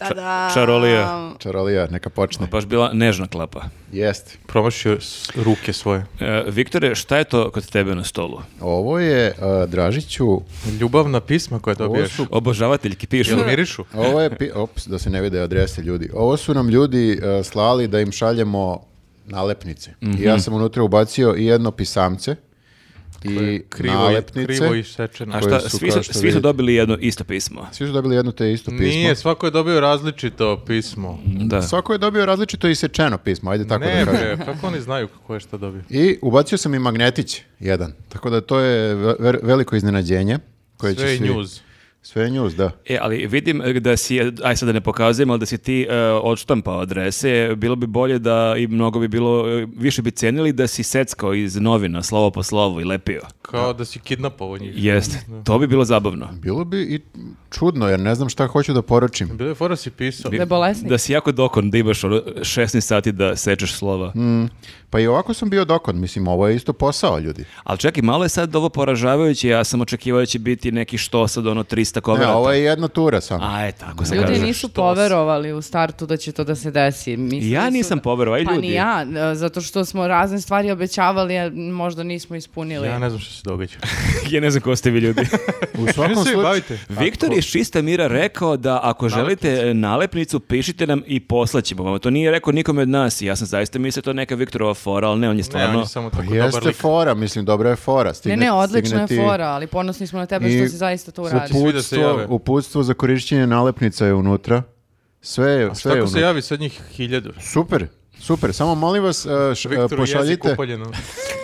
A, Čarolija. Čarolija, neka počne. Baš bila nežna klapa. Jeste. Promašio s- ruke svoje. E, Viktore, šta je to kod tebe na stolu? Ovo je, a, Dražiću, Ljubavna pisma koja ovo dobiješ. su... Obožavateljki pišu. Jel mirišu? Ovo je, pi- ops, da se ne vide adrese ljudi. Ovo su nam ljudi a, slali da im šaljemo nalepnice. I Mhm. ja sam unutra ubacio i jedno pisamce i Krivo, i- nalepnice. krivo isečeno. A koje šta, su, svi, kao su- što svi su vidite. dobili jedno isto pismo. Svi su dobili jedno te isto pismo. Nije, svako je dobio različito pismo. Da. Svako je dobio različito isečeno pismo, ajde tako ne, da kažem. bre, kako oni znaju ko je šta dobio? I ubacio sam i magnetić jedan. Tako da to je ve- ver- veliko iznenađenje. Koje će Sve je svi- news. Sve je news, da. E, ali vidim e, da si, je- aj sad da ne pokazujem, ali da si ti e, odštampao adrese, bilo bi bolje da i mnogo bi bilo, e, više bi cenili da si seckao iz novina, slovo po slovu i lepio. Kao da si kidnapovo njih. Jeste, to bi bilo zabavno. Bilo bi i čudno, jer ne znam šta hoću da poručim. Bilo je fora si pisao. Da je bolesnik. Da si jako dokon, da imaš ono 16 sati da sečeš slova. Pa i ovako sam bio dokon, mislim, ovo je isto posao, ljudi. Ali čekaj, malo je sad ovo poražavajuće, ja sam očekivao da će biti neki što sad, ono 300 Pa Ne, koverata. ovo je jedna tura samo. A, je, tako se Ljudi kaže. nisu Što se- poverovali u startu da će to da se desi. Mislili Ja su nisam da- poverovao, i Pa ljudi. ni ja, e, zato što smo razne stvari obećavali, a možda nismo ispunili. Ja ne znam što se događa. ja ne znam ko ste vi ljudi. U svakom Čime se vi slučaju- bavite? Viktor iz Čista Mira rekao da ako želite e, nalepnicu, pišite nam i poslaćemo vam. To nije rekao nikome od nas i ja sam zaista mislio to je neka Viktorova fora, ali ne, on je Ne, on stvarno... je samo Pa tako dobar jeste lik. fora, mislim, dobra je fora. Ne, Stigne, ne, odlična stigne je ti fora, ali ponosni smo na tebe I što si zaista to uradio. Svi da se jave. Uputstvo, uputstvo za korišćenje nalepnica je unutra. Sve je, A sve je Šta ko se unutra. javi sad njih hiljadu? Super, super. Samo molim vas, e, š- e, Viktoru jezik pošaljite... upaljeno.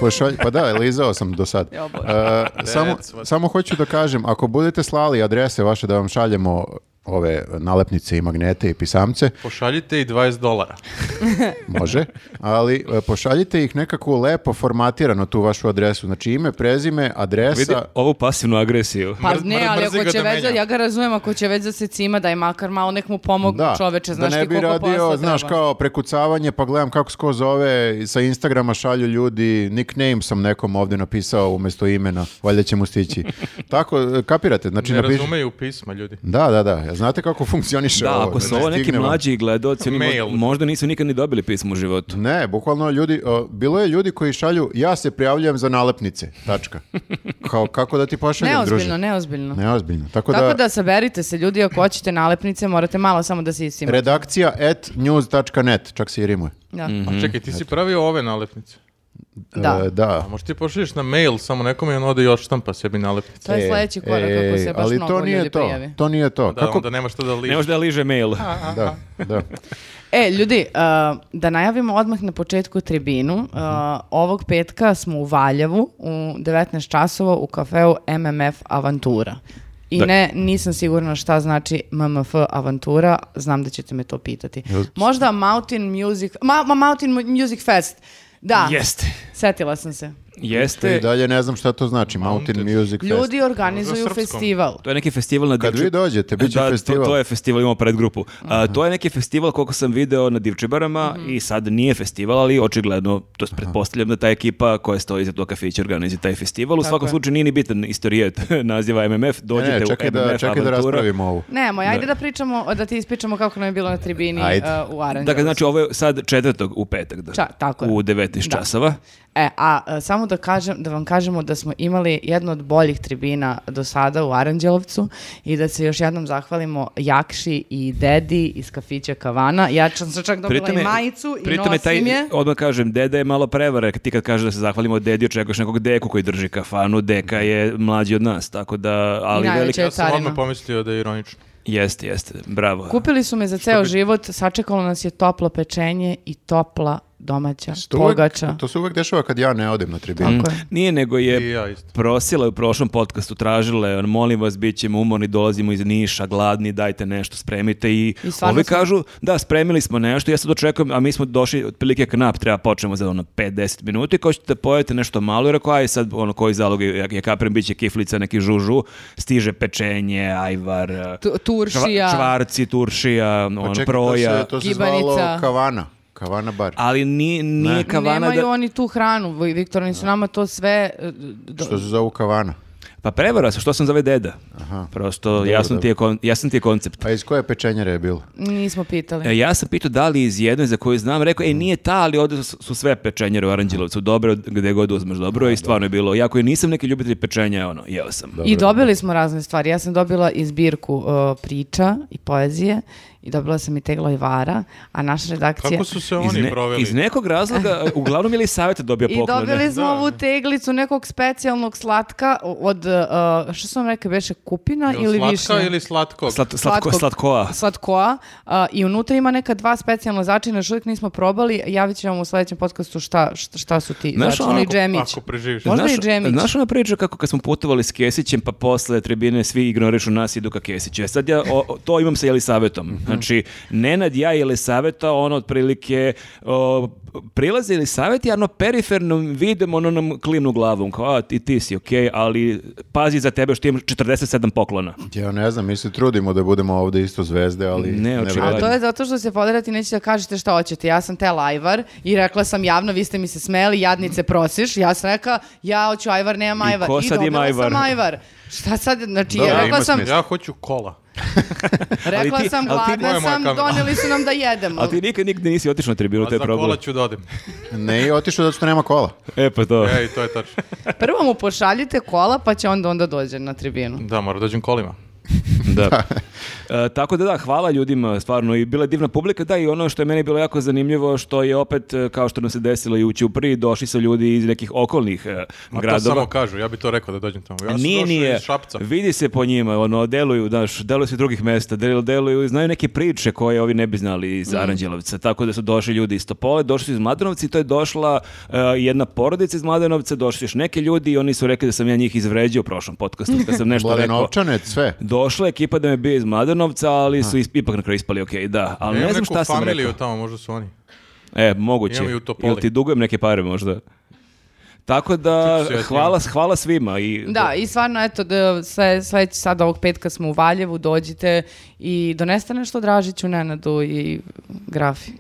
Pošalj, pa da, lizao sam do sad. Jao, Bože. E, samo, Recimo. samo hoću da kažem, ako budete slali adrese vaše da vam šaljemo ove nalepnice i magnete i pisamce, Pošaljite i 20 dolara. Znači, može, ali e, pošaljite ih nekako lepo formatirano tu vašu adresu, znači ime, prezime, adresa, Vidi ovu pasivnu agresiju. Pa Mrz- ne, mrz- ali mrzi ako ga će da već, da- menja. ja ga razumem, ako će već da se cima, daj makar malo nek mu pomogu Da, čoveče, znaš da ne ti bi koliko radio, posla znaš, treba. kao prekucavanje, pa gledam kako se ko zove, i sa Instagrama šalju ljudi, nickname sam nekom ovdje napisao umjesto imena, valjda će mu stići. Tako, e, kapirate, znači Ne napiš- razumeju pisma ljudi. Da, da, da, Ja, znate kako funkcioniše Da, ovo. ako su ne ovo neki stigne vam. mlađi gledoci, oni mo- Mail. možda nisu nikad ni dobili pismo u životu. Ne, bukvalno ljudi, o, bilo je ljudi koji šalju, ja se prijavljujem za nalepnice, tačka. Kao, kako da ti pošaljem, Neozbiljno, druže? neozbiljno. Neozbiljno. Tako, Tako da, da saberite se ljudi, ako hoćete nalepnice, morate malo samo da se iscimate. redakcija at news.net, čak se i rimuje. Da. Mhm, A Pa čekaj, ti si pravio ove nalepnice. Da. E, A možda ti pošalješ na mail samo nekome i on ode i odštampa sebi nalepnice. To je E, sljedeći korak e, ako se baš ali mnogo to nije ljudi to, prijavi. to nije to. Da, Kako? onda nema što da li... Ne može da liže mail. Da, da. E, ljudi, uh, da najavimo odmah na početku tribinu. Uh, ovog petka smo u Valjevu u 19 časova u kafeu MMF Avantura. I Da. ne, nisam sigurna šta znači MMF Avantura, znam da ćete me to pitati. Možda Mountain Music, ma, ma- Mountain Mu- Music Fest. Da, Jeste. setila sam se. Jeste. I dalje ne znam šta to znači, Mountain, Mountain. Music Fest. Ljudi organizuju srpskom. festival. To je neki festival na Kad Divči- vi dođete, bit će Da, to- festival. Mhm. To, je festival, imamo predgrupu. A, to je neki festival koliko sam video na Divčibarama Mhm. i sad nije festival, ali očigledno, to jest pretpostavljam da ta ekipa koja stoji iza tog kafića organizuje taj festival. U Tako svakom je. slučaju nije ni bitan istorijet naziva MMF, Ne, dođite ne, E, čekaj u MMF da, čekaj da avantura. raspravimo ovu. Nemoj, ajde da pričamo, da ti ispičamo kako nam je bilo na tribini Ajde. uh, u Aranđelovcu. Dakle, znači ovo je sad četvrtog u petak, da. Ča- tako je. u 19 Da. časova. E, a e, samo da kažem, da vam kažemo da smo imali jednu od boljih tribina do sada u Aranđelovcu i da se još jednom zahvalimo Jakši i Dedi iz kafića Kavana. Ja sam se čak dobila Pritom i je- majicu i pritom nosim je taj, je. Odmah kažem, deda je malo prevara. Ti kad kažeš da se zahvalimo dedi, očekuješ nekog deku koji drži kafanu. Deka je mlađi od nas, tako da... Ali najveća velika... je Ja sam carina. odmah pomislio da je ironično. Jeste, jeste. Bravo. Kupili su me za ceo život, sačekalo nas je toplo pečenje i topla domaća pogača. to se uvek dešava kad ja ne odem na Mm. tribinu. Tako je. Nije, nego I je ja isto. prosila je u prošlom podcastu, tražila je, on, molim vas, bit ćemo umorni, dolazimo iz Niša, gladni, dajte nešto, spremite i, I stvarno ovi smo- kažu, da, spremili smo nešto, ja sad očekujem, a mi smo došli, otprilike knap, treba počnemo za ono 5-10 minuta i ko ćete da pojete nešto malo, i rekao, aj sad, ono, koji zalog je, ja, ja kapiram, bit će kiflica, neki žužu, stiže pečenje, ajvar, Tu- turšija. čva- čvarci, turšija, ono, Pa čekaj, To proja. se, to se Gibanica. zvalo kavana. Kavana bar. Ali ni, nije kavana Nemaju da... oni tu hranu, Vi- Viktor, oni su nama to sve... e, do- Što se zovu kavana? Pa prevara se, što sam zove deda. Prosto, jasan ti je kon- jasan ti je koncept. A iz koje pečenjere je bilo? Nismo pitali. E, ja sam pitao da li iz jedne za koju znam, rekao, e, nije ta, ali ovdje su su sve pečenjere u Aranđelovcu, dobro, gde god uzmeš dobro i stvarno je bilo, jako i nisam neki ljubitelj pečenja, ono, jeo sam. I dobili smo razne stvari. Ja sam dobila i zbirku uh, priča i poezije i dobila sam i teglo i vara, a naša redakcija... Kako su se Iz, oni ne- proveli? iz nekog razloga, uglavnom je li savjet dobio I poklone? dobili smo Da. ovu teglicu nekog specijalnog slatka od, uh, što sam vam rekao, beše kupina Jel ili slatka višnja? ili slatkog? Slat- slatko, Slatkog. slatkoa. Slatkoa. a, I unutra ima neka dva specijalna začina, još uvijek nismo probali. Javit ću vam u sljedećem podcastu šta, šta, šta su ti Znaš, začini i ako- džemić. Ako preživiš. Možda i džemić. Znaš ona priča kako kad smo putovali s Kesićem, pa posle tribine svi ignorišu nas i idu ka Kesiću. E Sad ja o- o- to imam sa Jelisavetom. Znači, Nenad, ja i Jelisaveta, ono otprilike o, prilaze Jelisavet i ono periferno vidim, ono nam klimnu glavom. Kao, a, i ti si okej, ali pazi za tebe što imam 47 poklona. Ja ne znam, mi se trudimo da budemo ovdje isto zvezde, ali Ne, ne, očigledno. A vredi. Pa to je zato što se poderati neće da kažete šta hoćete. Ja sam te Ajvar i rekla sam javno, vi ste mi se smeli, jadnice prosiš. Ja sam rekla, ja hoću Ajvar, nemam I Ajvar. ko I sad ima dobila sam ajvar? Ajvar. Šta sad, znači, Dobro, rekla ima sam, smisla. Ja hoću kola. rekla ti- sam, ali ti- gladna Moja, moja sam, kamera. doneli su nam da jedemo. A ti nikad nigde nisi otišao na tribinu, A to je za kola problem. ću da odem. Ne, i otišao zato što nema kola. E pa to. E, i to je tačno. Prvo mu pošaljite kola, pa će onda onda dođe na tribinu. Da, moram dođem kolima. Da. E, tako da da, hvala ljudima stvarno i bila je divna publika, da i ono što je meni bilo jako zanimljivo što je opet e, kao što nam se desilo i u Ćupriji došli su ljudi iz nekih okolnih e, Ma to gradova. E, samo kažu, ja bi to rekao da dođem tamo. Ja sam nije, došao nije. iz Šapca. Vidi se po njima, ono, deluju, znaš, deluju se iz drugih mesta, del- deluju, znaju neke priče koje ovi ne bi znali Mhm. iz Aranđelovca, tako da su došli ljudi iz Topole, došli su iz Mladenovca i to je došla e, jedna porodica iz Mladenovca, došli su još neki ljudi i oni su rekli da sam ja njih izvređao u prošlom podcastu, kad sam nešto rekao. Mladenovčane, sve. Došla je ekipa da me bio iz Mladenovca, ali su is- ipak na kraju ispali ok, da. Ali Imam ne znam neku šta sam familiju rekao. tamo, možda su oni. E, moguće. Imam i u Topoli. Ili ti dugujem neke pare možda. Tako da, Čak se ja hvala, hvala svima. I, Da, i stvarno, eto, da, sve, sve sad ovog petka smo u Valjevu, dođite i doneste nešto Dražiću, Nenadu i Grafi.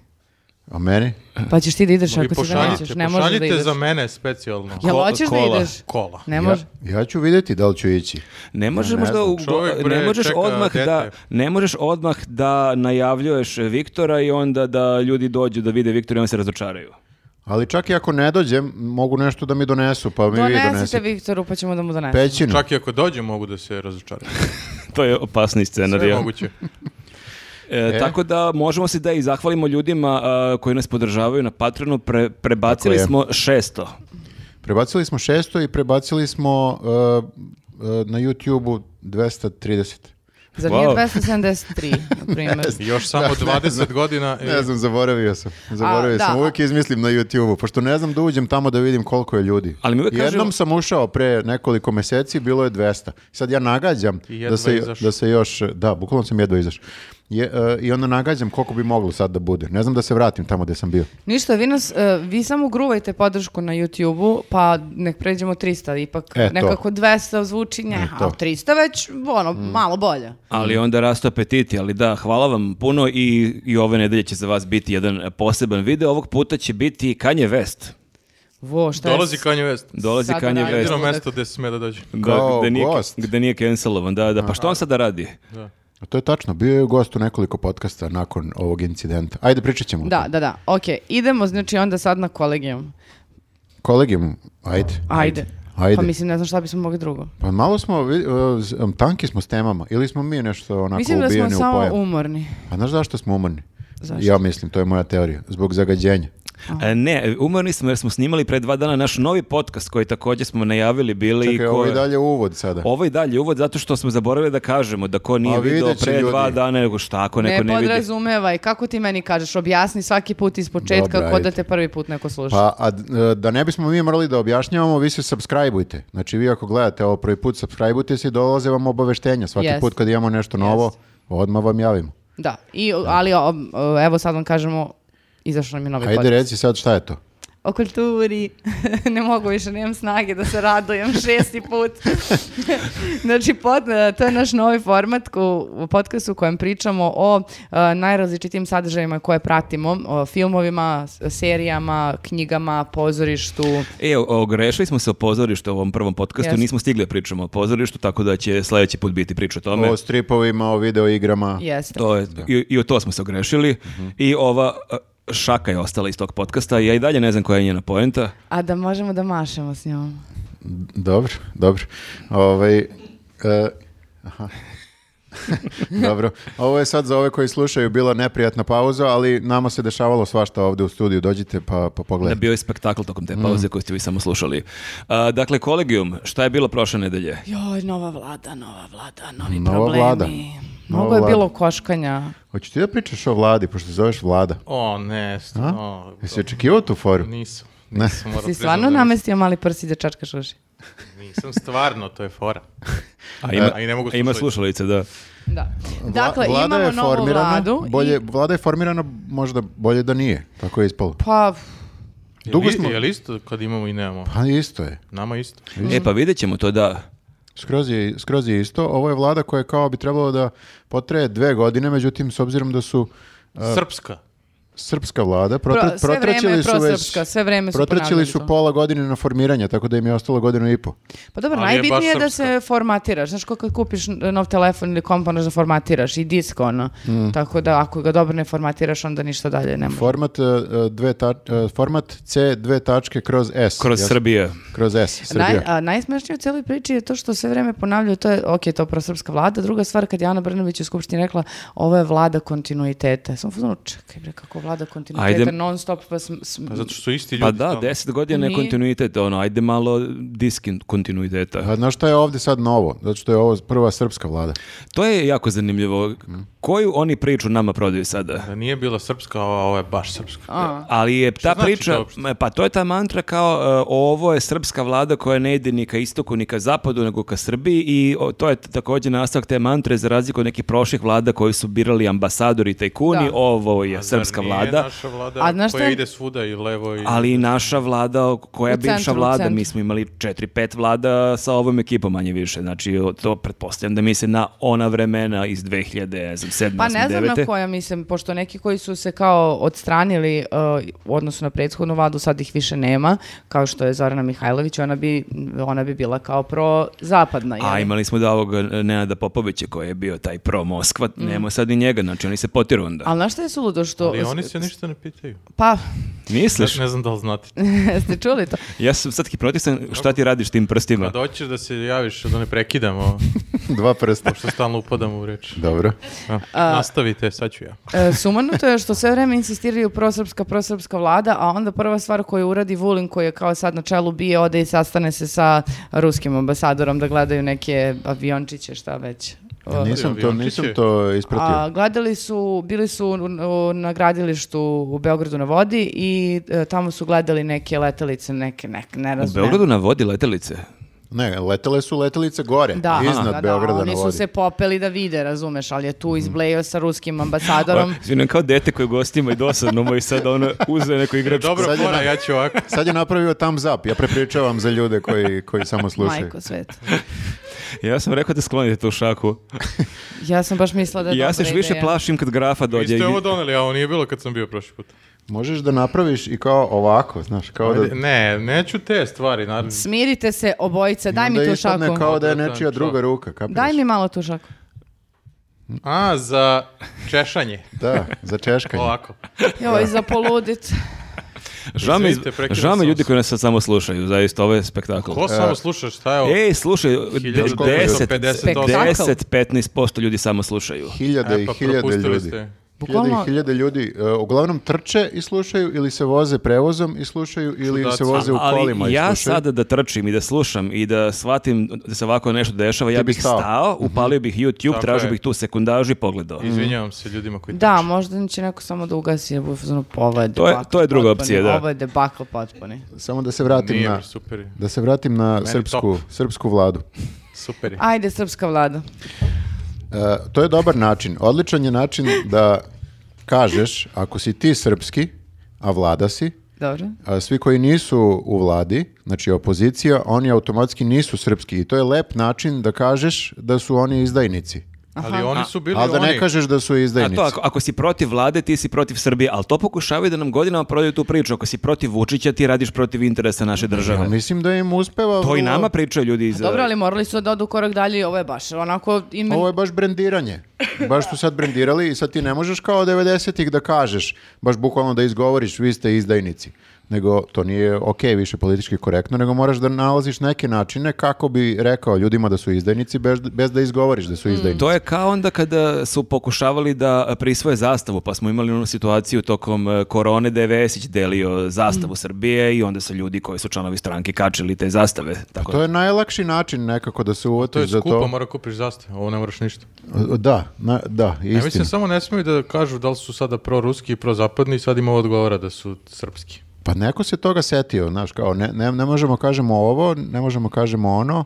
A meni? Pa ćeš ti da ideš Vi ako se da pošaljite, nećeš, ne možeš da pošaljite ideš. za mene specijalno. Pa Jel ko- hoćeš da kola. ideš? Kola. Ne Ja, može. ja ću vidjeti da li ću ići. Ne možeš možda znam. u- Čovjek, bre, ne možeš čeka odmah dete. da ne možeš odmah da najavljuješ Viktora i onda da ljudi dođu da vide Viktora i onda se razočaraju. Ali čak i ako ne dođem, mogu nešto da mi donesu, pa mi vi Donesite donesete. Viktoru, pa ćemo da mu donesemo. Pećinu. Čak i ako dođem mogu da se razočaram. To je opasni Sve je scenarij. moguće. E, Tako da možemo se da i zahvalimo ljudima a, koji nas podržavaju na Patronu. Pre- prebacili Tako je. smo šesto. Prebacili smo šesto i prebacili smo uh, uh, na YouTube-u 230. Zar nije Wow. 273, na primjer? Još samo 20 godina i Ne znam, zaboravio sam. Zaboravio A, da. sam. Uvijek izmislim na YouTube-u, pošto ne znam da uđem tamo da vidim koliko je ljudi. Ali mi uvijek Jednom kažu- sam ušao pre nekoliko meseci, bilo je 200. Sad ja nagađam I jedva da se, izašao. da se još... Da, bukvalno sam jedva izašao. Je, e, I onda nagađam koliko bi moglo sad da bude. Ne znam da se vratim tamo gdje sam bio. Ništa, vi nas, e, vi samo gruvajte podršku na YouTube-u, pa nek pređemo 300, ipak E, to. E, nekako 200 zvuči, ne, to. Mm. a 300 već, ono, malo bolje. Mhm. Ali onda rastu apetiti, ali da, hvala vam puno i, i ove nedelje će za vas biti jedan poseban video. Ovog puta će biti Kanye West. Vo, šta je dolazi s- Kanye West. Dolazi Sada Kanye najde. West. Jedino Ludak. mesto gde se sme da dođe. Da, Kao gde nije, gost. gde nije cancelovan, da, da. Pa što on sada radi? A to je tačno. Bio je gost u nekoliko podcasta nakon ovog incidenta. Ajde, pričat ćemo. o Da, tome. da, da, okej, idemo, znači, onda sad na kolegijom. Kolegijum, ajde. Ajde. Ajde. Pa mislim, ne znam šta bismo mogli drugo. Pa malo smo, vi- e, z- em, tanki smo s temama. Ili smo mi nešto onako Mislim da smo ubijeni u samo pojam. umorni. A Pa znaš zašto smo umorni? Zašto? Ja mislim, to je moja teorija. Zbog zagađenja. E, ne, umorni smo jer smo snimali pre dva dana naš novi podcast koji također smo najavili bili. i Čekaj, ovo ko- je dalje uvod sada. Ovo i dalje uvod zato što smo zaboravili da kažemo da ko nije A video Pa vidjet će pre dva ljudi. dana nego šta ako Ne, neko ne, vidi. podrazumevaj, kako ti meni kažeš, objasni svaki put iz početka Dobro, kod ajde. da te prvi put neko sluša. Pa, a d- e, da ne bismo mi morali da objašnjavamo, vi se subscribe-ujte. Znači, vi ako gledate ovo prvi put, subscribe-ujte se i dolaze vam obaveštenja. Svaki Jest. put kad imamo nešto novo, odmah vam javimo. Da, I, ali o- o, evo sad vam kažemo, izašao nam je novi Ajde, pa- podcast. reci sad šta je to. o kulturi, ne mogu više, nemam snage da se radujem šesti put. znači, pod, to je naš novi format ko, u podcastu u kojem pričamo o e, najrazličitijim sadržajima koje pratimo, o filmovima, s- serijama, knjigama, pozorištu. E, o- ogrešili smo se o pozorištu u ovom prvom podcastu, Jeste. nismo stigli da pričamo o pozorištu, tako da će sledeći put biti priča o tome. O stripovima, o videoigrama. Jeste. Pa, To je, i, I o to smo se ogrešili. I ova a, šaka je ostala iz tog podcasta. Ja i dalje ne znam koja je njena poenta. A da možemo da mašemo s njom. Dobro, dobro. Ovaj, e, aha. dobro. Ovo je sad za ove koji slušaju bila neprijatna pauza, ali nama se dešavalo svašta ovde u studiju. Dođite pa, pa Da pogledajte. bio je spektakl tokom te Mm. pauze koju ste vi samo slušali. A, dakle, kolegijum, šta je bilo prošle nedelje? E, Joj, nova vlada, nova vlada, novi Nova problemi. vlada. Mnogo Nova je vlada. bilo koškanja. Hoćeš ti da pričaš o vladi, pošto se zoveš vlada? O, ne, st- A? o, Jesi očekivao tu foru? nisam. Nisam, moram Si priznat stvarno da nisam. namestio mali prsi da čačkaš uši? Nisam stvarno, to je fora. A ima, A i ne mogu a ima slušalice. slušalice, da. Da. Vla- Dakle, vlada imamo je novu formirana, vladu. i- Bolje, Vlada je formirana možda bolje da nije. Tako je ispalo. Pa, Dugo Dugo smo- smo... Je li isto kad imamo i nemamo? Pa isto je. Nama isto. E, pa vidjet ćemo to, da. Skroz je, skroz je isto. Ovo je vlada koja kao bi trebalo da potraje dve godine, međutim, s obzirom da su Srpska. srpska vlada, pro- protra, sve vreme protraćili je su već... prosrpska, sve vreme su Protraćili ponavljali su to. pola godine na formiranje, tako da im je ostalo godinu i po. Pa dobro, Ali je baš najbitnije je da srpska. se formatiraš. Znaš, ko kad kupiš n- nov telefon ili komp, ono da formatiraš i disk, ono. Mm. Tako da, ako ga dobro ne formatiraš, onda ništa dalje ne može. Format, e, e, dve ta- e, format C dve tačke kroz S. Kroz Jas- Srbije. Kroz S, Srbija. Naj, a, najsmešnije u cijeloj priči je to što sve vreme ponavljaju, to je, ok, to prosrpska vlada. Druga stvar, kad je Ana Brnović u Skupštini rekla, ovo je vlada kontinuiteta. Sam fuzonu, čekaj bre, kako vlada kontinuiteta, Ajde. non stop, pa sm, sm- Pa zato što su isti ljudi. Pa da, stalno. deset godina je Nije. kontinuitet, ono, ajde malo diskin kontinuiteta. A znaš šta je ovdje sad novo? Zato što je ovo prva srpska vlada. To je jako zanimljivo. Mm. Koju oni priču nama prodaju sada? Da nije bila srpska, a ovo je baš srpska. Ali je ta znači priča, to uopšte? ma, pa to je ta mantra kao e, ovo je srpska vlada koja ne ide ni ka istoku ni ka zapadu nego ka Srbiji i o, to je t- također nastavak te mantre za razliku od nekih prošlih vlada koji su birali ambasadori i tajkuni, Da. ovo je A zar srpska nije vlada. naša vlada A znaš šta koja je- ide svuda i levo i... Ali i naša vlada, o- koja je U centru, bivša u vlada, centru. mi smo imali 4-5 vlada sa ovom ekipom manje više. Znači, o, to pretpostavljam da mi se na ona vremena iz 2000, ne znam, 7, Pa ne 8, znam na 9. koja mislim, pošto neki koji su se kao odstranili uh, u odnosu na prethodnu vladu, sad ih više nema, kao što je Zorana Mihajlović, ona bi, ona bi bila kao pro-zapadna. A jeli? imali smo da ovog e, Nenada Popovića koji je bio taj pro Moskva, Mm. nema sad ni njega, znači oni se potiru onda. Ali znaš šta je suludo što... Ali oni se ništa ne pitaju. Pa, Ne, Misliš? ne znam da li znate. ste čuli to? Ja sam sad hipnotisan, šta ti radiš tim prstima? Kad hoćeš da se javiš, da ne prekidamo, Dva prsta. što stalno upadamo u reč. Dobro. A, Nastavite, sad ću ja. E, sumanuto je što sve vreme insistiraju prosrpska, prosrpska vlada, a onda prva stvar koju uradi Vulin koji je kao sad na čelu bije, ode i sastane se sa ruskim ambasadorom da gledaju neke aviončiće, šta već. O, Nisam to, aviončiće. nisam to ispratio. A, gledali su, bili su u- u- na gradilištu u Beogradu na vodi i e, tamo su gledali neke letelice, neke, neke, ne U razumem. Beogradu na vodi letelice. Ne, letele su letelice gore, Da, iznad da, da, Beograda oni na su vodi. se popeli da vide, razumeš, ali je Mhm. tu izblejio sa ruskim ambasadorom. Izvinjam, Pa, kao dete koje gostima i dosadno mu je i sad ono uzeo neko igračku. Dobro, Sad je fora, na- ja ću ovako. Sad je napravio thumbs up, ja prepričavam za ljude koji, koji samo slušaju. Majko svet. Ja sam rekao da sklonite tu šaku. Ja sam baš mislila da je ja dobra se još više ideja. plašim kad grafa Vi dođe. ste i- ovo doneli, a ovo nije bilo kad sam bio prošli put. Možeš da napraviš i kao ovako, znaš, kao da... Ajde, Ne, neću te stvari, naravno. Smirite se obojica, daj mi onda tu ispadne šaku. kao da je Odvratan nečija čovjek. druga ruka, kapiraš? Daj mi malo tu šaku. A, za češanje. Da, za češkanje. Ovako. Joj, za poludit. Žao mi- Izvinite, prekidao žao mi sam ljudi vas. koji nas sad samo slušaju, zaista ovo je spektakl. E, Ko samo sluša, šta je ovo? Ej, slušaj, Hiljadu koliko je to? 10, 58? 10, 15% ljudi samo slušaju. Hiljade E, i pa hiljade propustili ljudi. ste. Hiljade Bukvalno- i hiljade ljudi. e, uglavnom trče i slušaju ili se voze prevozom i slušaju ili Čudaci. se voze u Ali kolima i ja slušaju. sada da trčim i da slušam i da shvatim da se ovako nešto dešava, ja bi bih stao. Mhm. stao, upalio bih YouTube, Tako tražio je. bih tu sekundažu i pogledao. Izvinjavam se ljudima koji Da, možda će neko samo da ugasi, jer bude fazonu, pa ovo je To je- debakl to je druga potpuni, opcija, da. Ovo je debakl potpuni. Samo da se tiču. vratim Nije, na... super je, Da se vratim na srpsku, srpsku vladu. super je. Ajde, srpska vlada. E, to je dobar način. Odličan je način da kažeš, ako si ti srpski, a vlada si, Dobro. A svi koji nisu u vladi, znači opozicija, oni automatski nisu srpski i to je lep način da kažeš da su oni izdajnici. Ali oni su bili Ali da ne oni. kažeš da su A izdajnici. to, ako, ako si protiv vlade, ti si protiv Srbije, ali to pokušavaju da nam godinama prodaju tu priču. Ako si protiv Vučića, ti radiš protiv interesa naše Ja države. mislim da im uspeva... To i vrlo- nama pričaju ljudi iz... Dobro, ali morali su da odu korak dalje i ovo je baš onako... Ime... Ovo je baš brendiranje. Baš su sad brendirali i sad ti ne možeš kao 90-ih da kažeš, baš bukvalno da izgovoriš, vi ste izdajnici. Nego to nije ok, više politički korektno, nego moraš da nalaziš neke načine kako bi rekao ljudima da su izdajnici bez, bez da izgovoriš Mm. da su izdajnici. To je kao onda kada su pokušavali da prisvoje zastavu, pa smo imali onu situaciju tokom e, korone da je Vesić delio zastavu Srbije i onda su ljudi koji su članovi stranke kačili te zastave. Tako To je najlakši način nekako da se To je uvotiš za skupo, to. mora kupiš zastave, ovo ne moraš ništa. Da, na- da, Ja mislim istina. samo ne smiju da kažu da li su sada proruski i prozapadni i sad im ovo odgovara da su srpski. Pa neko se toga setio, znaš, kao ne, ne, ne možemo kažemo ovo, ne možemo kažemo ono,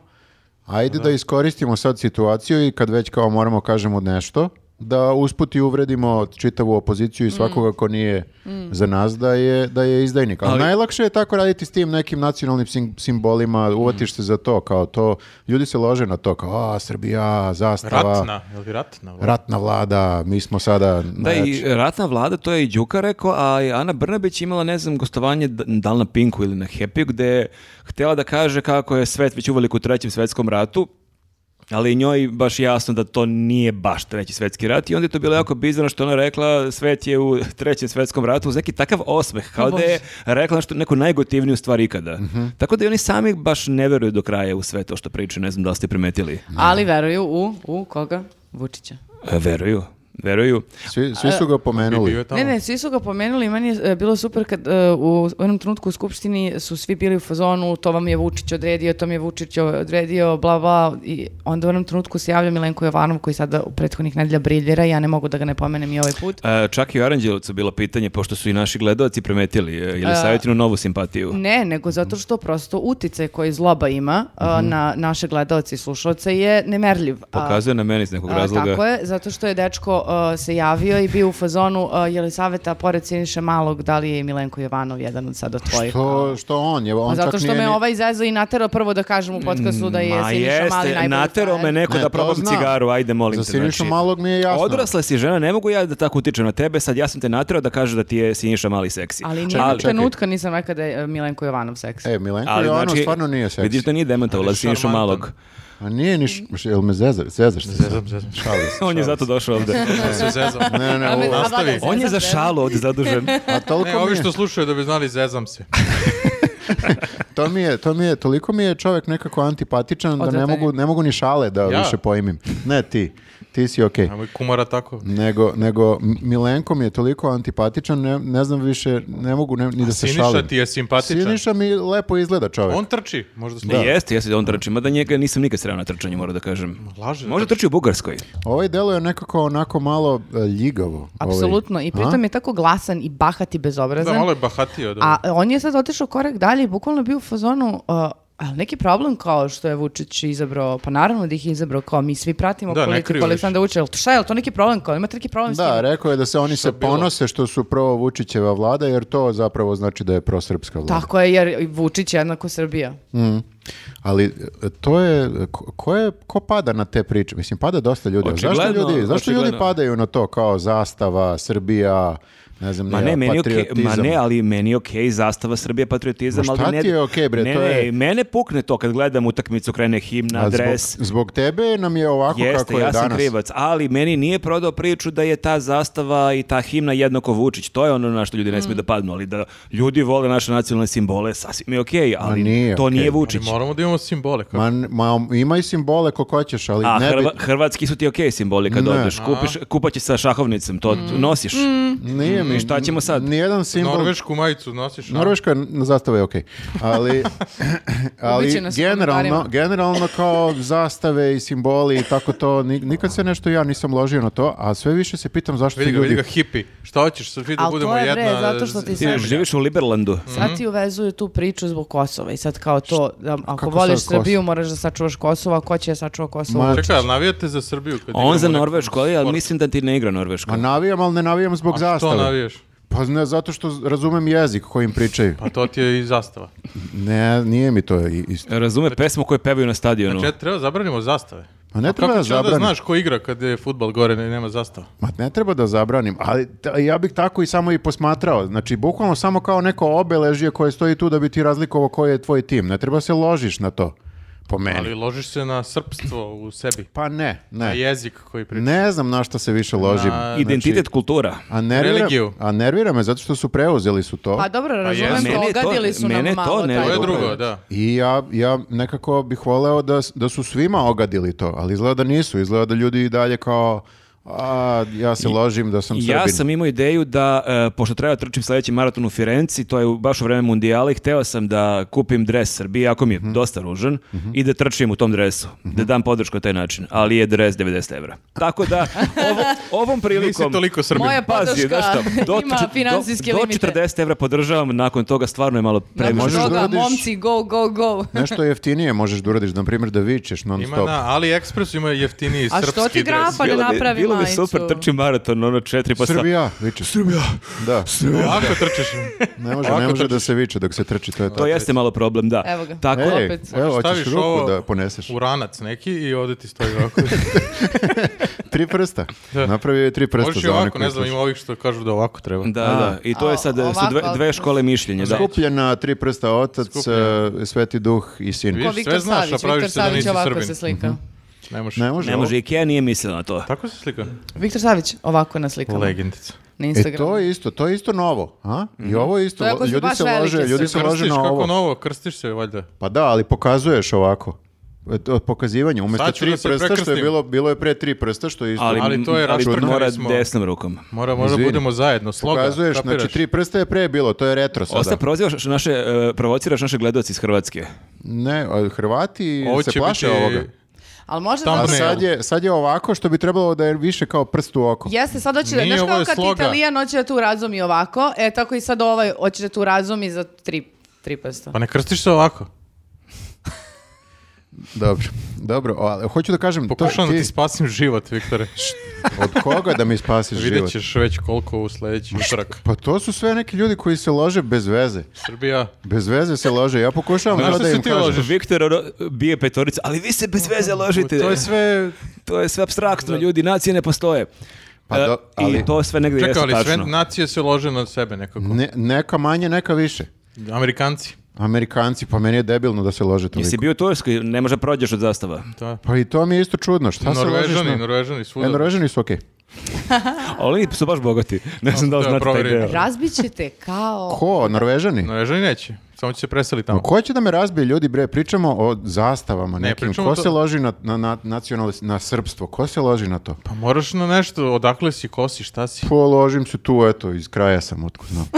ajde da. iskoristimo sad situaciju i kad već kao moramo kažemo nešto, da usput i uvredimo čitavu opoziciju Mm. i svakoga ko nije za nas da je, da je izdajnik. Ali, Ali- najlakše je tako raditi s tim nekim nacionalnim sim- simbolima, Mm. uvatiš se za to, kao to, ljudi se lože na to, kao a, Srbija, zastava, Ratna, je li ratna? ratna vlada, mi smo sada Da, i najjači. ratna vlada, to je i Đuka rekao, a i Ana Brnabić imala, ne znam, gostovanje d- da li na Pinku ili na Happy, gde je htjela da kaže kako je svet već uveliko u trećem svetskom ratu, ali njoj baš jasno da to nije baš treći svetski rat i onda je to bilo jako bizarno što je ona rekla svet je u trećem svetskom ratu uz neki takav osmeh, kao da je rekla nešto, neku najgotivniju stvar ikada. Tako da i oni sami baš ne veruju do kraja u sve to što pričaju, ne znam da li ste primetili. Ali veruju u, u koga? Vučića. E, Veruju, veruju. Svi, svi su ga pomenuli. Bio je tamo. Ne, ne, svi su ga pomenuli i meni je e, bilo super kad e, u jednom trenutku u Skupštini su svi bili u fazonu to vam je Vučić odredio, to mi je Vučić odredio, bla, bla, i onda u jednom trenutku se javlja Milenko Jovanov koji sada u prethodnih nedelja briljera i ja ne mogu da ga ne pomenem i ovaj put. E, čak i u Aranđelovcu bilo pitanje, pošto su i naši gledalci primetili, e, ili savjetinu novu simpatiju. Ne, nego zato što prosto uticaj koji zloba ima a, Mhm. na naše gledalce i slušalce je nemerljiv. a- Pokazuje na meni iz nekog a, razloga. Tako je, zato što je dečko a, se javio i bio u fazonu e, a, Jelisaveta, pored Siniše Malog, da li je i Milenko Jovanov jedan od sada tvojih? Što, što on je, on A Zato čak što nije me ni- Mm, ovaj zezo i natero prvo da kažem u podcastu da je Ma Siniša Mali jeste, najbolji natero me frajer. neko Ne, da to probam znam. cigaru, ajde molim te. Za znači. Sinišu Malog mi je jasno. Odrasla si žena, ne mogu ja da tako utičem na tebe, sad ja sam te naterao da kažeš da ti je Siniša Mali seksi. Ali Čak- ni Čekaj, jednog čekaj. trenutka nisam rekla da je e, Milenko Jovanov seks. E, Milenko je ono znači, stvarno nije seksi. Vidiš da nije demantovala Ali Sinišu šarmantan. Malog. A nije ni... š- š- Jel me zezaš? Zezaš se? Zezam, zezam. Šalim se, On je šalim zato došao ovde. Ja se zezam. se. Ne, ne, ne, A me- ovo- a nastavi. valjda je e, On je za zezam žena. šalu ovde zadužen. A Ne, toliko mi ovi je, što slušaju da bi znali, zezam se. to mi je, to mi je, toliko mi je čovjek nekako antipatičan da ne Odvratan je. mogu, ne mogu ni šale da Ja? više poimim. Ne, ti, ti si okej. Nemoj kumara tako. Nego, nego M- Milenko mi je toliko antipatičan, ne, ne znam više, ne mogu ne- ni da se Siniša šalim. ti je simpatičan. Siniša mi lepo izgleda čovjek. On trči, možda smo... Da. Jeste, jeste da on trči, mada njega nisam nikad sreo na trčanju, moram da kažem. Laže. Možda trči u Bugarskoj. Ovaj delo je nekako onako malo e, ljigavo. ovaj. Apsolutno, i A? pritom je tako glasan i bahat i Da, bezobrazan. malo je bahatio. Da. A on je sad otišao korak dalje i bukvalno bio u fazonu... uh, ali neki problem kao što je Vučić izabrao, pa naravno da ih je izabrao kao mi svi pratimo Da, ne kriju politiku više. Aleksandra Vučića, ali šta je, jel to neki problem kao, imate neki problem s tim? Da, rekao je da se oni se bilo? ponose što su prvo Vučićeva vlada, jer to zapravo znači da je prosrpska vlada. Mhm. Tako je, jer Vučić je jednako Srbija. Ali e, to je, ko, ko je, ko pada na te priče? Mislim, pada dosta ljudi. ali Zašto Očigledno, ljudi, zašto ljudi očigledno. padaju na to kao zastava, Srbija, ne znam, Ma ni ja, ne, meni je okej, patriotizam? ma ne, ali meni je okej zastava Srbije patriotizam, Ma ali šta ne. ti je okej, bre, ne, to ne, je- mene pukne to kad gledam utakmicu, krene himna, A dres. Zbog, zbog tebe nam je ovako Jeste, kako je ja sam danas. krivac, ali meni nije prodao priču da je ta zastava i ta himna jednako Vučić. To je ono na što ljudi ne smiju da padnu, ali da ljudi vole naše nacionalne simbole, sasvim je okej, ali nije to nije okej. Vučić. Ali moramo da imamo simbole. Kako? Ma, n- ma, ima i simbole ko hoćeš, ali A ne bi, Hrva- hrvatski su ti okej simboli kad Ne. odeš, kupiš, kupaće sa šahovnicom, to nosiš. nije mi, I Mm, šta ćemo sad? Nijedan simbol, Norvešku majicu nosiš. a? Norveška n- zastava je okej, ali, ali Ubiće nas u generalno, komentarima. generalno kao zastave i simboli i tako to, ni- nikad se nešto ja nisam ložio na to, a sve više se pitam zašto Vidi ga, ljudi... vidi ga, hipi. Šta hoćeš, sad vidi da Al to budemo je, bre, jedna... zato što ti Ti Zemlja. živiš u Liberlandu. Mhm. Sad ti uvezuju tu priču zbog Kosova i sad kao to, da, ako kako voliš sad Kosovo? Srbiju moraš da sačuvaš Kosovo, a ko će da sačuva Kosovo? Ma, Čekaj, ali navijate za Srbiju? Kad A on igramo za neki Norvešku, ali, ali sport? mislim da ti ne igra Ma Norvešku. navijam, ali ne navijam zbog A što zastave. navijaš? Pa ne, zato što razumem jezik kojim pričaju. Pa to ti je i zastava. Ne, nije mi to i- isto. Razume pesmu koju pevaju na stadionu. Znači, treba zabranimo zastave. Pa ne A treba kako će onda zabraniti. znaš ko igra kad je futbal gore i nema zastava? Ma ne treba da zabranim, ali t- ja bih tako i samo i posmatrao. Znači, bukvalno samo kao neko obeležje koje stoji tu da bi ti razlikovao koji je tvoj tim. Ne treba se ložiš na to, po meni. Ali ložiš se na srpstvo u sebi. Pa ne, Na ne. jezik koji priča. Ne znam na što se više ložim. Na- znači, Identitet kultura. A nervira, Religiju. a nervira me zato što su preuzeli su to. Pa dobro, razumem, jesu. Mene je to- pogadili su mene nam je to malo ne- taj- To je Upravo. drugo, da. I ja, ja nekako bih voleo da, s- da su svima ogadili to, ali izgleda da nisu. Izgleda da ljudi i dalje kao, a, ja se ložim da sam srbin. Ja sam imao ideju da, e, pošto treba da trčim sljedeći maraton u Firenci, to je u- baš u vreme mundijala i hteo sam da kupim dres Srbije, ako mi je dosta ružan, i da trčim u tom dresu, da dam podršku na taj način, ali je dres 90 evra. Tako da, ovo- ovom Nisi prilikom... toliko srbin. Moja E, podrška znaš šta, ima čet- financijske do, limite. Do 40 evra podržavam, nakon toga stvarno je malo Nakon previše. možeš da toga, uradiš- momci, go, go, go. Nešto jeftinije možeš da uradiš, na primjer da vičeš non Ima stop. na AliExpressu ima jeftiniji A što srpski dres. ti grafa ne Bilo bi- napravi Bilo bi majicu? super, trčim maraton, ono četiri pa sat. Srbija, vičeš. Srbija. Da, Ovako trčiš. ne može, ne može da se viče dok se trči, to je to. To jeste malo problem, da. Evo ga. Tako, Ej, opet. evo, hoćeš Staviš ruku ovo da poneseš. u ranac neki i ovdje ti stoji ovako. Tri prsta. Da. Napravio je tri prsta Možeš i za one ovako, koji ne znam, slušaju. ima ovih što kažu da ovako treba. Da, da, i to je A, sad, e, su dve, ovako- dve škole mišljenja. Da. Skupljena, tri prsta otac, e, sveti duh i sin. Vidiš? Ko sve Viktor znaš, a Savić, praviš Viktor se da Savić nisi ovako Srbin. Mhm. se slika. Ne možeš. Ne može. Ne ovo. može, Ikea nije mislila na to. Tako se slika. Viktor Savić ovako na slikama. Legendica. Na E Instagramu. to je isto, to je isto novo, a? Mhm. I ovo je isto, To je ako su ljudi baš se velike lože, ljudi se Srbe. lože Krstiš na kako ovo. novo, krstiš se valjda. Pa da, ali pokazuješ ovako. E, to Pokazivanje, umjesto Sad ću tri da se prsta što je prekrstim. bilo, bilo je pre tri prsta što je isto. Ali, Ali to je ali rasprava, mora smo- desnom rukom. Mora, mora Izvini. budemo zajedno, sloga, Pokazuješ, kapiraš? znači tri prsta je pre bilo, to je retro sada. Osta prozivaš naše, e, provociraš naše gledoci iz Hrvatske. Ne, a Hrvati Ovo se će plaše biti- ovoga. Ali možda Tam zato A Pa što- ne. sad je, sad je ovako što bi trebalo da je više kao prst u oko. Jeste, sad hoće da, Nije, znaš ovo kao je kad sloga. Italijan hoće da tu razumi ovako, e tako i sad ovaj hoće da tu razumi za tri, tri prsta. Pa ne krstiš se ovako. Dobro, dobro. ali hoću da kažem, to Pokušavam da ti, ti spasim život, Viktore. od koga da mi spasiš Vidjet život? ćeš već koliko u sljedeći utorak. Pa to su sve neki ljudi koji se lože bez veze. Srbija, Bez veze se lože. Ja pokušavam Znaš to što da se im ti kažem. ložeš? Viktor ono, bije petorica, ali vi se bez veze ložite. to je sve... to je sve abstraktno, ljudi, nacije ne postoje. Pa E, do- ali- I to sve negdje Čekaj, jeste ali sve tačno. nacije se lože na sebe nekako. Ne- neka manje, neka više. Amerikanci. Amerikanci, pa meni je debilno da se lože toliko. Jesi bio u Turskoj, ne može prođeš od zastava. Da. Pa i to mi je isto čudno. Šta Pa se ložiš Norvežani, na- Norvežani, E, svuda. Norvežani su okej. Ali oni su baš bogati. Ne znam da li Da, znate taj provjeri. deo. Razbit ćete kao... Ko? Norvežani? Norvežani neće, samo će se preseliti Ma tamo. Ko će da me razbije ljudi, bre? Pričamo o zastavama Ne, nekim. pričamo Ko to- se loži na, na, na nacionalist- na srpstvo? Ko se loži na to? Pa moraš na nešto, odakle si, ko si, šta si. Položim se tu, eto, iz kraja sam, otko znam.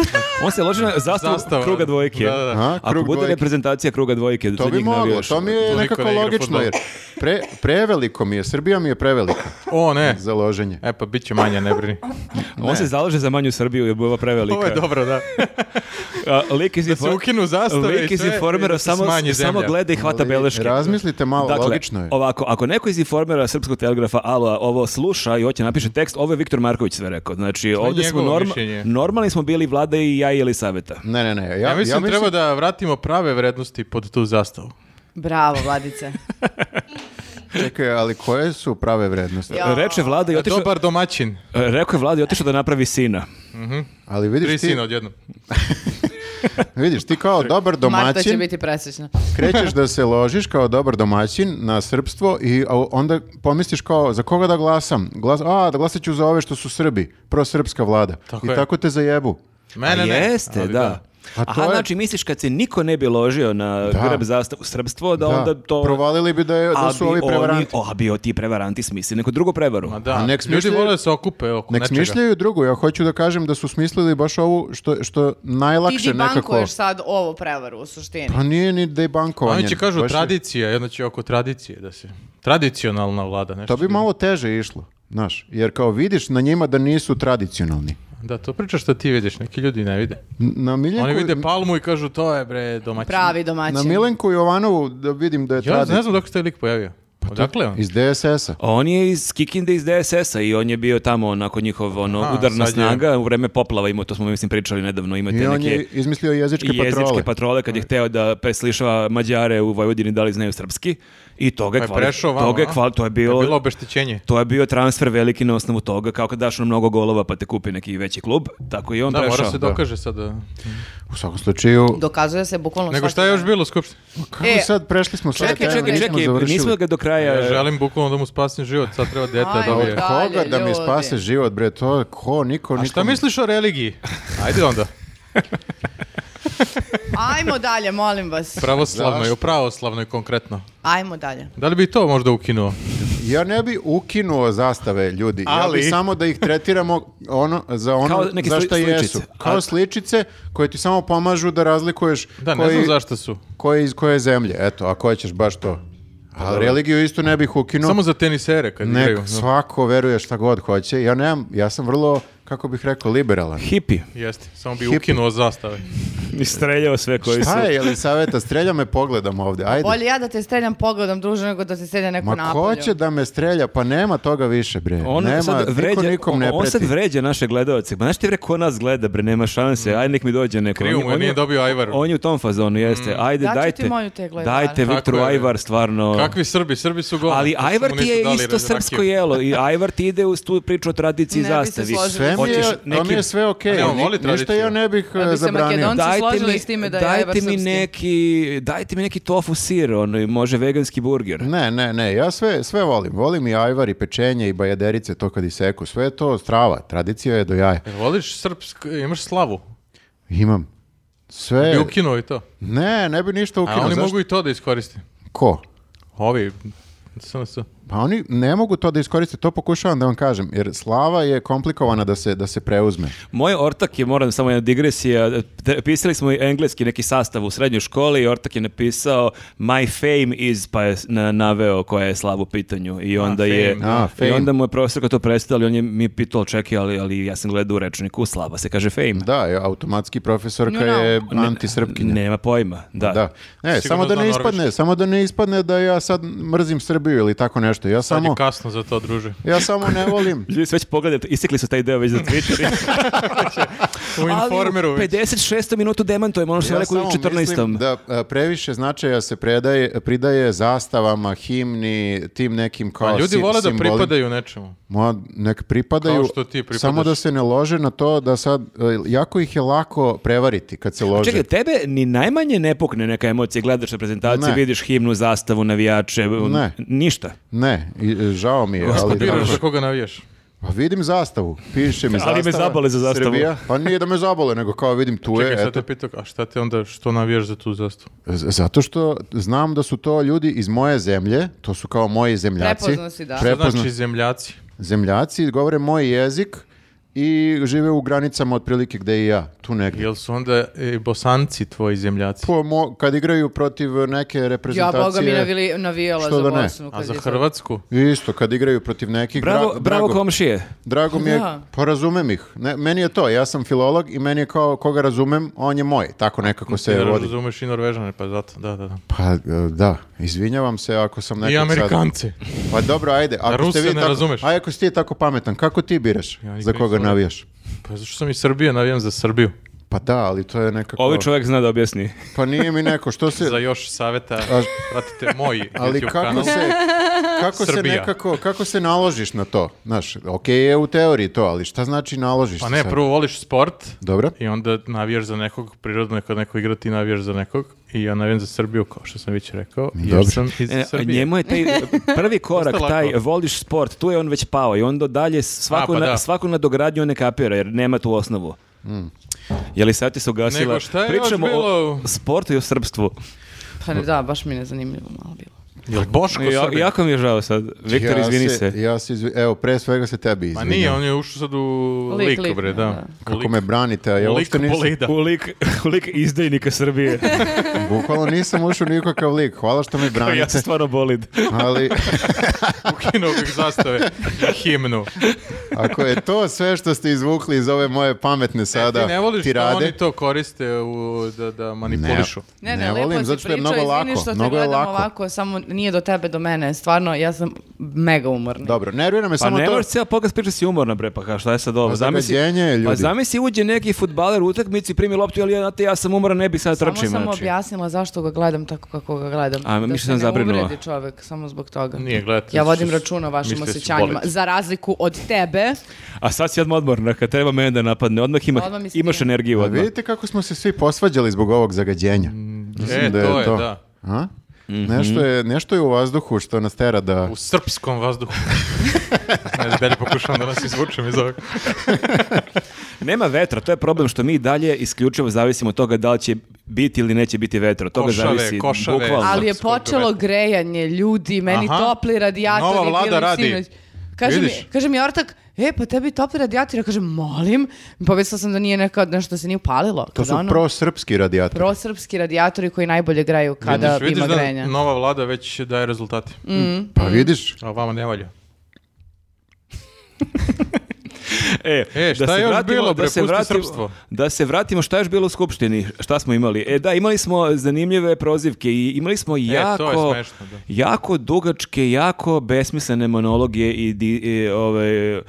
On se loži na zastavu Zastava. kruga dvojke. Da, da, da. A, Ako krug bude dvojke. reprezentacija kruga dvojke, To za bi njih navijaš. moglo, to mi je Toliko nekako ne igra logično, fudbal. jer pre, preveliko mi je, Srbija mi je prevelika O, ne. za loženje. E pa, bit će manje, ne brini. On se zalaže za manju Srbiju, je bova prevelika. Ovo je dobro, da. A, lik iz se Infor- ukinu zastave lik i iz sve i informera da se samo, smanji samo zemlja. gleda i hvata Ali beleške. Razmislite malo, Dakle, logično je. ovako, ako neko iz informera Srpskog telegrafa Ala ovo sluša i hoće napiše tekst, ovo je Viktor Marković sve rekao. Znači, je ovdje smo njegovo norma- mišljenje. normalni smo bili vlada i ja i Elisaveta. Ne, ne, ne. Ja, Ja mislim, treba da vratimo prave vrednosti pod tu zastavu. Bravo, Vladice. Čekaj, ali koje su prave vrednosti? Ja. Reče vlada i otišao... E, Dobar domaćin. e, Rekao je vlada i otišao da napravi sina. Ali Tri vidiš ti, sina odjednom. vidiš ti kao dobar Marta će domaćin, biti presrećna. krećeš da se ložiš kao dobar domaćin na srpstvo i a, onda pomisliš kao za koga da glasam? Glas, a, da glasat ću za ove što su Srbi, prosrpska vlada. Tako I je. tako te zajebu. Mene ne. Jeste, ali da. A to Aha, je- znači misliš kad se niko ne bi ložio na Da. grb zastavu srpstvo, da, onda to... Provalili bi da, je, da A su bi ovi oni- prevaranti. O, a bi o ti prevaranti smislili neku drugu prevaru. Ma da, A nek ljudi smišljaju- vole da se okupe oko Nek nečega. smišljaju drugu, ja hoću da kažem da su smislili baš ovu što, što Ti najlakše nekako. debankuješ sad ovo prevaru u suštini. Pa nije ni A dejbankovanje. Oni će kažu baš je- tradicija, jedno će oko tradicije da se... Tradicionalna vlada, nešto. To bi malo teže išlo, znaš, jer kao vidiš na njima da nisu tradicionalni. Da, to pričaš što ti vidiš, neki ljudi ne vide. N- Na Miljenku, Oni vide pa- palmu i kažu to je bre domaćin. Pravi domaćin. na Milenku Jovanovu da vidim da je Ja tradicionalni. ne znam dok se taj lik pojavio. Pa Odakle je on? Iz DSS-a. On je iz Kikinde iz DSS-a i on je bio tamo onako njihov ono, Aha, udarna sad je- snaga u vreme poplava imao, to smo mislim pričali nedavno, imate I on neke je izmislio jezičke, i jezičke patrole. patrole. kad je hteo da preslišava Mađare u Vojvodini da li znaju srpski i toga je Pa je kvali, prešao vamo, toga je a? kvali, to je Je bilo, bilo obeštećenje. to je bio transfer veliki na osnovu toga, kao kad daš na mnogo golova pa te kupi neki veći klub, tako i on Da, prešao. mora se dokaže sada. U svakom slučaju... Dokazuje se bukvalno Nego svaki šta je još dan. bilo u Skupštini? Kako E, sad prešli smo sve Čekaj, teme, čekaj, nismo čekaj, završili. nismo ga do kraja... E, Ja želim bukvalno da mu spasim život, sad treba dete da Ajme, dobije. Od da. koga Dalje, da mi ljudi. spase život, bre, to ko, niko, A niko. šta misliš o religiji? Ajde onda. Ajmo dalje, molim vas. Pa- Pravoslavnoj, Zašto? o pravoslavnoj konkretno. Ajmo dalje. Da li bi i to možda ukinuo? Ja ne bi ukinuo zastave ljudi, ja Ali- bi samo da ih tretiramo ono, za ono Kao neke za sli- šta sličice. jesu. Kao sličice koje ti samo pomažu da razlikuješ Da, ne koji, znam zašto su. koji iz koje zemlje. Eto, ako hoćeš baš to. Ali religiju isto ne bih ukinuo. Samo za tenisere kad Nek, igraju. no. svako veruje šta god hoće. Ja nemam, ja sam vrlo, kako bih rekao, liberalan. Hipi. Jeste, samo bi Hipi. ukinuo zastave. I streljao sve koji su... Šta je, Elisaveta, strelja me pogledom ovdje, ajde. Bolje ja da te streljam pogledom druže nego da te strelja neko Ma ko napolju. će da me strelja? Pa nema toga više, bre. On nema, sad niko vređa, nikom on- ne on sad preti. vređa naše gledaoce. Ma znaš ti bre ko nas gleda, bre, nema Mm. šanse. Ajde nek mi dođe neko. On Krivo je- mu je, on je- nije dobio Ajvaru. On je u tom fazonu, jeste. Ajde, Daću ti dajte. moju te gledare. dajte Tako Viktoru je. Ajvar, stvarno. Kakvi Srbi? Srbi su gol. Ali Ajvar ti je isto srpsko jelo. I Ajvar ti ide uz tu priču o tradiciji Ne bi se zastavi. složila. Sve mi je, Hoćeš to mi neki- je sve okej. A ne, on Ni- voli Ništa tradiciju. ja ne bih Da eh, bi se zabranio. Makedonci- se složili s time da je Ajvar dajte mi srpski. neki, dajte mi neki tofu sir, ono, i može veganski burger. Ne, ne, ne, ja sve, sve volim. Volim i ajvar i pečenje i bajaderice, to kad iseku. Sve je to strava, tradicija je do jaja. Jel E, Voliš srpsk, imaš slavu. Imam. Sve, Bi ukinuo i to. ne, ne bi ništa A E, ukinuo. oni Zašto? mogu i to da iskoriste. Ko? Ovi, SNS. Pa oni ne mogu to da iskoriste, to pokušavam da vam kažem, jer slava je komplikovana da se, da se preuzme. Moj ortak je, moram samo jedna digresija, te- pisali smo i engleski neki sastav u srednjoj školi i ortak je napisao my fame is, pa je na- naveo koja je slava u pitanju i onda je... fame. A, I fame. onda mu je profesor to predstavio, ali on je mi pitao, čekaj, ali, ali ja sam gledao u rečniku, slava se kaže fame. Da, je, automatski profesorka No, no. je Ne- antisrpkinja. Nema pojma, da. Da. Ne, Sigurno samo da zna ne ispadne, norveški. samo da ne ispadne da ja sad mrzim Srbiju ili tako nešto. Ja Sad je samo kasno za to, druže. ja samo ne volim. Ljudi su već pogledajte, isekli su taj deo već za Twitter. U informeru. Ali u 56. minutu demantujemo, ono što Ja ja rekao u samo 14. mislim da e, previše značaja se predaje, pridaje zastavama, himni, tim nekim kao A ljudi si- vole da simbolima. pripadaju nečemu. Ma, nek pripadaju, Kao što ti pripadaš. samo da se ne lože na to da sad, e, jako ih je lako prevariti kad se lože. Čekaj, tebe ni najmanje ne pukne neka emocija, gledaš reprezentaciju, Ne. vidiš himnu, zastavu, navijače, Ne. ništa. Ne, i- e, žao mi je, ali... Biraš znaš, za koga navijaš. Pa vidim zastavu, piše mi zastava. Ali me zabole za zastavu. Srbija. Pa nije da me zabole, nego kao vidim tu je, Čekaj, sad e, eto, te pitao, a šta te onda, što navijaš za tu zastavu? Z- Zato što znam da su to ljudi iz moje zemlje, to su kao moji zemljaci. Prepoznao si, da. Šta Prepozna- znači zemljaci? Zemljaci govore moj jezik i žive u granicama otprilike gde i ja, tu negdje. Jel su onda i bosanci tvoji zemljaci? Po mo- kad igraju protiv neke Ja reprezentacije... boga mi navili, navijala Što za da ne? Bosnu. A kad za je to- Hrvatsku? Isto, kad igraju protiv nekih... Bravo, dra- bravo drago, komšije. drago mi je, Da. pa razumem ih. Ne, meni je to, ja sam filolog i meni je kao koga razumem, on je moj. Tako nekako Ti se ne vodi. razumeš i Norvežane, pa zato, da, da, da. Pa e, da, izvinjavam se ako sam nekog I sad- Amerikance. Pa dobro, ajde. Ako Ruse ste vi ne tako, razumeš. A ako si ti tako pametan, kako ti biraš? nikad za koga nisam navijaš? Pa zašto sam iz Srbije, navijam za Srbiju. Pa da, ali to je nekako... Ovi Ovaj čovjek zna da objasni. Pa nije mi neko, što se... Za još saveta, pratite moj Ali YouTube kanal. kako se, kako se Srbija. nekako, kako se naložiš na to? Znaš, okej je u teoriji to, ali šta znači naložiš Pa se ne, sad? prvo voliš sport Dobro? i onda navijaš za nekog, prirodno je kad neko igra ti navijaš za nekog i ja navijam za Srbiju, kao što sam već rekao, Mm, Dobro. jer sam iz E, a Srbije. njemu je taj prvi korak, Dosta lako. taj voliš sport, tu je on već pao i onda dalje svaku, A, pa na, da. svaku nadogradnju on ne kapira jer nema tu osnovu. Mm. Je li sad ti se ugasila? Nego šta je još Pričamo bilo? o sportu i o srpstvu. Pa ne, da, baš mi ne zanimljivo malo bilo. Jel Boško Ja, Srbija? jako mi je žao sad. Viktor, Ja izvini se. Ja se izvi- Evo, pre svega se tebi Ma izvinjam. Pa nije, on je ušao sad u Lik, lik, lik, bre, da, da. da. U Kako lik- me branite, a ja u uopšte lik nisam, bolida. U lik, u lik izdajnika Srbije. bukvalno nisam ušao u nikakav lik. Hvala što me ja sam branite, stvarno bolid. ali Ukinuo bih zastave i himnu. ako je to sve što ste izvukli iz ove moje pametne sada E, Ti ne voliš da tirade, oni to koriste u, da, da manipulišu. Ne, ne, Ne lepo volim, si zato što je pričao, mnogo izvini lako, što te mnogo je gledam lako. ovako, samo nije do tebe, do mene. Stvarno, ja sam mega umorna. Dobro, nervira me Pa samo ne to. možeš cijela podcast priča si umorna bre, pa ka- šta je sad ovo? Pa zagađenje je, ljudi. pa zamisli uđe neki futbaler u utakmici, primi loptu, ali ja, znate, ja sam umoran, ne bi sad Samo trčim. sam znači. objasnila zašto ga gledam tako kako ga gledam. A, da mislio se sam ne zabrinula. uvredi čovek, samo zbog toga. Nije, gledajte, Ja vodim što- računa o vašim mislio si osjećanjima. bolest. Za razliku od tebe, A sad si odmah odmorna, kad treba mene da napadne, odmah, ima, Odmah mi se imaš digne. energiju Pa odmah. vidite kako smo se svi posvađali zbog ovog zagađenja. Mislim E, da to je, da. A? Mhm. Nešto, je, nešto je u vazduhu što nas tera da... U srpskom vazduhu. ne znam, dalje pokušavam da nas izvučem iz ovog. Nema vetra, to je problem što mi dalje isključivo zavisimo od toga da li će biti ili neće biti vetra. Od toga Košave, zavisi košave. bukvalno. ali je Skoro počelo dovedem. grejanje, ljudi, meni Aha. topli radijatori. Nova vlada bili radi. sinoć. Kaže mi, Vidiš? kaže mi ortak, e, pa tebi topli radijatori. Ja kažem, molim. Pomislila sam da nije neka, nešto se nije upalilo. To Kad su ono- prosrpski radijatori. prosrpski radijatori koji najbolje greju kada vidiš, ima vidiš grenja. da nova vlada već daje rezultati. Pa vidiš, A vama ne valja. E, E, šta da se je još vratimo, bilo, bre, da se pusti vratimo, srpstvo. da se vratimo šta je još bilo u skupštini, šta smo imali? E da, imali smo zanimljive prozivke i imali smo E, to je jako smešno, da. jako dugačke, jako besmislene monologije i, di, i, ovaj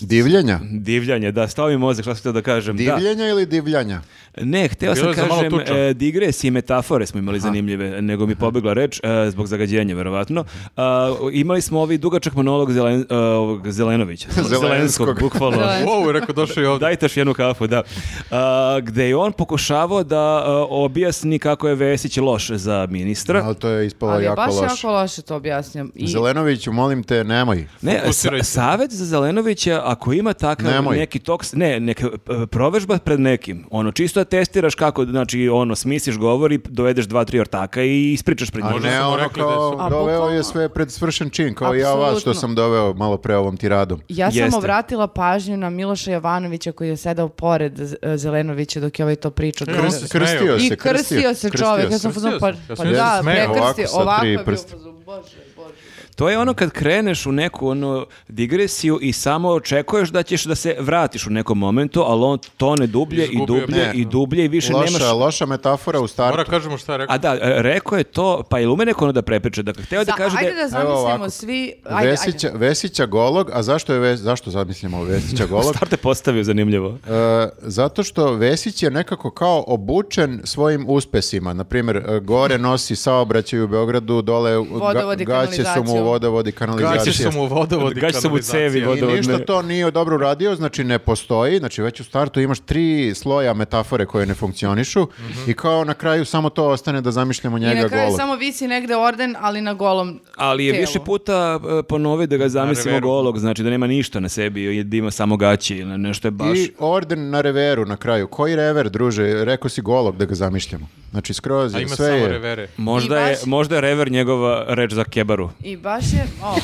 divljenja. divljanje, da stavi mozak, šta sam htio da kažem. Da. Divljenja ili divljanja? Ne, hteo Bilo sam je za malo kažem, tuča. e, digresije i metafore smo imali zanimljive, nego mi pobegla reč, e, zbog zagađenja, verovatno. A, imali smo ovi dugačak monolog Zelen, e, ovog Zelenovića. Zelenskog. bukvalno. Zelen- Wow, je rekao, došao i ovdje. Dajte još jednu kafu, da. A, gde je on pokušavao da a, objasni kako je Vesić loš za ministra. Ali to je ispalo Ali je jako baš loše. jako loše to objašnjam. I Zelenoviću, molim te, nemoj. Ne, sa, Fokusiraj se. savet za Zelenovića, ako ima takav Nemoj. neki toks, ne, neka e, provežba pred nekim, ono, čisto da testiraš kako, znači, ono, smisliš govori, dovedeš dva, tri ortaka i ispričaš pred A njima. Možda ne, su mu ono rekli da su- kao, A doveo bukvalno- je sve pred svršen čin, kao i ja vas što Apsolutno. sam doveo malo pre ovom tiradom. ja sam Jeste. obratila pažnju na Miloša Jovanovića koji je sedao pored Z- Zelenovića dok je ovaj to pričao. E, on Kaže- se Krstio smejao. se, I krstio se čovjek. Ja Krstio sam fuzon, se. pa, Ja sam pa se da, smejao. prekrstio. Ovako sa Ovako tri je bio prsta. fuzon, bože, bože. To je ono kad kreneš u neku ono digresiju i samo očekuješ da ćeš da se vratiš u nekom momentu, ali on tone dublje i Izgubio je dublje bitno. i dublje i više Loša, nemaš loša metafora u Mora startu. kažemo šta je rekao. A da, e, rekao je to, pa je lume neko ono da prepriča. Dakle, hteo je da Za- kaže da... Ajde je- da zamislimo ovako. svi... Ajde, Vesića, Vesića golog, a zašto je Ves- zašto zamislimo Vesića golog? Star te postavio, zanimljivo. E, zato što Vesić je nekako kao obučen svojim uspesima. Naprimjer, e, gore Hm. nosi saobraćaj u Beogradu, dole u- Vodovod i gaće su mu kanalizaciju. vodovodi Gaće kanalizacija. su mu vodovod i Gaće su mu kanalizacija. cevi I vodovod. ništa ne. to nije dobro uradio, znači ne postoji, znači već u startu imaš tri sloja metafore koje ne funkcionišu i kao na kraju samo to ostane da zamišljamo ajde. Mhm. I njega na kraju golog. samo visi negde orden, ali na golom Ali je telu. više puta e, ponovio da ga zamislimo reveru. golog, znači da nema ništa na sebi, i da ima samo gaće ili nešto je baš... I orden na reveru na kraju. Koji rever, druže? Rekao si golog da ga zamišljamo. Znači skroz A je, ima sve samo je. revere. Možda, I je, baš- možda je rever njegova reč za kebaru. I baš je... o.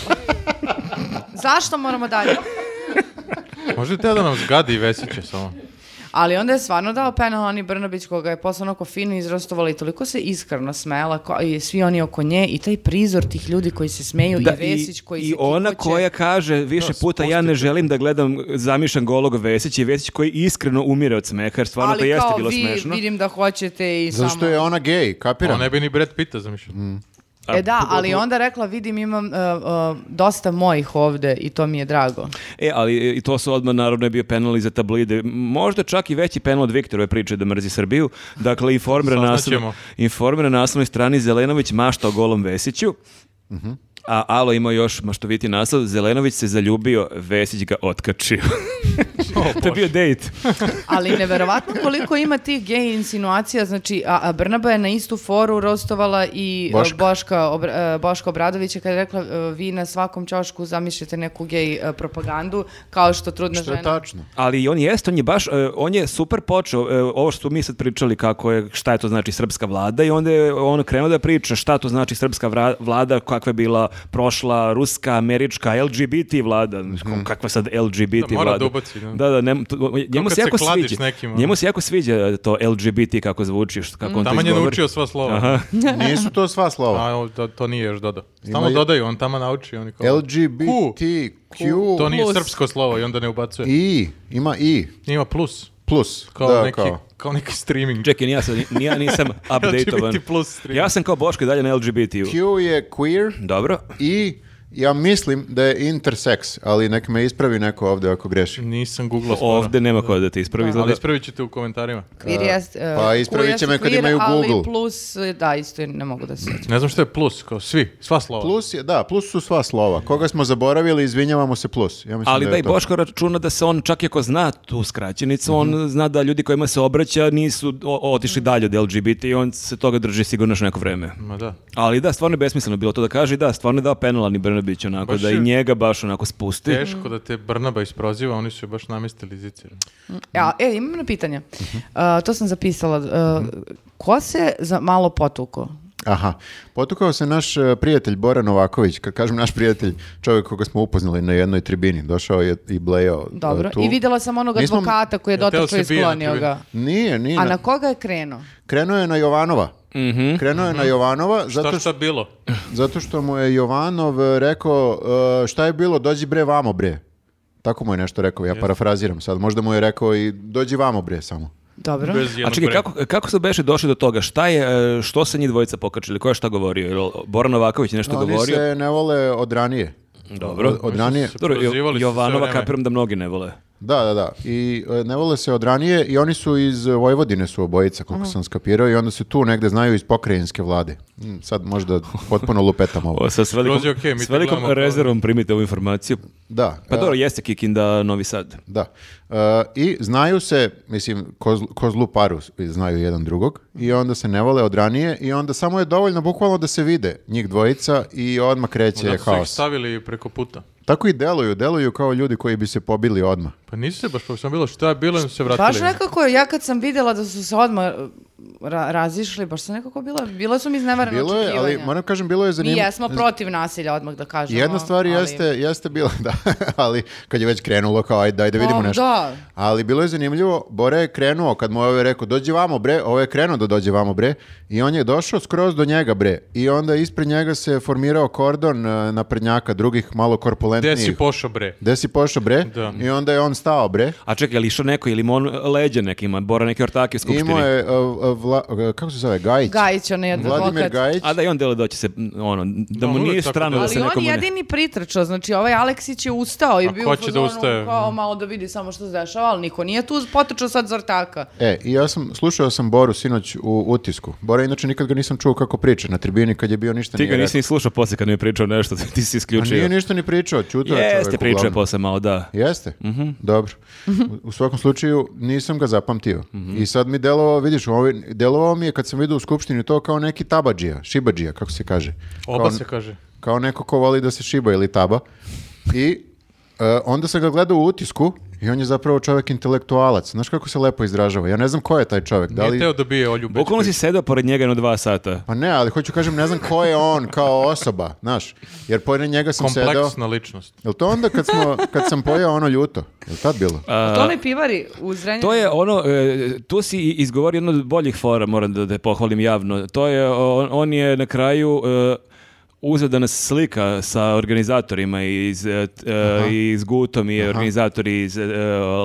Zašto moramo dalje? Možete da nam zgadi Vesića samo. Ali onda je stvarno dao penal Ani Brnabić koga je posle onako fino izrastovala i toliko se iskreno smela ko- i svi oni oko nje i taj prizor tih ljudi koji se smeju Da, i Vesić koji i se ona kikuće. koja kaže više puta ja ne želim da gledam zamišljan golog Vesić i Vesić koji iskreno umire od smeha jer stvarno Ali to jeste kao bilo vi smešno. vidim da hoćete i Zato samo... što je ona gej, On kapiram? ne bi ni Brad Pitta zamišljao. E da, ali onda rekla vidim imam uh, uh, dosta mojih ovde i to mi je drago. E, ali e, i to su odmah naravno je bio penal i za tablide. Možda čak i veći penal od Viktorove priče da mrzi Srbiju. Dakle, informira Saznaćemo. naslovno, informira na naslovnoj strani Zelenović mašta o golom Vesiću. A Alo ima još maštoviti naslov, Zelenović se zaljubio, Vesić ga otkačio. to je bio dejt. Ali neverovatno koliko ima tih gej insinuacija, znači a, a Brnaba je na istu foru rostovala i e, Boška. Boška, Obr- e, Boška Obradovića kada je rekla e, vi na svakom čošku zamišljate neku gej e, propagandu kao što trudna Što je žena. tačno? Ali i on jeste, on je baš, e, on je super počeo, e, ovo što mi sad pričali kako je, šta je to znači srpska vlada i onda je on krenuo da priča šta to znači srpska vra- vlada, kakva je bila prošla ruska, američka, LGBT vlada, Kako- kakva sad LGBT Da, mora vlada. da ubaci, da. da, ne, to- njemu kad se se jako kladiš sviđa, nekim, ono. njemu se jako sviđa to LGBT kako zvuči, što- kako on to Taman je izgovori. naučio sva slova. Nisu to sva slova. A o, to, to nije još dodao. Ima Stalno je- dodaju, on tamo nauči. Oni kao, LGBTQ To nije Plus. srpsko slovo i onda ne ubacuje. I, ima I, Ima plus. plus. Kao da, neki kao. kao neki streaming. Čekaj, ni ja, sad, ni ja nisam update-ovan. LGBT plus stream. Ja sam kao Boško i dalje na LGBT-u. Q je queer Dobro. i ja mislim da je intersex, ali nek me ispravi neko ovdje ako greši. Nisam googlao stvarno. Ovde nema ko da te ispravi. Ali Izgleda, ispravit ćete u komentarima. Queer jest, e, pa ispravit queer će me kad su imaju queer, Ali Google. Mhm. plus, e, da, isto ne mogu da se... Ne znam što je plus, kao svi, sva slova. Plus je, da, plus su sva slova. Koga smo zaboravili, izvinjavamo se plus. Ja mislim ali da, da, je i to. Boško računa da se on, čak i ako zna tu skraćenicu, Mhm. on zna da ljudi kojima se obraća nisu o- otišli dalje od LGBT i on se toga drži sigurno još neko vreme. Ma da. Ali da, stvarno je besmisleno bilo to da kaže i da, stvarno je dao penal ni Brnabić onako, Baš da je- i njega baš onako spusti. Teško da te Brnaba isproziva, oni su je baš namestili zicirani. Ja, e, imam na pitanje. E, to sam zapisala. E, ko se za malo potuko? Aha, potukao se naš e, prijatelj Bora Novaković, kad kažem naš prijatelj, čovjek koga smo upoznali na jednoj tribini, došao je i blejao e, Dobro. tu. I vidjela sam onog Nismo- advokata koji je Jel teo dotačio se i bije na sklonio ga. Nije, nije. A na- na koga je krenuo? Krenuo je na Jovanova. Mhm. Krenuo je na Jovanova zato Šta što, šta bilo? zato što mu je Jovanov e, rekao e, šta je bilo, dođi bre vamo bre. Tako mu je nešto rekao, ja parafraziram sad. Možda mu je rekao i dođi vamo bre samo. Dobro. Bez A jednog čekaj, brega. kako, kako su beše došli do toga? Šta je, e, što se njih dvojica pokačili? Ko je šta govorio? Jel Bora Novaković je nešto Oni govorio? se ne vole od ranije. Dobro. Od, od ranije. se Dobro, Jo- prozivali su sve Jovanova vreme. kapiram da mnogi ne vole. Da, da, da. I e, ne vole se od ranije i oni su iz Vojvodine su obojica, koliko sam skapirao, i onda se tu negde znaju iz pokrajinske vlade. Mm, Sad možda potpuno lupetam ovo. O, sa s velikom, Skroz je okej, mi s te velikom gledamo kao- rezervom primite ovu informaciju. Da. Pa e, dobro, jeste Kikinda Novi Sad. Da. E, I znaju se, mislim, ko, zl- ko zlu paru s- znaju jedan drugog i onda se ne vole od ranije i onda samo je dovoljno bukvalno da se vide njih dvojica i odmah kreće Zato su ih haos. stavili preko puta. Tako i deluju, deluju kao ljudi koji bi se pobili odmah. Pa nisu se baš profesionalno bilo, šta je bilo, im se vratili. Baš nekako, ja kad sam vidjela da su se odmah uh, ra- razišli, baš sam nekako bila, bila su mi iznevarena Bilo je, ali očekivanja. moram kažem, bilo je Mi zanimljivo. jesmo protiv nasilja, odmah da kažemo. Jedna stvar Ono, ali- jeste, jeste bila, da, ali kad je već krenulo, kao ajde, ajde vidimo Pa, nešto. da. Ali bilo je zanimljivo, Bore je krenuo, kad mu je ovaj rekao, dođi vamo bre, ovo je krenuo da dođe vamo bre, i on je došao skroz do njega bre, i onda ispred njega se formirao kordon e, naprednjaka drugih malo Gde korpulentnijih. si pošao bre? Gde si pošao bre? Da. I onda je on stao bre. A čekaj, ali išao neko, ili mu on leđa neki ima, Bora neke ortake u skupštini. Imao je, e, e, Vla- e, kako se zove, Gajić? Gajić, on je Vladimir advokat. Gajić. A da i on dele doći se, mm, ono, da Da, mu on nije uvek tako strano da deli. se Ali on nekomu ne... jedini pritrčao, znači ovaj Aleksić je ustao i A bio ko u će da fazonu ustaje? kao malo da vidi samo što se dešava, ali niko nije tu potrčao sad Zortaka. E, i ja sam, slušao sam Boru sinoć u utisku. Bora, inače nikad ga nisam čuo kako priča na tribini kad je bio ništa Ti nije ga rekao. nisi ni slušao posle kad mi je pričao nešto, ti si A isključio. nije ništa ni pričao, čutao je Jeste, čovjek pričao je uglavnom. posle malo, da. Jeste? Mhm. Dobro. U- U svakom slučaju nisam ga zapamtio. Mhm. I sad mi delovao, vidiš, ovaj, delovao mi je kad sam vidio u skupštini to kao neki tabadžija, šibadžija, kako se kaže. Oba kao, se kaže. Kao neko ko voli da se šiba ili taba. I e, onda sam ga gledao u utisku i on je zapravo čovjek intelektualac. Znaš kako se lepo izražava? Ja ne znam ko je taj čovjek. Da Nije li... teo da bije Olju Bećković. Bukvalno si sedao pored njega jedno dva sata. Pa ne, ali hoću kažem, ne znam ko je on kao osoba, znaš. Jer pored njega sam sedao. Kompleksna ličnost. Jel to onda kad, smo, kad sam pojao ono ljuto? Jel tad bilo? A to onaj pivari u Zrenjaninu? To je ono, e, tu si i- izgovorio jednu od boljih fora, moram da te pohvalim javno. To je, on, on je na kraju e, uzeo da nas slika sa organizatorima iz, e, t- e, iz Gutom i organizatori iz e,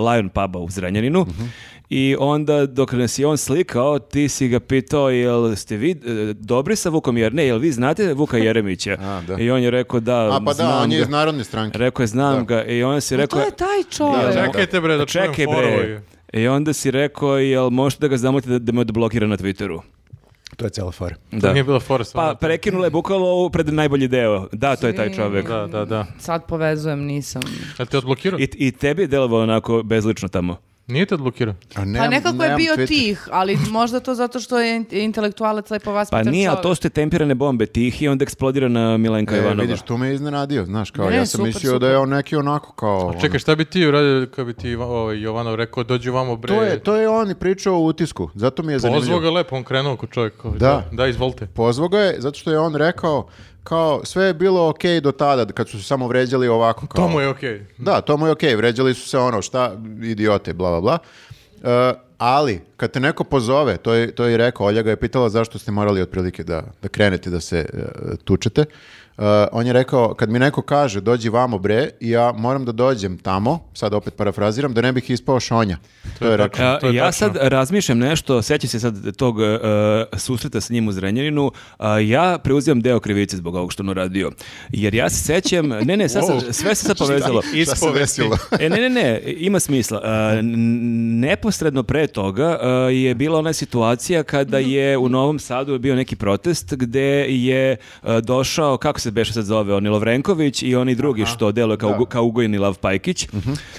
Lion Puba u Zrenjaninu. Mhm. I onda dok nas je on slikao, ti si ga pitao jel ste vi e, dobri sa Vukom Jerne, jel vi znate Vuka Jeremića? A, da. I on je rekao da, A pa da, znam on je ga. iz Narodne stranke. Rekao je znam ga i on si Pa rekao... to je taj Da, čovjek. da. Čekajte Pa bre, da čujem Čekaj foru. bre. I onda si rekao, jel možete da ga zamolite da, da me odblokira na Twitteru? To je cijela fora. To Da. nije bila fora Pa stvarno. prekinula je bukvalo ovu pred najbolji deo. Da, to je taj Svi- čovjek. Da, da, da. Sad povezujem, nisam. Jel te odblokirao? I, I tebi je delovao onako bezlično tamo. Nije te odblokirao. A ne, Pa nekako je nemam bio Twitter. tih, ali možda to zato što je in- intelektualac lepo vas Pa nije, ali to su te tempirane bombe tih i onda eksplodira na Milenka E, Ivanova. vidiš, to me je iznenadio, znaš, kao, Ne, ja sam super, mislio super. da je on neki onako kao... Čekaj, šta bi ti uradio kad bi ti Iva- ovaj, Jovanov rekao dođi vamo bre? ono, to, je, to je on i pričao u utisku, zato mi je e, Pozvao zanimljivo. ga lepo, on krenuo ko čovjek. kao, Da. Da, izvolite. Pozvao ga je, zato što je on rekao, kao, sve je bilo okej do tada, kad su se samo vređali ovako, kao... To mu je okej. Da, to mu je okej, vređali su se ono, šta, idiote, bla, bla, bla. E, ali, Kad te neko pozove, to je, to je i rekao, Olja ga je pitala zašto ste morali otprilike da, da krenete da se e, tučete. E, on je rekao, kad mi neko kaže dođi vamo bre, ja moram da dođem tamo, sad opet parafraziram, da ne bih ispao šonja. To je rekao. A, To je ja tačno. sad razmišljam nešto, sećam se sad tog e, susreta sa njim u Zrenjaninu, a ja preuzimam deo krivice zbog ovog što on uradio. Jer ja se sećam, ne ne, sad, sam- Wow. sve se sad povezalo. Šta se desilo? E, ne, ne, ne, ima smisla. E, n- neposredno pre toga e, je bila ona situacija kada je u Novom Sadu bio neki protest gde je e, došao, kako se beše sad zove, on Lovrenković i oni drugi što deluje kao, Ugo- kao Ugojin i Lav Pajkić.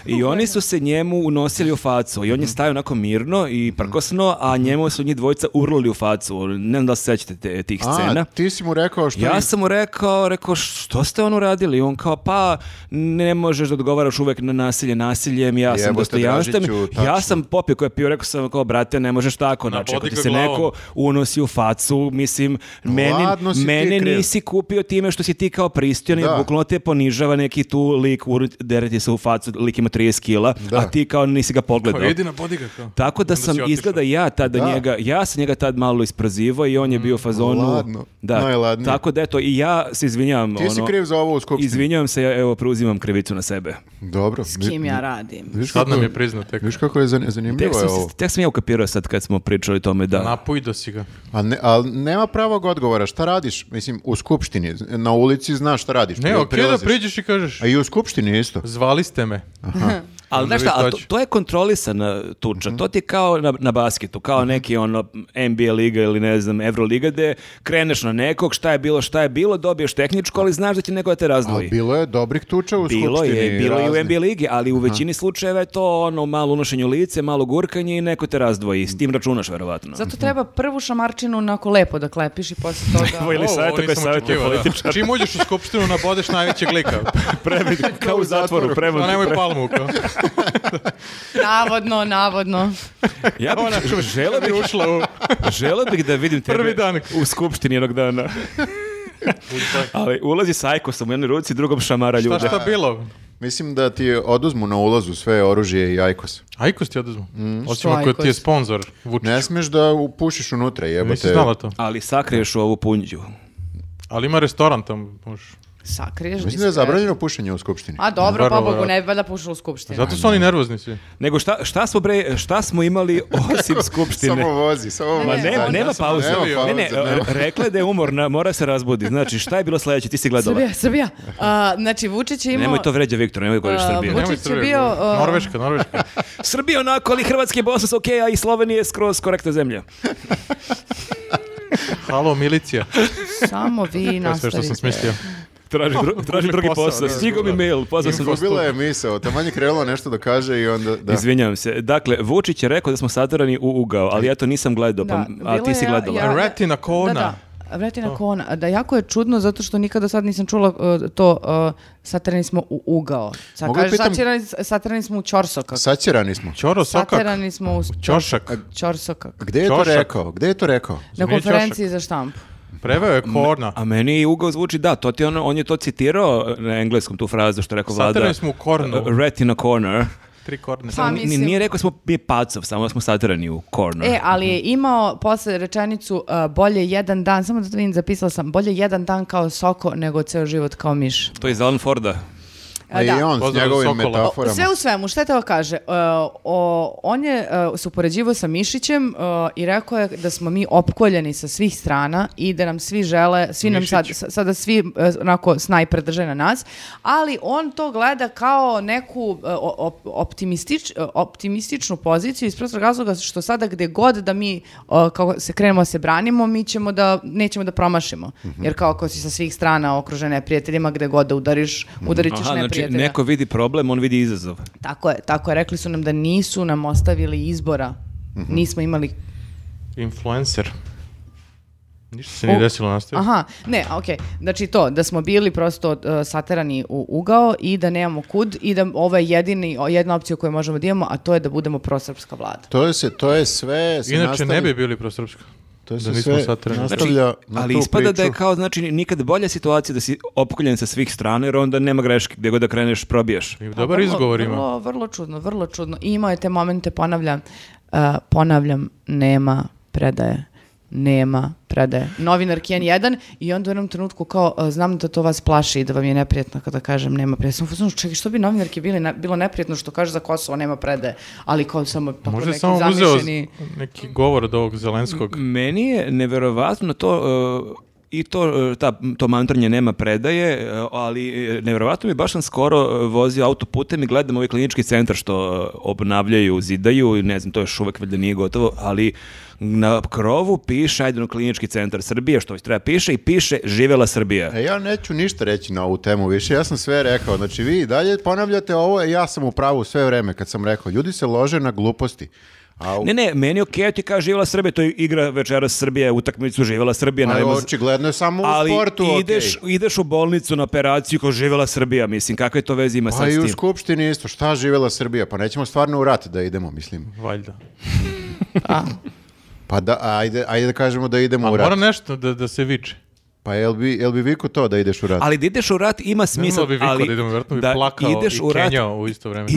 I oni su se njemu unosili u facu i on je stajao onako mirno i prkosno, a njemu su njih dvojica urlali u facu. Ne znam da se sećate te- tih A, scena. ti si mu rekao što... Ja je- sam mu rekao, rekao, što ste on uradili? On kao, pa, ne možeš da odgovaraš uvek na nasilje nasiljem, ja sam Jebote, dostojanstven. Dražiću, tačno. Ja sam popio koja je pio, rekao sam, kao, brate, ne možeš tako. Znači, ako Nabodi ti ga se glavom. neko unosi u facu, mislim, meni, Ladno si ti mene kriv. nisi kupio time što si ti kao pristojan i Da. bukvalno te ponižava neki tu lik, ur- dere ti se u facu, lik ima 30 kila, Da. a ti kao nisi ga pogledao. Pa idi na bodyguard, kao. Tako da Onda sam si otišao. izgleda ja tada Da. njega, ja sam njega tad malo isprozivao i Mm. on je bio u fazonu. Ladno. Da. Najladnije. Tako da eto i ja se izvinjavam. Ti si ono, kriv za ovo u skupštini. Izvinjavam se, ja evo preuzimam krivicu na sebe. Dobro. S kim ja radim? Viš Sad kako, nam je priznao tek. viš kako je zan- Tek zanimljivo je sam, ovo. se- tek sam ja ukapirao sad kad smo pričali o tome da... Napujdo si ga. A Pa ne, ali nema pravog odgovora. Šta radiš? Mislim, u skupštini. Na ulici znaš šta radiš. Ne, Pri- okej da prilaziš. priđeš i kažeš, A i u skupštini isto. zvali ste me. Ali Onda znaš šta, vi a to, dođe. to je kontrolisana tuča, Mhm. to ti je kao na, na basketu, kao neki ono NBA liga ili ne znam, Euroliga gde kreneš na nekog, šta je bilo, šta je bilo, dobiješ tehničko, ali znaš da će neko da te razdvoji. Ali bilo je dobrih tuča u Bilo skupštini. je, bilo je i raznih. u NBA ligi, ali u većini slučajeva je to ono malo unošenje u lice, malo gurkanje i neko te razdvoji. S tim računaš verovatno. Zato treba prvu šamarčinu onako lepo da klepiš i posle toga... Ili Ovo, savjeta ovo koje nisam savjetuje očekivao, da. Čim uđeš u skupštinu, nabodeš najvećeg lika. Previd, kao u zatvoru, Pa nemoj palmu. Kao. navodno, navodno. Ja Ona bih, želeo Kad je bih, ušla u... želeo bih da vidim tebe Prvi dan. u skupštini jednog dana. Ali ulazi sa ajkosom u jednoj ruci, drugom šamara ljude. Šta šta bilo? Mislim da ti oduzmu na ulazu sve oružje i ajkos. Ajkos ti oduzmu. Osim Što ako ti je Ajkos? sponsor. Vučić. Mm. Ne smiješ da upušiš unutra, Nisi jebote. znala to. Ali sakriješ u ovu punđu. Ali ima restoran tamo. Možeš. Sakriješ Mislim da e. je diskretno. zabranjeno pušenje u skupštini. A dobro, Vrlo pobogu, vjerojatno. ne bi valjda pušao u skupštini. Zato su oni nervozni svi. Nego šta, šta smo bre, šta smo imali osim skupštine? Samo vozi, samo vozi. Ma ne, Ne, nema ja sam pauze. uzeo Ne, ne, pauze, nema. re- rekla je da je umorna, mora se razbudi. Znači, šta je bilo sledeće? Ti si gledala. Srbija, Srbija. A, znači, Vučić je imao... Nemoj to vređa Viktor, nemoj govoriš A, Srbija. Vučić Nemoj je Srbije, bio, govori. uh, Norveška, Norveška. Srbija onako, ali Hrvatska i Bosna su okej, a i Slovenija je skroz korektna zemlja. Halo, milicija. Samo vi To je sve što sam nastavite. smislio. Traži, dru- traži drugi posao, posao. da, Stigao mi da. mail, pozvao sam gostu. Izgubila je misao, taman je krenulo nešto da kaže i onda... Da. Izvinjavam se. Dakle, Vučić je rekao da smo satrani u ugao, ali ja to nisam gledao, pa, Da, a bilo ti je si ja- gledala. ja- Retina kona. Da, da. Vratina kona. Da, jako je čudno zato što nikada sad nisam čula uh, to uh, satrani smo u ugao. Sad Mogu da kaže pitam- satirani, satrani smo u čorsokak. Saćerani smo. Ćoro, sokak. Satirani smo u Ćošak. E, čorsokak. Gde je to Ćošak. rekao? Gde je to rekao? Nije Na konferenciji za štampu. Preveo je korna. A meni i ugao zvuči, da, to ti je ono, on je to citirao na engleskom tu frazu što je rekao vlada. Satrani smo u kornu. Retina corner. Tri korne. Pa, Ni- ni- mislim- nije rekao smo mi pacov, samo da smo satrani u corner. E, ali je imao posle rečenicu uh, bolje jedan dan, samo da vidim, zapisala sam, bolje jedan dan kao soko nego ceo život kao miš. To je iz Alan Forda. A, A i da. on s Pozdrav njegovim Sokola. metaforama. Sve u svemu, šta je teo kaže? E, o, on je uh, se upoređivao sa Mišićem e, i rekao je da smo mi opkoljeni sa svih strana i da nam svi žele, svi nam sad, sa- sada svi e, onako snajper drže na nas, ali on to gleda kao neku e, o- op- optimistič, e, optimističnu poziciju iz prostog razloga što sada gde god da mi e, kao se krenemo da se branimo, mi ćemo da, nećemo da promašimo. Jer kao ako si sa svih strana okružen neprijateljima, gde god da udariš, udarit ćeš Aha, znači, neprijatelja. neko vidi problem, on vidi izazov. Znači, Tako je, tako je. Rekli su nam da nisu nam ostavili izbora. Nismo imali... Influencer. Ništa se nije O, desilo nastavio. Aha, ne, a, okej. Znači to, da smo bili prosto e, saterani u ugao i da nemamo kud i da ovo je jedini, o, jedna opcija koju možemo da imamo, a to je da budemo prosrpska vlada. To je, se, to je sve... se Inače nastavlja- ne bi bili prosrpsko. To je da se nismo sve satrani. nastavlja na Ali tu ispada da je priču. kao, znači, nikad bolja situacija da si opkoljen sa svih strana, jer onda nema greške, gdje god da kreneš, probijaš. I Dobar Vrlo- izgovor ima. Vrlo, vrlo čudno, vrlo čudno. I imao je te momente, ponavljam, e, Uh, ponavljam, nema predaje. Nema predaje. Novinar Ken 1 i onda u jednom trenutku kao, uh, znam da to vas plaši i da vam je neprijatno kada kažem nema predaje. Sam u fazonu, čekaj, što bi novinarki bili ne- bilo neprijatno što kaže za Kosovo nema predaje, ali kao samo tako Možda je neki samo uzeo zamišljeni... Mm, z- neki govor od ovog Zelenskog. Meni je neverovatno to e, i to, e, ta, to mantranje nema predaje, e, ali e, neverovatno mi baš sam skoro e, vozio autoputem i gledam ovaj klinički centar što e, obnavljaju, zidaju, i ne znam, to još uvek valjda nije gotovo, ali na krovu piše, ajde, ono, klinički centar Srbije, što već treba piše, i piše živela Srbija. E, ja neću ništa reći na ovu temu više, ja sam sve rekao. Znači, vi i dalje ponavljate ovo, e, ja sam u pravu sve vreme kad sam rekao. Ljudi se lože na gluposti. A u- Ne, ne, meni je okej, ti kaže živela Srbija, to je igra večera Srbije, utakmicu živela Srbija. Ali naravno, očigledno je samo Pa u ali sportu, ideš, okej. ideš u bolnicu na operaciju ko živela Srbija, mislim, kakve to veze ima Pa sad s i u tim? Skupštini isto, šta živela Srbija? Pa nećemo stvarno u rat da idemo, mm. mislim. Valjda. Pa da, ajde, ajde da kažemo da idemo A Pa u Pa rat. Pa mora nešto da, da se viče. Pa jel bi, jel bi viku to da ideš u rat? Ali da ideš u rat ima smisla, Mislim bi vikao ali da idemo, vjerojatno bi da plakao ideš i u rat, kenjao u isto vreme.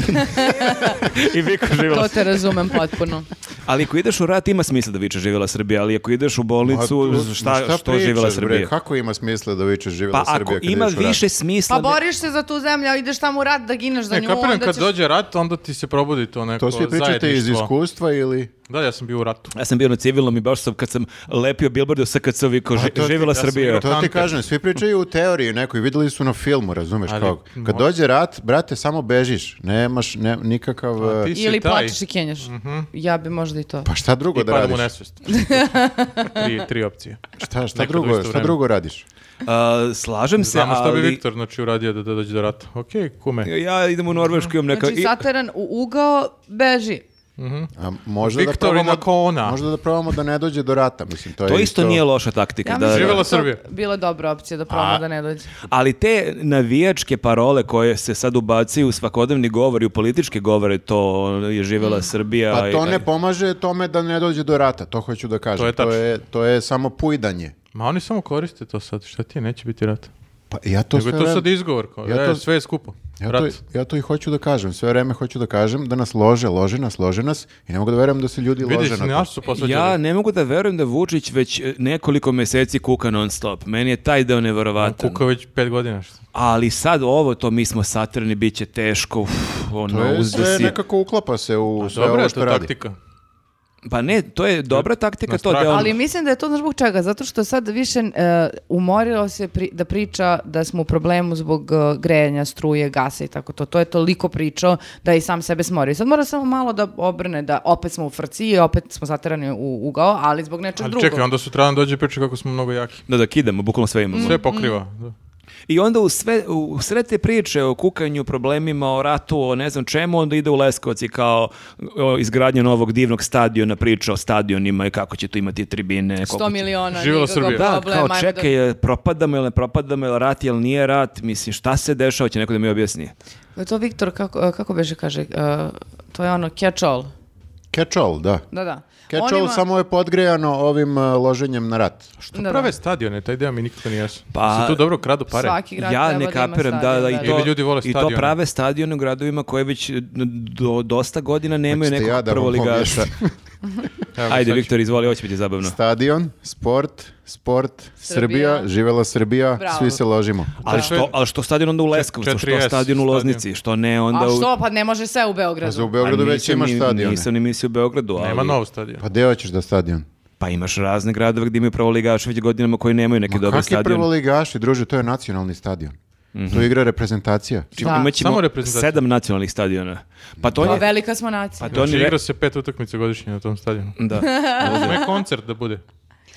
i viko To živela. te razumem potpuno. ali ako ideš u rat ima smisla da viče živela Srbija, ali ako ideš u Ma, bolnicu, Pa tu- šta, ma što živela pričaš, bre? Srbija? Kako ima smisla da vičeš živela pa Srbija? ako kad ima ideš u rat? više Pa smisla... ne- boriš se za tu zemlju, a ideš tamo u rat da gineš za Ne, nju, E, kapiram, onda kad ćeš... dođe rat, onda ti se probudi to neko To svi pričate iz zajedništvo. iskustva ili... Da, ja sam bio u ratu. Ja sam bio na civilnom i baš sam, kad sam lepio bilborde u SKC-u, viko to ti- živela ja sam Srbija. igrao E, To ti Tanker. kažem, svi pričaju u teoriji nekoj, videli su na filmu, razumeš Ali, kako. Kad mo- dođe rat, brate, samo bežiš, nemaš ne, nikakav... A ti eh, si Ili taj. Mhm. plačeš i kenjaš. Ja bi možda i to. Pa šta drugo I da padam u radiš? nesvest. tri, tri opcije. Šta, šta, Nekad u drugo, isto šta vreme. drugo radiš? A, slažem se, Znamo šta bi ali... Viktor znači uradio da, da dođe do rata. Okej, kume. Ja idem u Norvešku, imam neka... Znači, i- E, zateran u ugao, beži. A možda da Viktorina probamo, kona. Možda da probamo da ne dođe do rata, mislim, to, To je isto nije loša taktika. Ja da, mislim da. Živela to Srbija. Bila dobra opcija da probamo da ne dođe. Ali te navijačke parole koje se sad ubacuju u svakodnevni govor i u političke govore, to je Mm. živela Srbija. Pa i- to ne pomaže tome da ne dođe do rata, to hoću da kažem. To je to tačno. je, to je samo pujdanje. Ma oni samo koriste to sad. Šta ti je, neće biti rat. Pa ja to Nego je sve to vreme- sad izgovor. Kao, Ja ja to- sve je skupo. Ja rat. to, ja to i hoću da kažem, sve vreme hoću da kažem da nas lože, lože nas, lože nas i ne mogu da verujem da se ljudi Vidiš, lože na to. naš su posvađali. Ja ne mogu da verujem da Vučić već e, nekoliko meseci kuka non stop. Meni je taj deo neverovatan. Kuka već pet godina. šta. Ali sad ovo, to mi smo satrni, bit će teško, uf, To ono, je sve uzdusi. nekako uklapa se u sve Dobra ovo je što to radi. taktika. Pa ne, to je dobra taktika, Na to deo... strahu. Ali mislim da je to znaš zbog čega, zato što sad više e, umorilo se pri- da priča da smo u problemu zbog e, grejanja, struje, gasa i tako to. To je toliko pričao da je i sam sebe smorio. I Sad mora samo malo da obrne da opet smo u frci i opet smo zaterani u ugao, ali zbog nečeg Ali drugog. čekaj, onda sutradan dođe i priča kako smo mnogo jaki. Da, da, kidamo, bukvalno sve Mm. imamo. Sve pokriva. da. I onda u, sve, u sred te priče o kukanju, problemima, o ratu, o ne znam čemu, onda ide u Leskovac i kao o, izgradnja novog divnog stadiona, priča o stadionima i kako će tu imati tribine. koliko 100 će- miliona, Živela nikakav Srbija. Da, problem, kao ajmo čekaj, jel propadamo ili ne propadamo, jel rat, jel nije rat, mislim, šta se dešava, će neko da mi objasni. Da... E, To Viktor, kako, kako beže, kaže, e, to je ono catch all. Catch all, da. Da, da. Catch all Onima- samo je podgrejano ovim uh, loženjem na rat. Što Da, da. prave stadione, taj deo mi nikako nije jasno. Pa- Se tu dobro kradu pare. Svaki grad ja treba ne da ima kapiram, da, stadion, da, i da. to, Ili ljudi vole i to stadione. prave stadione u gradovima koje već e, do, dosta godina nemaju Hoćete nekog Znači, ja da vam prvoligaša. objasnim? Evo, Ajde, sad ću- Viktor, izvoli, ovo će biti zabavno. Stadion, sport, sport, Srbija, Srbija. živela Srbija, Bravo. svi se ložimo. Ali što, ali što stadion onda u Leskovcu, što 4S stadion u Loznici, stadion. što ne onda A u... što, pa ne može sve Pa u Beogradu. za u Beogradu Pa već nisam imaš ni- stadion. Nisam ni mislio u Beogradu, ali... Nema Znači, nov stadion. Pa deo ćeš da stadion. Pa imaš razne gradove gdje imaju prvoligaše već godinama koji nemaju neki dobar Kakvi stadion. Mhm. prvoligaši, druže, to je nacionalni stadion. Tu igra reprezentacija. Čim Da. Znači, imat ćemo Samo reprezentacija. sedam nacionalnih stadiona. Pa to Pa je... velika smo nacija. Pa to Znači, ni... igra se pet utakmica godišnje na tom stadionu. Da. Znači, Sme koncert da bude.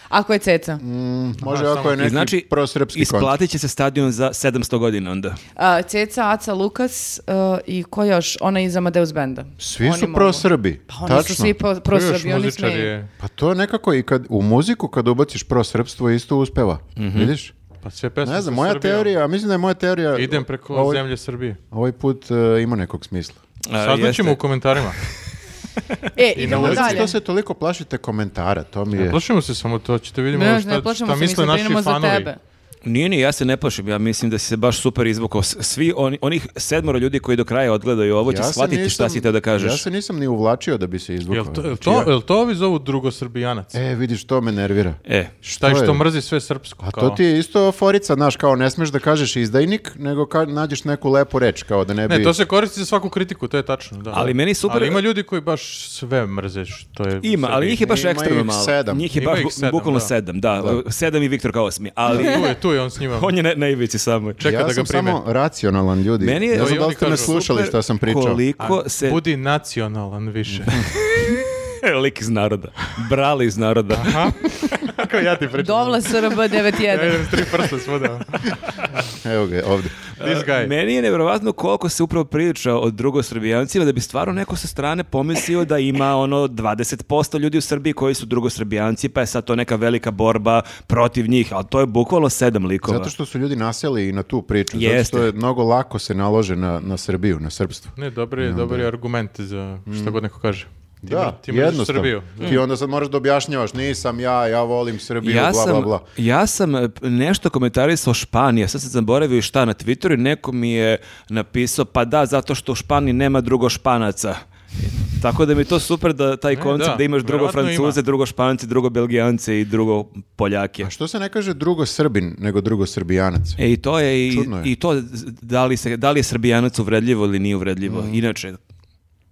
Ako je ceca. Mm. Može Aha, ako je samo- I neki znači, prosrpski koncert. isplatit će se stadion za 700 godina onda. A, ceca, Aca, Lukas a, i ko još? Ona iz Amadeus Benda. Svi Oni su mogu. prosrbi. Pa oni Tačno. su svi pro, Ko još prosrbi, oni muzičar smeju. je? Pa to je nekako i kad u muziku kad ubaciš prosrpstvo isto uspeva. Vidiš? Pa sve pesme Ne znam, sa moja Srbijom. teorija, a mislim da je moja teorija Idem preko ovaj, zemlje Srbije. ovaj put e, ima nekog smisla. A, Saznaćemo jeste. u komentarima. E, idemo ulici dalje. Što se toliko plašite komentara, to mi je... Plašimo se samo to, ćete vidimo Ne, šta, ne plašimo šta se, mi se misle naši brinemo za fanovi. tebe. Nije, nije, ja se ne plašim. Ja mislim da si se baš super izvukao. S- Svi oni, onih sedmoro ljudi koji do kraja odgledaju ovo će Ja se shvatiti šta nisam- si teo da kažeš. Ja se nisam ni uvlačio da bi se izvukao. Jel to, jel Znači, to, ja- jel to ovi zovu drugosrbijanac? E, vidiš, to me nervira. E, Taj je? što mrzi sve srpsko. A kao. to ti je isto forica, znaš, kao ne smeš da kažeš izdajnik, nego ka, nađeš neku lepu reč, kao da ne bi... Ne, to se koristi za svaku kritiku, to je tačno, da. Ali meni super- Ali ima ljudi koji baš sve mrze što je... u ima, ali Srbiji. njih je baš Ima ekstremno ih malo. sedam. Njih je Ima baš ih bu- sedam, bukvalno da. sedam, da. Sedam i Viktor kao osmi. Ali Tu je, tu je on s njima. on je na, na ivici samoj. Čeka ja da ga sam prime. samo racionalan ljudi. Meni je- ne Evo, znam i da li oni ste me kažu, slušali šta sam pričao. Koliko A, se Budi nacionalan više. lik iz naroda. Brali iz naroda. Kako ja ti pričam? Dovla SRB Ja 91. idem s tri prsta svuda. Evo ga, ovdje. This guy. Meni je nevjerovatno koliko se upravo priča o drugosrbijancima da bi stvarno neko sa strane pomislio da ima ono 20% ljudi u Srbiji koji su drugosrbijanci pa je sad to neka velika borba protiv njih, ali to je bukvalno sedam likova. Zato što su ljudi nasjeli i na tu priču. Zato Jeste. što je mnogo lako se nalože na, na Srbiju, na srpstvo. Ne, dobar je, dobar je argument za šta god neko kaže. Ti mr- Mm. Da, ti mrziš jednostavno. Srbiju. Hmm. Ti onda sad moraš da objašnjavaš, nisam ja, ja volim Srbiju, ja bla, sam, bla, bla. Ja sam e, p- nešto komentarisao Španija, sad sam zaboravio šta na Twitteru i neko mi je napisao pa da, zato što u Španiji nema drugo Španaca. Tako da mi je to super da taj E, koncept da, da, imaš drugo verovatno ima. Francuze, drugo Španci, drugo Belgijance i drugo Poljake. A što se ne kaže drugo Srbin, nego drugo Srbijanac? E, I to je, i, Čudno je. i to z- da li, se, da li je srbijanac uvredljivo ili nije uvredljivo. Inače,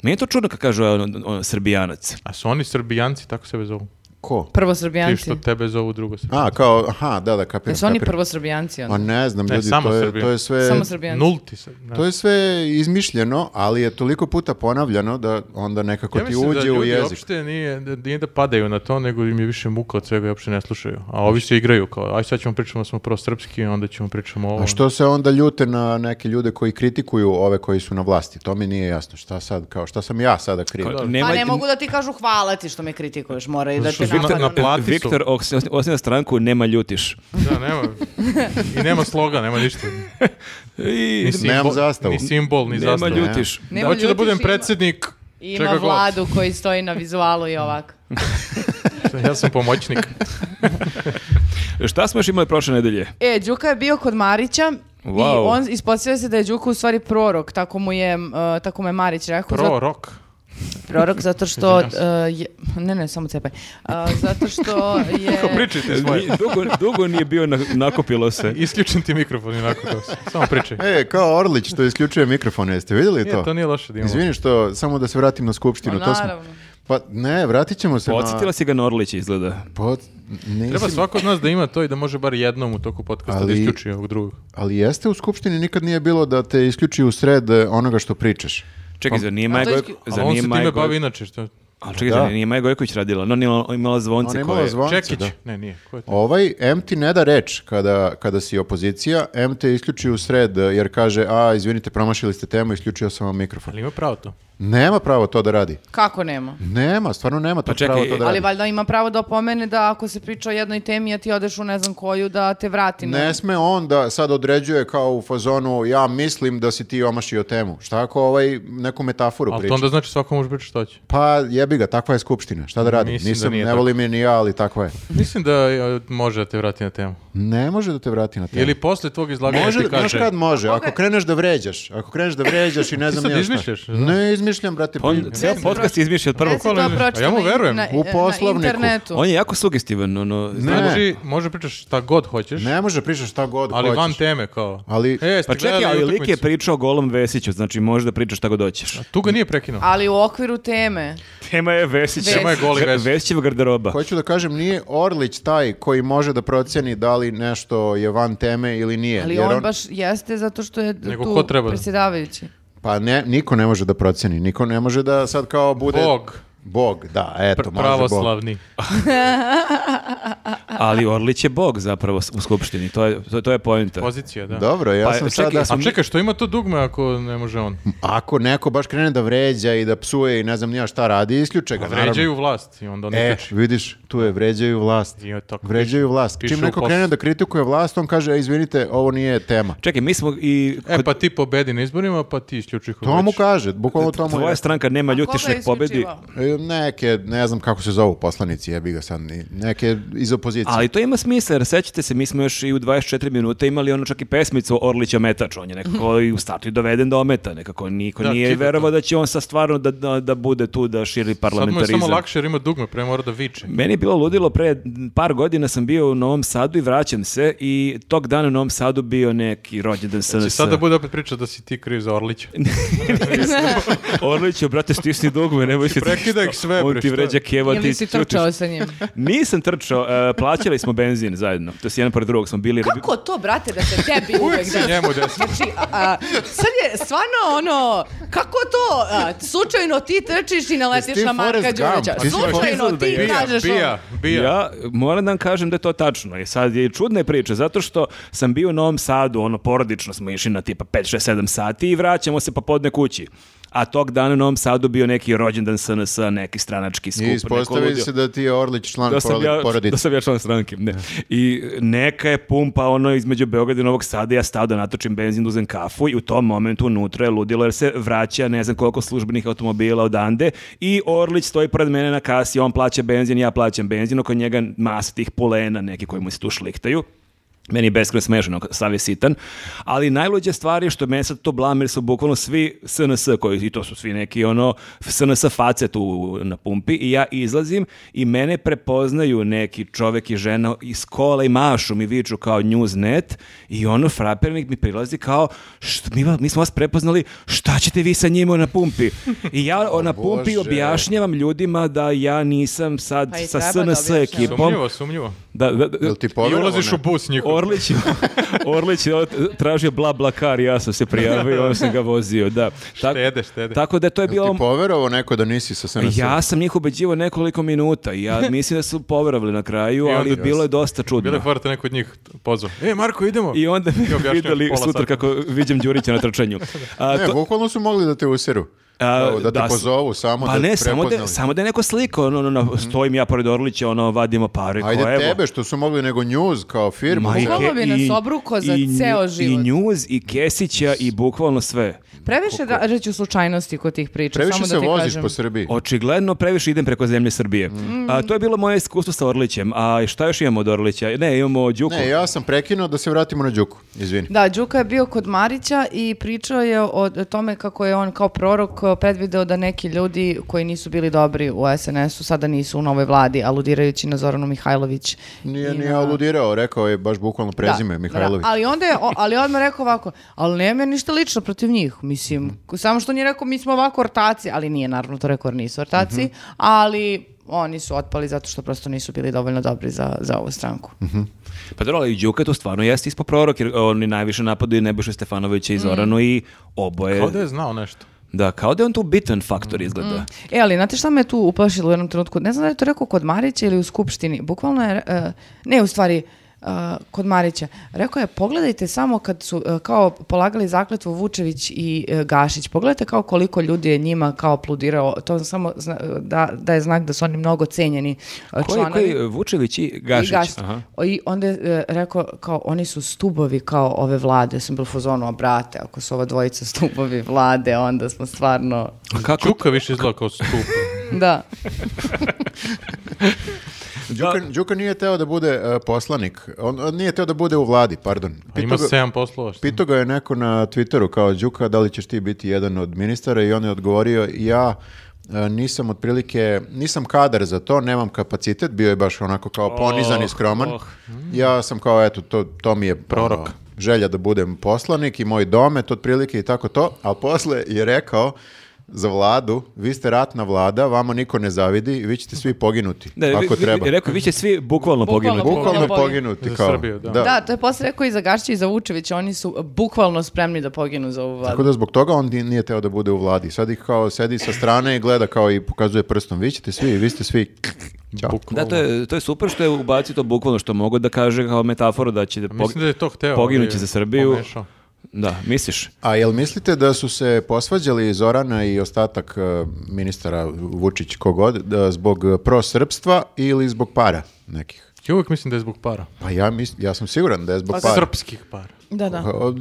meni je to čudno kad kažu ono, ono, srbijanac. A su oni srbijanci, tako sebe zovu. Ko? Prvo Ti srbijanci. što tebe zovu drugo srbijanci. A, kao, aha, da, da, kapiram. Jesu oni kapiram. prvo srbijanci Ma onda? ne znam, Ne, ljudi, samo to, je, Srbija. to je sve... Samo srbijanci. Nulti se. ne. To je sve izmišljeno, ali je toliko puta ponavljano da onda nekako Ja ti mislim da uđe u ljudi jezik. uopšte nije, da- nije da padaju na to, nego im je više muka od svega i uopšte ne slušaju. A ovi se igraju kao, aj sad ćemo pričamo da smo prvo srpski, onda ćemo pričamo ovo. A što se onda ljute na neke ljude koji kritikuju ove koji su na vlasti? To mi nije jasno. Šta sad, kao šta sam ja sada kriv? Kao, Pa nema- ne mogu da ti kažu hvala ti što me kritikuješ, moraju da Zato te što Viktor Viktor, napadnu. naplati su. Viktor os- os- osniva stranku, nema ljutiš. Da, nema. I nema sloga, nema ništa. I, Ni Nemam simbo- zastavu. Ni simbol, ni nema zastavu. ljutiš. Nema Hoću da ljutiš, budem ima- predsjednik. Ima čega god. vladu koji stoji na vizualu i ovako. Ja sam pomoćnik. Šta smo još imali prošle nedelje? E, Đuka je bio kod Marića i Wow. on ispostavio se da je Đuka u stvari prorok, tako mu je, uh, tako mu je Marić rekao. Pro rock. Zato- prorok zato što, uh, je, ne ne, samo cepaj. Uh, zato što je... Pričajte svoje. Ni- dugo, dugo nije bio, na- nakupilo se. E, Isključim ti mikrofon i onako to. Samo pričaj. E, kao Orlić što isključuje mikrofon, jeste vidjeli to? Nije, to nije loše da imamo. Izvini što, samo da se vratim na skupštinu. Ma, to smo- naravno. Pa ne, vratit ćemo se Podsjetila na... Pa, si ga Norlić izgleda. Pod... nisi- Treba svako od nas da ima to i da može bar jednom u toku podcasta da Ali- isključi ovog drugog. Ali jeste u skupštini nikad nije bilo da te isključi u sred e, onoga što pričaš. Čekaj, zar nije Maja to je Gojković... isklju- Pa- Ali Zar on nije se time Maja Goj- bavi inače. Što... A čekaj, zar nije Maja Gojković radila? No, imala, imala zvonce Ona je imala koje... zvonce, Čekić. da. Ne, nije. Ko je to? Ovaj, M ti ne da reč kada, kada si opozicija, M te isključi u sred, eh, jer kaže, a, izvinite, promašili ste temu, isključio sam vam mikrofon. Ali ima pravo to. Nema pravo to da radi. Kako nema? Nema, stvarno nema to Pa čekaj, pravo to da Ali radi. valjda ima pravo da opomene da ako se priča o jednoj temi, a ti odeš u ne znam koju, da te vrati. na- Ne sme on da sad određuje kao u fazonu, ja mislim da si ti omašio temu. Šta ako ovaj neku metaforu Ali priča? to onda znači svako može pričati što će. Pa jebi ga, takva je skupština. Šta da radi? Mislim da Nisam, nije ne tako. volim je ni ja, ali takva je. Mislim da e, može da te vrati na temu. Ne može da te vrati na temu. Ili posle tvog izlaganja Može, ti znaš kaže... kad može, ako kreneš da vređaš, ako kreneš da vređaš i ne znam sad ja šta. izmišljaš, da? Ne izmišljam, brate. On pa- ceo Gde si podcast izmišlja od prvog Gde si to kola ili- pročitala? A ja mu verujem. U poslovniku. Na internetu. On je jako sugestivan, ono, Ne. Znači, može pričaš šta god hoćeš, Ne može pričaš šta god ali hoćeš. van teme kao. Ali- E, Pa ste čekaj, gledali ali lik je utakmicu? pričao o Golom Vesiću, znači možeš da pričaš šta god hoćeš. Tu ga nije prekinuo. Ali u okviru teme. Tema je Vesić. Vesić. Tema je Goli Vesić. Vesićeva garderoba. Hoću da kažem, nije Orlić taj koji može da procjeni da li nešto je van teme ili nije. Ali jer on, baš jeste zato što je Nego tu ko treba da- predsjedavajući. Pa ne, niko ne može da procjeni, niko ne može da sad kao bude... Bog. Bog, da, eto, može Pr- Bog. pravoslavni. Ali Orlić je bog zapravo s- u skupštini, to je, to, to je pojenta. Pozicija, da. Dobro, ja Pa, sam čekaj, sada... sam- A čekaj, što ima to dugme ako ne može on? Ako neko baš krene da vređa i da psuje i ne znam nija šta radi, isključe ga, naravno. Pa Vređaju vlast i onda on E, isključi. vidiš, tu je vređaju vlast. I on tako Vređaju vlast. piše Čim u neko postu. krene da kritikuje vlast, on kaže, "E, izvinite, ovo nije tema. Čekaj, mi smo i... E, kod- pa ti pobedi na izborima, pa ti isključi koga To mu hoćeš. kaže, bukvalno to mu je. Tvoja stranka nema A ljutiš koga je nek pobedi. isključivao? E, neke, ne znam kako se zovu poslanici, jebi ga sad, ni- neke iz opozicije. Ali to ima smisla, jer sećate se, mi smo još i u 24 minuta imali ono čak i pesmicu Orlića Metač, on je nekako i u startu i doveden da ometa, nekako niko Da, nije kida to. verovao da će on sa stvarno da, da, da bude tu da širi Sad mu je parlamentarizam. samo lakše jer ima dugme, prema mora da viče. Meni je bilo ludilo, pre par godina sam bio u Novom Sadu i vraćam se i tog dana u Novom Sadu bio neki rođendan Znači, SNS. sad da bude opet priča da si ti kriv za Orlića. Orliću, brate, stisni dugme, nemoj se... Znači, prekidaj ih sve, On bre, ti šta? vređa keva, pa ti Ili si čutiš. trčao sa njim? Nisam trčao, e, plaćali smo benzin zajedno. To si jedan pored drugog smo bili. Kako to, brate, da se tebi uvek Si njemu desno. Znači, a, sad je stvarno ono, kako to, a, slučajno ti trčiš i naletiš Jesi ti na Marka Forrest Gump? Đurića. Ti si Slučajno Forrest ti Gump. Bija, kažeš ono- bija, bija. Ja moram da vam kažem da je to tačno. I sad je i čudna je priča, zato što sam bio u Novom Sadu, ono, porodično smo išli na tipa 5, 6, 7 sati i vraćamo se popodne kući. A tog dana u Novom Sadu bio neki rođendan SNS, neki stranački skup. I neko ispostavi ludilo. se da ti je Orlić član da sam, porodi- ja, porodice. da sam ja član stranke, ne. I neka je pumpa ono između Beograda i Novog Sada, ja stao da natočim benzin, da uzem kafu i u tom momentu unutra je ludilo jer se vraća ne znam koliko službenih automobila odande i Orlić stoji pored mene na kasi, on plaća benzin, ja plaćam benzin, oko njega masa tih polena neki koji mu se tu šliktaju. Meni je beskreno smešano, sav je sitan. Ali najluđa stvar je što me sad to blame, jer su bukvalno svi SNS, koji, i to su svi neki ono, SNS face tu na pumpi, i ja izlazim i mene prepoznaju neki čovek i žena iz kola i mašu mi viču kao Newsnet i ono frapernik mi prilazi kao, "Št- mi, va- mi smo vas prepoznali, šta ćete vi sa njima na pumpi? I ja o, na pumpi Bože. objašnjavam ljudima da ja nisam sad Pa i sa treba da SNS objašnjavaš. ekipom. Sumnjivo, sumnjivo. Da, da, da- Jel ti I poverovao, ulaziš ne? u bus njihov. Orlić, Orlić je ot- tražio bla bla kar, ja sam se prijavio, on sam ga vozio, da. Tako, Štede, štede. tako da to je Jel ti bilo... poverovao neko da nisi sa SNS? Ja sam njih ubeđivao nekoliko minuta i ja mislim da su poverovali na kraju, I onda- ali bilo je dosta Bilo je čudno. forte neko od njih pozvao. E, Marko, idemo. I onda I objašnjavaš mi videli pola sutra sata. kako viđem Đurića na trčanju. A, Ne, to- bukvalno su mogli da te useru. A, Evo, da te da, s- pozovu, samo pa da ne, te samo da, prepoznali. samo da je neko slika, ono, ono, ono, stojim ja pored Orlića, ono, vadimo pare, Ajde ko, evo. tebe što su mogli nego news kao firmu. Ma, i Bukvalno Ke- bi nas i- obruko za i nju- ceo život. I News, i Kesića, i bukvalno sve. Previše da reći slučajnosti kod tih priča, Previše samo se da ti voziš kažem. po Srbiji. Očigledno previše idem preko zemlje Srbije. Mm. A, to je bilo moje iskustvo sa Orlićem. A šta još imamo od Orlića? Ne, imamo Đuku. Ne, ja sam prekinuo da se vratimo na Đuku. Izvini. Da, Đuka je bio kod Marića i pričao je o tome kako je on kao prorok e, predvideo da neki ljudi koji nisu bili dobri u SNS-u sada nisu u novoj vladi, aludirajući na Zoranu Mihajlović. Nije, i nije na- aludirao, rekao je baš bukvalno prezime Da, Mihajlović. da, ali onda je, o- ali odmah rekao ovako, ali nemam ja ništa lično protiv njih, mislim, Mhm. k- samo što nije rekao mi smo ovako ortaci, ali nije naravno to rekao jer nisu ortaci, Mhm. ali oni su otpali zato što prosto nisu bili dovoljno dobri za, za ovu stranku. Pa dobro, ali Đuka to stvarno jeste ispo prorok, jer oni najviše napadaju Nebojšu Stefanovića Mm. i Zoranu i oboje. Kao da Pa Mm. je znao nešto. Da, kao da je on tu bitan faktor izgleda. E, ali znate šta me tu uplašilo u jednom trenutku? Ne znam da je to rekao kod Marića ili u Skupštini. Bukvalno je, e, ne u stvari, e, kod Marića. Rekao je, pogledajte samo kad su e, kao polagali zakletvu Vučević i e, Gašić. Pogledajte kao koliko ljudi je njima kao pludirao. To samo zna- da, da je znak da su oni mnogo cenjeni e, Koji, članovi. koji Vučević i Gašić? I Gašić. Aha. I onda je e, rekao, kao, oni su stubovi kao ove vlade. Ja sam bila u fazonu, a brate, ako su ova dvojica stubovi vlade, onda smo stvarno... A kako? Čuka više izgleda kao stup. Da. Đuka, Đuka nije teo da bude e, poslanik. On, on nije teo da bude u vladi, pardon. A Ima Pitao ga, sedam poslova. šta? pitao ga je neko na Twitteru kao Đuka da li ćeš ti biti jedan od ministara i on je odgovorio ja e, nisam otprilike, nisam kadar za to, nemam kapacitet, bio je baš onako kao ponizan i Oh, skroman. oh. Ja sam kao, eto, to, to mi je prorok. želja da budem poslanik i moj domet otprilike i tako to, ali posle je rekao za vladu, vi ste ratna vlada, vama niko ne zavidi, vi ćete svi poginuti, Da, vi- ako vi- treba. Rekao, vi će svi bukvalno, Bukvalno. poginuti. Bukvalno Bukvalno poginuti Za kao. Srbiju, da. Da, to je posle rekao i za Gašića i za Vučevića, oni su bukvalno spremni da poginu za ovu Tako vladu. da zbog toga on di- nije teo da bude u vladi. Sad ih kao sedi sa strane i gleda kao i pokazuje prstom. Vi ćete svi, vi ste svi. Ćao. Bukvalno. Da, to je, to je super što je ubacio to bukvalno, što mogu da kaže kao metaforu da će... pog- Mislim da je to hteo. ali Poginuće je za Srbiju. pomešao. Da, misliš? A jel mislite da su se posvađali Zorana i ostatak e, ministara Vučić kogod da, zbog e, prosrpstva ili zbog para nekih? Ja uvijek mislim da je zbog para. Pa ja, mis- ja sam siguran da je zbog Pa para. Srpskih para. Da, da. Pa,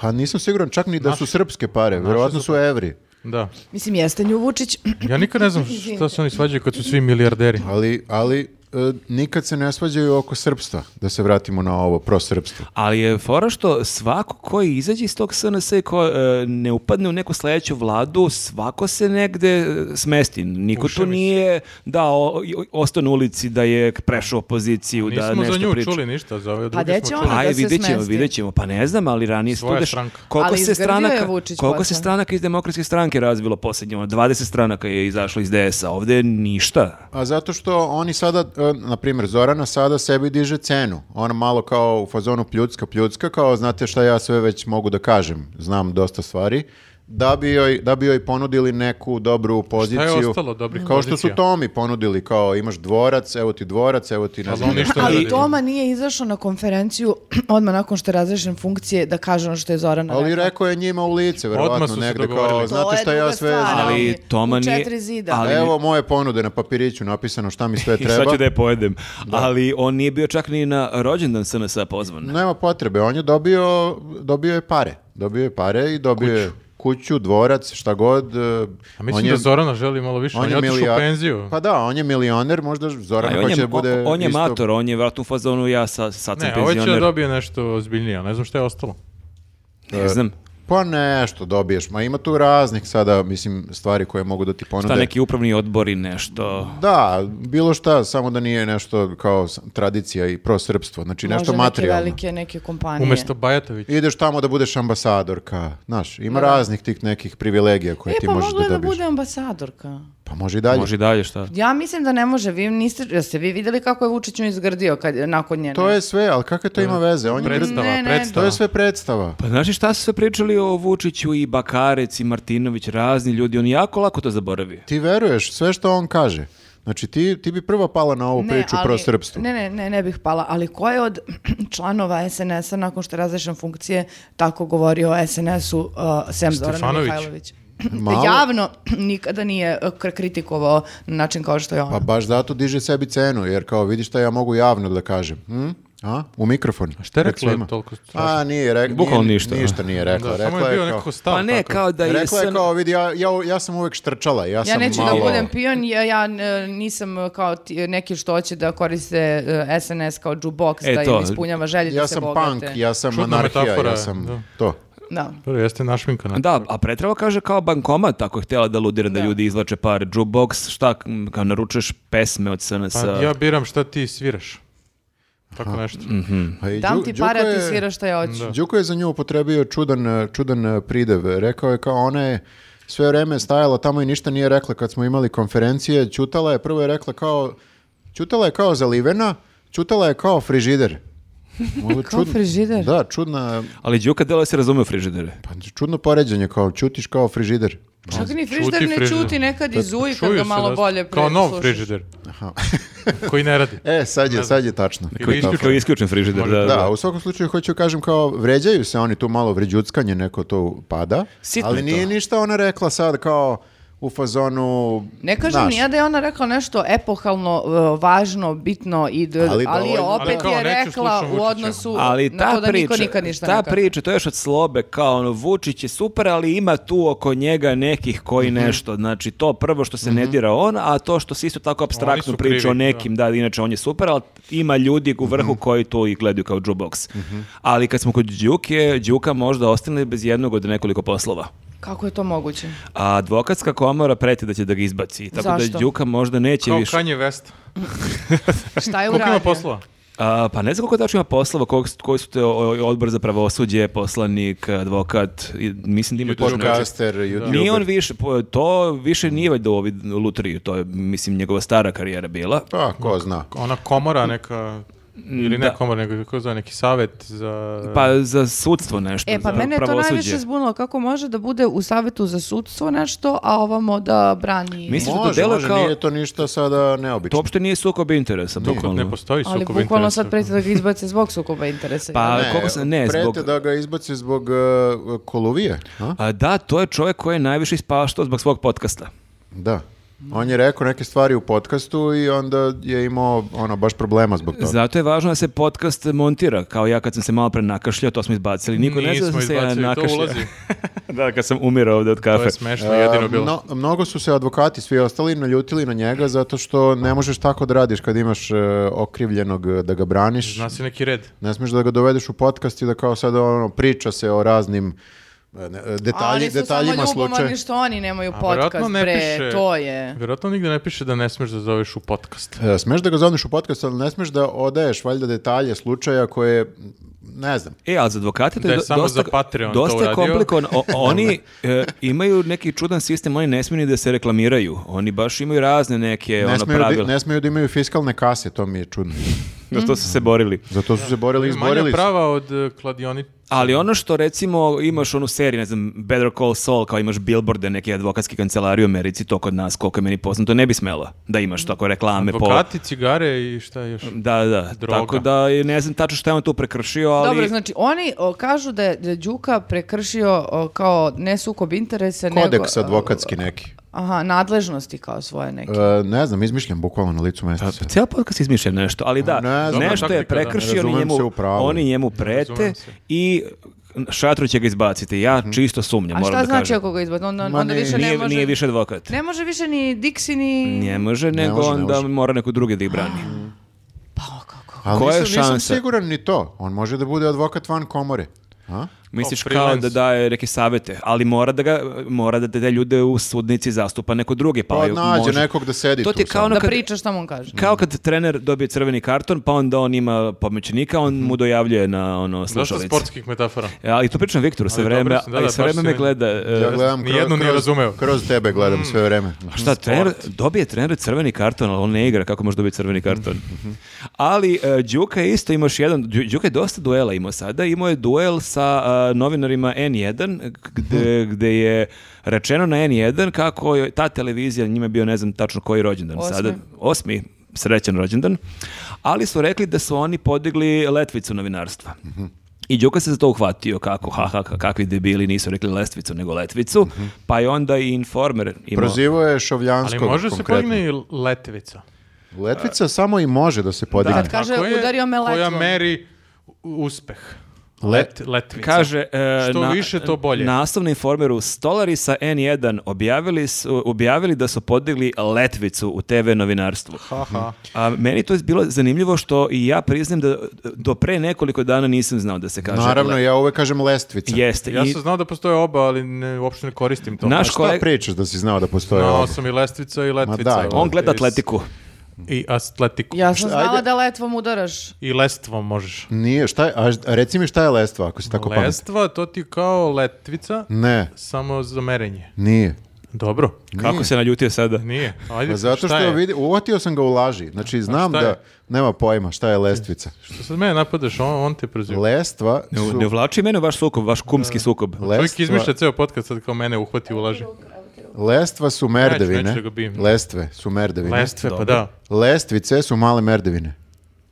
Pa nisam siguran čak ni da su srpske pare, verovatno su evri. Da. Mislim, jeste nju Vučić. Ja nikad ne znam šta se oni svađaju kad su svi milijarderi. Ali, ali e, nikad se ne svađaju oko srpstva, da se vratimo na ovo prosrpstvo. Ali je fora što svako ko izađe iz tog SNS i ko e, ne upadne u neku sledeću vladu, svako se negde e, smesti. Niko Ušemi tu se. nije da o, i- ostao na ulici, da je prešao opoziciju, da Nismo nešto za nju priča. čuli ništa, za ove Pa gde druge će smo ona? čuli. da Aj, se vidjet ćemo, smesti. vidjet ćemo. Pa ne znam, ali ranije Svoja studeš stranka. koliko Ali se izgrdio je stranaka, Vučić koliko se posle. stranaka iz demokratske stranke razvilo posljednje, ono, 20 stranaka je izašlo iz DS-a, ovde ništa. A zato što oni sada, e, na primjer, Zorana sada sebi diže cenu. Ona malo kao u fazonu pljucka, pljucka, kao znate šta ja sve već mogu da kažem, znam dosta stvari, da bi joj, da bi joj ponudili neku dobru poziciju. ostalo dobrih Kao što su pozicija? Tomi ponudili, kao imaš dvorac, evo ti dvorac, evo ti ne Ali znam. on ništa ne Ali radi. Toma nije izašao na konferenciju odmah nakon što je razrešen funkcije da kaže ono što je Zorana Ali rekao je njima u lice, verovatno su se negde, kao dogovorili. znate šta ja sve znam. E, Ali Toma u nije- četiri zida. ali- Evo moje ponude na papiriću napisano šta mi sve I sad treba. ću da je pojedem. Ali on nije bio čak ni na rođendan SNS-a pozvan. Nema potrebe, on je dobio, dobio je pare. Dobio je pare i dobio je kuću, dvorac, šta god. e, A on mislim je- da Zorana želi malo više. On, je otišao u milija- penziju. Pa da, on je milioner, možda A Zoran on, je, hoće da bude on, on je isto- mator, on je vratno u fazonu ja sa, sad sam ne, ovaj će da penzioner. dobije nešto ozbiljnije, ali ne znam šta je ostalo. Ne znam. Pa nešto dobiješ, ma ima tu raznih sada, mislim, stvari koje mogu da ti ponude. Šta neki upravni odbori nešto. Da, bilo šta, samo da nije nešto kao s- tradicija i prosrpstvo, znači Možda nešto neke materijalno. velike neke kompanije. Umjesto Bajatović. Ideš tamo da budeš ambasadorka, znaš, ima raznih tih nekih privilegija koje E, ti pa možeš mogla je da da dobiješ. bude ambasadorka. Pa može i dalje. Može i dalje šta. Ja mislim da ne može, vi niste, jeste vi vidjeli kako je Vučić nju izgrdio kad, nakon njene? To je sve, ali kakve to ima veze? On je Predstava, Ne, ne. To predstava. je sve predstava. Pa znaš šta su sve pričali o Vučiću i Bakarec i Martinović, razni ljudi, on jako lako to zaboravi. Ti veruješ sve što on kaže. Znači ti, ti bi prvo pala na ovu Ne, priču ali- pro srpstvu. Ne, ne, ne, ne bih pala, ali ko je od članova SNS-a nakon što je razrešen funkcije tako govorio o SNS-u uh, sem Zorana Stefanović. Mihajlović? Malo. Javno nikada nije uh, kr- kritikovao na način kao što je ona. Pa baš zato diže sebi cenu, jer kao vidiš šta ja mogu javno da kažem. Hm? A? U mikrofon. A šta je rekla toliko strašno? A, nije rekla. Bukvalno ništa. Ništa nije rekla. Da, samo rekla je je bio kao- nekako stav. Pa ne, takav. kao da je Rekla je SN... kao, vidi, ja, ja, ja sam uvek štrčala, ja, Ja sam neću malo... da budem pion, ja, ja e, nisam e, kao ti- neki što hoće da koriste e, SNS kao jukebox, E, da to. im ispunjava želje da Ja se sam punk, bogate. ja sam Čudna anarhija, metafora, ja sam... da. To. Da. Dobro, jeste našminka na Da, a pretrava kaže kao bankomat, tako je htjela da ludira da, Da. ljudi izvlače par jukebox, šta, m, kao naručuješ pesme od SNS-a. Pa ja biram šta ti sviraš. Tako nešto. mhm. A i Dam Đu- ti Đuko para, ti je- sviraš šta ja hoću. Đuko je za nju upotrebio čudan, eh, čudan eh, pridev. Rekao je kao ona je sve vreme stajala tamo i ništa nije rekla kad smo imali konferencije. Ćutala je, prvo je rekla kao, ćutala je kao zalivena, ćutala je kao frižider. Malo Kao frižider? Da, čudna, Ali Đuka delo se razume u frižidere. pa čudno poređenje, kao ćutiš kao frižider. Čak ni Čuti frižider ne frižider. čuti, nekad i zuji kad Čuje ga se malo da- bolje Kao nov preslušaš. frižider. koji ne radi. E, sad je, sad je tačno. Ili isključ- Kao isključen frižider, da. Da, u svakom slučaju hoću kažem kao vređaju se oni tu malo vređuckanje neko to pada, Sitno ali je to. nije ništa ona rekla sad kao u fazonu Ne kažem znaš, ni ja da je ona rekla nešto epohalno, e, važno, bitno, i d- Ali ali, je dovoljno. opet Ali kao, je neću rekla slušam u Vučića. odnosu Ali na to ta da niko priča, nikad ništa ne ta kaže. priča, to je još od slobe, kao ono, Vučić je super, ali ima tu oko njega nekih koji Mhm. nešto, znači to prvo što se ne dira on, a to što se isto tako abstraktno su priča krivi, o nekim, da. inače on je super, ali ima ljudi u vrhu Mhm. koji to i gledaju kao jukebox. Ali kad smo kod Đuke, Đuka možda ostane bez jednog od nekoliko poslova. Kako je to moguće? A advokatska komora preti da će da ga izbaci, tako da Zašto? Đuka možda neće Kao više. Kanye West. Šta je Koliko uradio? ima poslova? A, pa ne znam koliko tačno ima poslova, kog, koji su te o- o- odbor za pravosuđe, poslanik, advokat, i mislim da ima tačno- podcaster, youtuber. Nije on više, po- to više nije valjda u ovoj lutriju, to je, mislim, njegova stara karijera bila. Pa, ko zna. Ona komora neka... Ili ne Da. komora, nego kako zove, neki savjet za... Pa za sudstvo nešto, E, pa za mene je to pravosuđe. najviše zbunilo. Kako može da bude u savjetu za sudstvo nešto, a ovamo da brani... Mislim- Misliš da Može, delo može, kao- nije to ništa sada neobično. To uopšte nije sukob interesa, Dok bukvalno. ne postoji Ali sukob bukvalno interesa. sad preti da ga izbace zbog sukoba interesa. Pa- jel? ali koliko se- ne, prete zbog- da ga izbaci zbog e, Koluvije, a? A da, to je čovjek koji je najviše ispaštao zbog svog podcasta. Da. On je rekao neke stvari u podcastu i onda je imao ono, baš problema zbog toga. Zato je važno da se podcast montira, kao ja kad sam se malo pre nakašljao, to smo izbacili. Niko ne zna da Nismo sam se ja izbacili, to nakašljao. ulazi. da, kad sam umirao ovde od To kafe. je smešno, jedino bilo. Ehm, Mno- mnogo su se advokati svi ostali naljutili na njega zato što ne možeš tako da radiš kad imaš e, okrivljenog e, da ga braniš. Zna se neki red. Ne smiješ da ga dovedeš u podcast i da kao sad ono, priča se o raznim e, ne- e, detalji, oni su samo detaljima ljubomorni slučaja. što oni nemaju A podcast, verovatno ne pre, piše- to E. je. Vjerojatno nigde ne piše da ne smeš da zoveš u podcast. E, Smeš da ga zovneš u podcast, ali ne smeš da odaješ valjda detalje slučaja koje, m, ne znam, E, ali za advokate to Da je je do- samo dosta, za Patreon to dosta je uradio. komplikovan. O- oni e, imaju neki čudan sistem, oni ne smiju ni da se reklamiraju. Oni baš imaju razne neke E, ne, ono, smeju da- pravila. ne smeju da imaju fiskalne kase, to mi je čudno. Zato su se borili. Zato su se borili, Manja izborili su. prava od e, kladioni. Ali ono što recimo imaš onu seriju, ne znam, Better Call Saul, kao imaš billboarde neke advokatske kancelarije u Americi, to kod nas, koliko je meni poznato, ne bi smela da imaš tako reklame E, po... Mm, Advokati, cigare i šta još. Da, da, Droga. tako da je- ne znam tačno šta je on tu prekršio, ali... Dobro, znači oni o, kažu da je da je Đuka prekršio o, kao ne sukob interesa, Kodeks nego... e, advokatski neki. Aha, nadležnosti kao svoje neke. E, ne znam, izmišljam bukvalno na licu mesta. sad. Cijel podcast izmišljam nešto, ali da, Ne znam. nešto je Dobra taktika, da. prekršio, oni Razumem se njemu, u pravu. oni njemu prete Razumem se. i šatru će ga izbaciti. Ja Mhm. čisto sumnjam, A moram šta da znači kažem. ako ga izbati? Onda, Ma onda ne, više ne nije, može... nije više advokat. Ne može više ni Dixi, ni... Ne može, nego može, ne onda može. Mhm. mora neko drugi da ih brani. Pa kako? Ali Koja je nisam, nisam šansa? siguran ni to. On može da bude advokat van komore. A? Misliš O, kao freelance. da daje neke savete, ali mora da ga mora da te ljude u sudnici zastupa neko drugi, pa Pa ju- nađe može. nekog da sedi To tu ti je kao sad. ono Da kad, priča šta mu on kaže. kao kad trener dobije crveni karton, pa onda on ima pomoćnika, Mhm. on mu dojavljuje na ono Dosta slušalice. sportskih metafora. Ja, i to pričam Viktoru sve Ali dobro vreme, sam, da, a i da, sve baš vreme si me me- gleda. e, Ja gledam Nijednu kroz- nije kroz- razumeo. Mm. Kroz tebe gledam sve vreme. Šta, trener, dobije trener crveni karton, ali on ne igra, kako može dobiti crveni karton? ali e, Đuka je isto imaš jedan, Đu- Đuka je dosta duela imao sada, imao je duel sa e, novinarima N1, gde, gde je rečeno na N1 kako je ta televizija, njima je bio ne znam tačno koji rođendan Osmi. sada, osmi, srećan rođendan, ali su rekli da su oni podigli letvicu novinarstva. I Đuka se za to uhvatio kako, ha, ha, kakvi debili nisu rekli lestvicu, nego letvicu, pa je onda i Informer imao... Prozivo je Ali Šovljanskog može se konkretno. pogne i letvica. Letvica samo i može da se podigne. Kad kaže Ako je udario me Koja letvom. meri u- uspeh. Let- Let, letvica. Kaže, e, Što više, to bolje. Naslovni informeru Stolari sa N1 objavili, su, objavili da su podigli letvicu u TV novinarstvu. Aha. A meni to je bilo zanimljivo što i ja priznam da do pre nekoliko dana nisam znao da se kaže. Naravno, le- ja uvek kažem lestvica. Jeste. Ja i- sam znao da postoje oba, ali ne, uopšte ne koristim to. Naš Šta kolega- pričaš da si znao da postoje Znao ovo? sam i lestvica i letvica. daj, on gleda I s- atletiku. I atletiku. Ja sam znala ajde. da letvom udaraš. I lestvom možeš. Nije, šta je, a reci mi šta je lestva ako si tako pamet. Lestva, to ti kao letvica, Ne, samo za merenje. nije. Dobro. Kako se naljutio sada? Nije. Ajde, Pa zato šta što je? vidi, uvatio sam ga u laži. Znači, znam šta je? da nema pojma šta je lestvica. Što sad mene napadaš, on, on te proziva. Lestva Ne, su... ne vlači mene u vaš sukob, vaš kumski sukob. Čovjek Lestva, izmišlja ceo podcast sad kao mene uhvati i ulaže. lestva su Neću, merdevine. neću da ga bijem. Lestve su merdevine. Lestve, Dobro. pa da. Lestvice su male merdevine.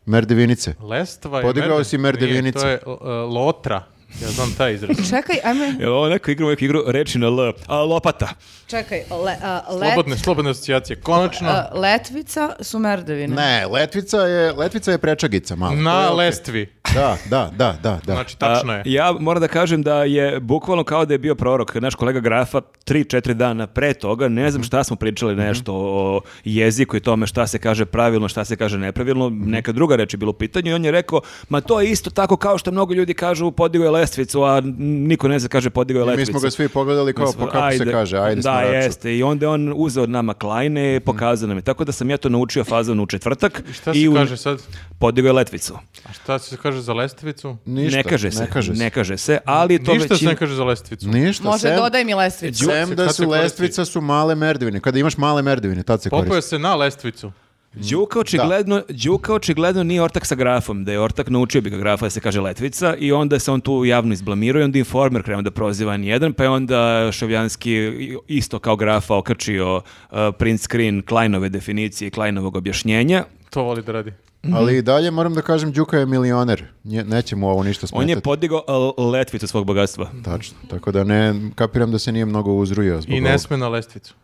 Merdevinice. Lestva je... Podigao si merdevinicu. Nije, to je uh, lotra. Ja znam taj izraz. Čekaj, ajme, Jel ovo neko igra u neku igru reči na L, a lopata. čekaj, le, a, let, Slobodne, slobodne asocijacije. Konačno, a, letvica su merdevine. Ne, letvica je, letvica je prečagica malo. To je na okej. lestvi. Da, da, da, da, da. Znači, tačno je. A, ja moram da kažem da je bukvalno kao da je bio prorok, naš kolega Grafa, 3-4 dana pre toga, ne Mhm. znam šta smo pričali nešto o jeziku i tome šta se kaže pravilno, šta se kaže nepravilno, Mhm. neka druga reč je bilo u pitanju i on je rekao, ma to je isto tako kao što mnogo ljudi kažu podigao je lestvicu, a niko ne zna kaže podigao je I mi lestvicu. smo ga svi pogledali kao, Mislim, pa kako se kaže, ajde Mhm. Da, smaraču. jeste. I onda je on uzeo od nama klajne i pokazao nam je. Tako da sam ja to naučio fazon u četvrtak. I Šta se u- kaže sad? Podigao je letvicu. A šta se kaže za lestvicu? Ništa, ne kaže se. Ne kaže se. se, ali to Ništa se većina- ne kaže za lestvicu. Ništa, Može, sem, dodaj mi lestvicu. sem Đuk- da kad se su koristi. lestvica su male merdevine. Kada imaš male merdevine, tad se Popeo koristi. se na lestvicu. Đuka očigledno, Đuka očigledno nije ortak sa grafom, da je ortak naučio bi ga grafa da se kaže letvica i onda se on tu javno izblamirao i onda informer krenuo da proziva N1, pa je onda Šovljanski i- isto kao grafa okačio uh, print screen Kleinove definicije i Kleinovog objašnjenja. To voli da radi. Ali i dalje moram da kažem, Đuka je milioner. Nje- neće mu ovo ništa smetati. On je podigao uh, letvicu svog bogatstva. Tačno, tako da ne, kapiram da se nije mnogo uzrujao zbog I ovoga. ne sme na lestvicu.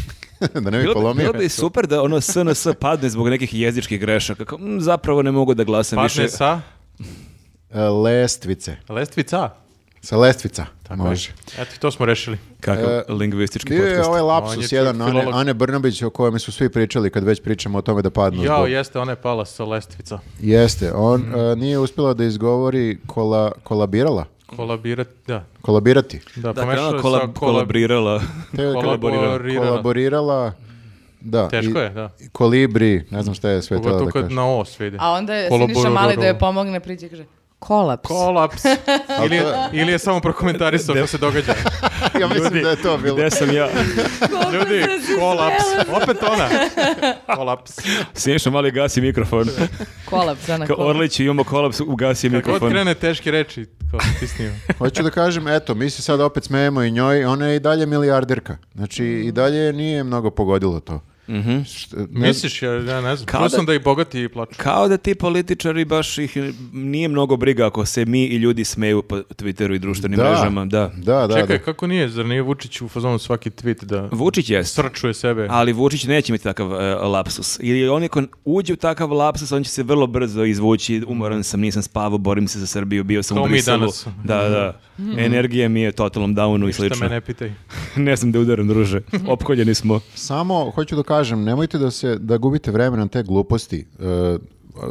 da ne bi Bilo, bi- polomio. bilo bi super da ono SNS padne zbog nekih jezičkih grešaka. Kao, "Mm, zapravo ne mogu da glasam više. Padne sa E, Lestvice. lestvica. Sa lestvica. Može. Eto, to smo rešili. Kakav lingvistički E, Bio je podcast. ovaj On je lapsus čovjek jedan Ane, filolog. Ane Brnabić o kojem su svi pričali kad već pričamo o tome da padnu Jao, zbog- jeste, ona je pala sa lestvica. Jeste, on e, nije uspjela da izgovori kola, kolabirala, Kolabirati, da. kolabirati. Da, Dakle, pomešala ona je kolab- sa kolab... kolabrirala. Te- Kolaborirala. Kolaborirala. Da, Teško i- je, da. i kolibri, ne znam šta je sve to Pogotovo da kad kažem. na ovo sve ide. A onda je Siniša Kolabororo. Mali da je pomogne priđe i kaže kolaps. Kolaps. ili, je, ili je samo prokomentarisao što se događa. Ja mislim da je to bilo. Gde sam ja? Ljudi, kolaps. Opet ona. Kolaps. Siniša mali gasi mikrofon. Kolaps, ona Kao kolaps. Orlić i Jumbo Kolaps ugasi Kako mikrofon. god krene teške reči, kao stisnio. Hoću da kažem, eto, mi se sad opet smejemo i njoj, ona je i dalje milijarderka. Znači, i dalje nije mnogo pogodilo to. Mhm. Št- ne- Misliš, ja, ja ne znam. Kao Čuo da- sam da i bogati plaču. Kao da ti političari baš ih nije mnogo briga ako se mi i ljudi smeju po Twitteru i društvenim Da. mrežama. Da. Da, da, Čekaj, da. kako nije? Zar nije Vučić u fazonu svaki tweet da Vučić jest. srčuje sebe? Ali Vučić neće imati takav e, lapsus. Ili on ako uđe u takav lapsus, on će se vrlo brzo izvući. Umoran sam, nisam spavao, borim se za Srbiju, bio sam Kao u mi Briselu. danas. Da, da. Energija mi je totalnom downu i Šta slično. me ne Mhm. pitaj. ne znam da udaram, druže. Opkoljeni smo. Samo hoću da kažem, nemojte da se da gubite vreme na te gluposti. e,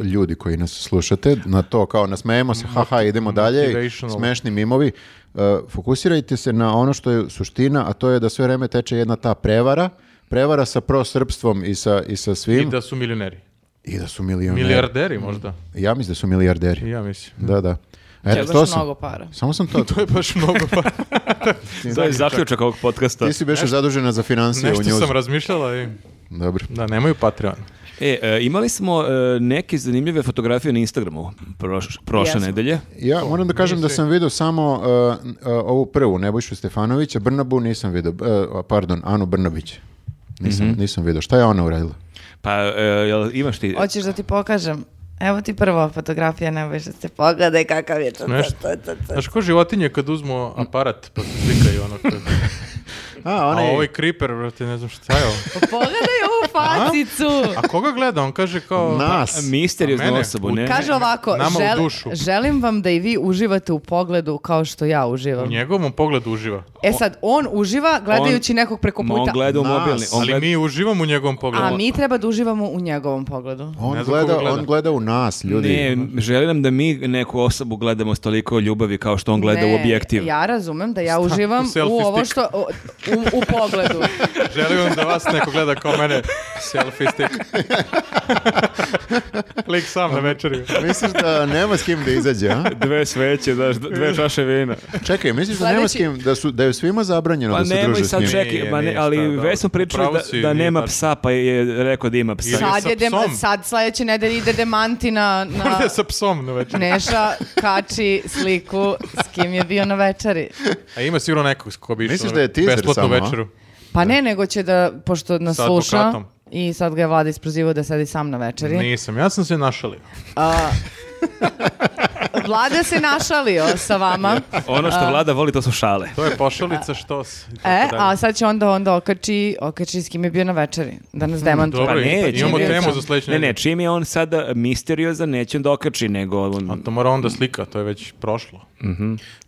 ljudi koji nas slušate na to kao nasmejemo se, haha, idemo dalje, motivational. smešni mimovi. E, fokusirajte se na ono što je suština, a to je da sve vreme teče jedna ta prevara, prevara sa prosrpstvom i sa, i sa svim, I i da, da su milioneri. su milioneri. Milijarderi možda. Ja mislim da su milijarderi. I Ja mislim. Da, da. To je Eto, to baš sam. mnogo para. Samo sam to. To je baš mnogo pa. To je zaključak ovog podcasta. Ti si beše zadužena za financije u Nešto njuzu. sam razmišljala i Dobro. da nemaju Patreon. E, e, imali smo e, neke zanimljive fotografije na Instagramu proš- prošle Jesmo. nedelje. Ja moram da kažem da nisi. sam vidio samo uh, n- uh, ovu prvu, Nebojšu Stefanovića, Brnabu nisam vidio, uh, pardon, Anu Brnabić. Nisam, nisam vidio. Šta je ona uradila? Pa, e, jel imaš ti... Hoćeš da ti pokažem? Evo ti prva fotografija, ne bojš da se pogledaj kakav je to. Nešto. Znaš ko životinje kad uzmu aparat pa se slikaju ono kad... A, A ona je... ovaj creeper, brate, ne znam šta je ovo. Pogledaj ovu facicu. A koga gleda? On kaže kao... Nas. Misterioznu A mene? osobu, ne? Kaže ovako, Nama u žel- dušu. želim vam da i vi uživate u pogledu kao što ja U uživam. njegovom pogledu uživa. E sad, on uživa gledajući On- nekog preko Ma, On puta, gleda u Nas. mobilni. On Ali gleda... mi uživamo u njegovom pogledu. a mi treba da uživamo u njegovom pogledu. On Ne znam koga gleda, gleda. on gleda u nas, ljudi. Ne, želim nam da mi neku osobu gledamo s toliko ljubavi kao što on gleda u Ne, objektiv. Ja razumem da ja uživam u, selfie ovo stick. što, o- u, u pogledu. Želim vam da vas neko gleda kao mene. Selfie stick. Lik sam na večeri. misliš da nema s kim da izađe, a? Dve sveće, znaš, dve čaše vina. Čekaj, misliš da nema s Sledeći- kim, da, su, da je svima zabranjeno Pa da se nemoj druže s njim? sad čekaj, Nije, ma ne, nije, šta, ali dobro. već smo pričali Upravo da, si, da nije nema tačno. psa, pa je rekao da ima psa. Ili Sad, sa je dem- psom. sad sledeće nedelje ide demanti na... na... Možda je sa psom na večeri. Neša kači sliku s kim je bio na večeri. A ima sigurno nekog s ko bi išao Misliš na da je teaser besplatnu samo, a? večeru. Pa ne, nego će da, pošto nas Sa sluša advokatom. i sad ga je vlada isprozivao da sedi sam na večeri. Nisam, ja sam se našalio. A, vlada se našalio sa vama. Ono što vlada voli, to su šale. To je pošalica što s... i tako E, dalje. a sad će onda onda okači, okači s kim je bio na večeri. Da nas demantuje. Pa Hmm, Dobro, ne, imamo čim je- temu za sledeću Ne, ne, nedelju. čim je on sada misteriozan, neće on da okači, nego... A On, to mora onda slika, to je već prošlo.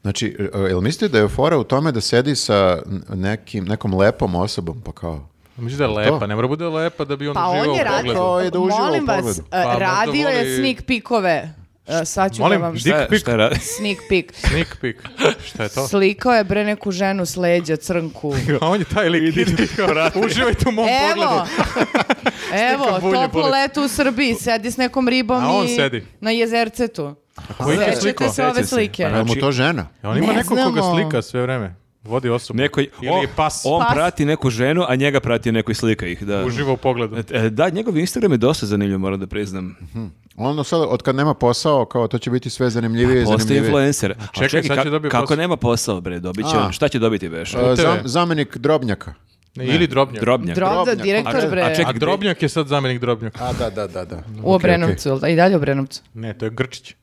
Znači, e, jel mislite da je fora u tome da sedi sa nekim, nekom lepom osobom, pa kao... Mislim da je lepa, ne mora bude lepa da bi on Pa uživao on je u radio, pogledu. Kao je da uživa u molim vas, pogledu. Pa e, možda radio je voli- sneak pikove. E, Sad ću Molim, da vam... di- dick pic. šta radi? Sneak pik. Sneak peek. Šta je to? Slikao je bre neku ženu s leđa, crnku. A on je taj lik. Uživajte u mom Evo, pogledu. evo, bulje toplo pored. leto u Srbiji, sedi s nekom ribom A on i sedi. na jezercetu. Koji je slikao? Sećate se ove Sećam se. slike. Jel mu Znači- to žena? E, On ima Ne nekog koga znamo. slika sve vreme. Vodi osobu. Neko, Ili o, je pas. On Pas. prati neku ženu, a njega prati neko i slika ih. Da. Uživa u pogledu. E, Da, njegov Instagram je dosta zanimljiv, moram da priznam. Ono sad, od kad nema posao, kao to će biti sve zanimljivije i Postoji zanimljivije. influencer. A čekaj, čekaj, sad će ka- dobiti kako posao. nema posao, bre, dobit će A. on. Šta će dobiti, beš? E, Puteve. zam- zamenik Drobnjaka. Ne, Ili drobnjak. Drobnjak. Drobda, Drobnjak. direktor A- bre. a čekaj, A drobnjak je sad zamenik drobnjaka. A, da, da, da, da. u Obrenovcu, jel da? i dalje u Obrenovcu. Ne, to je Grčić.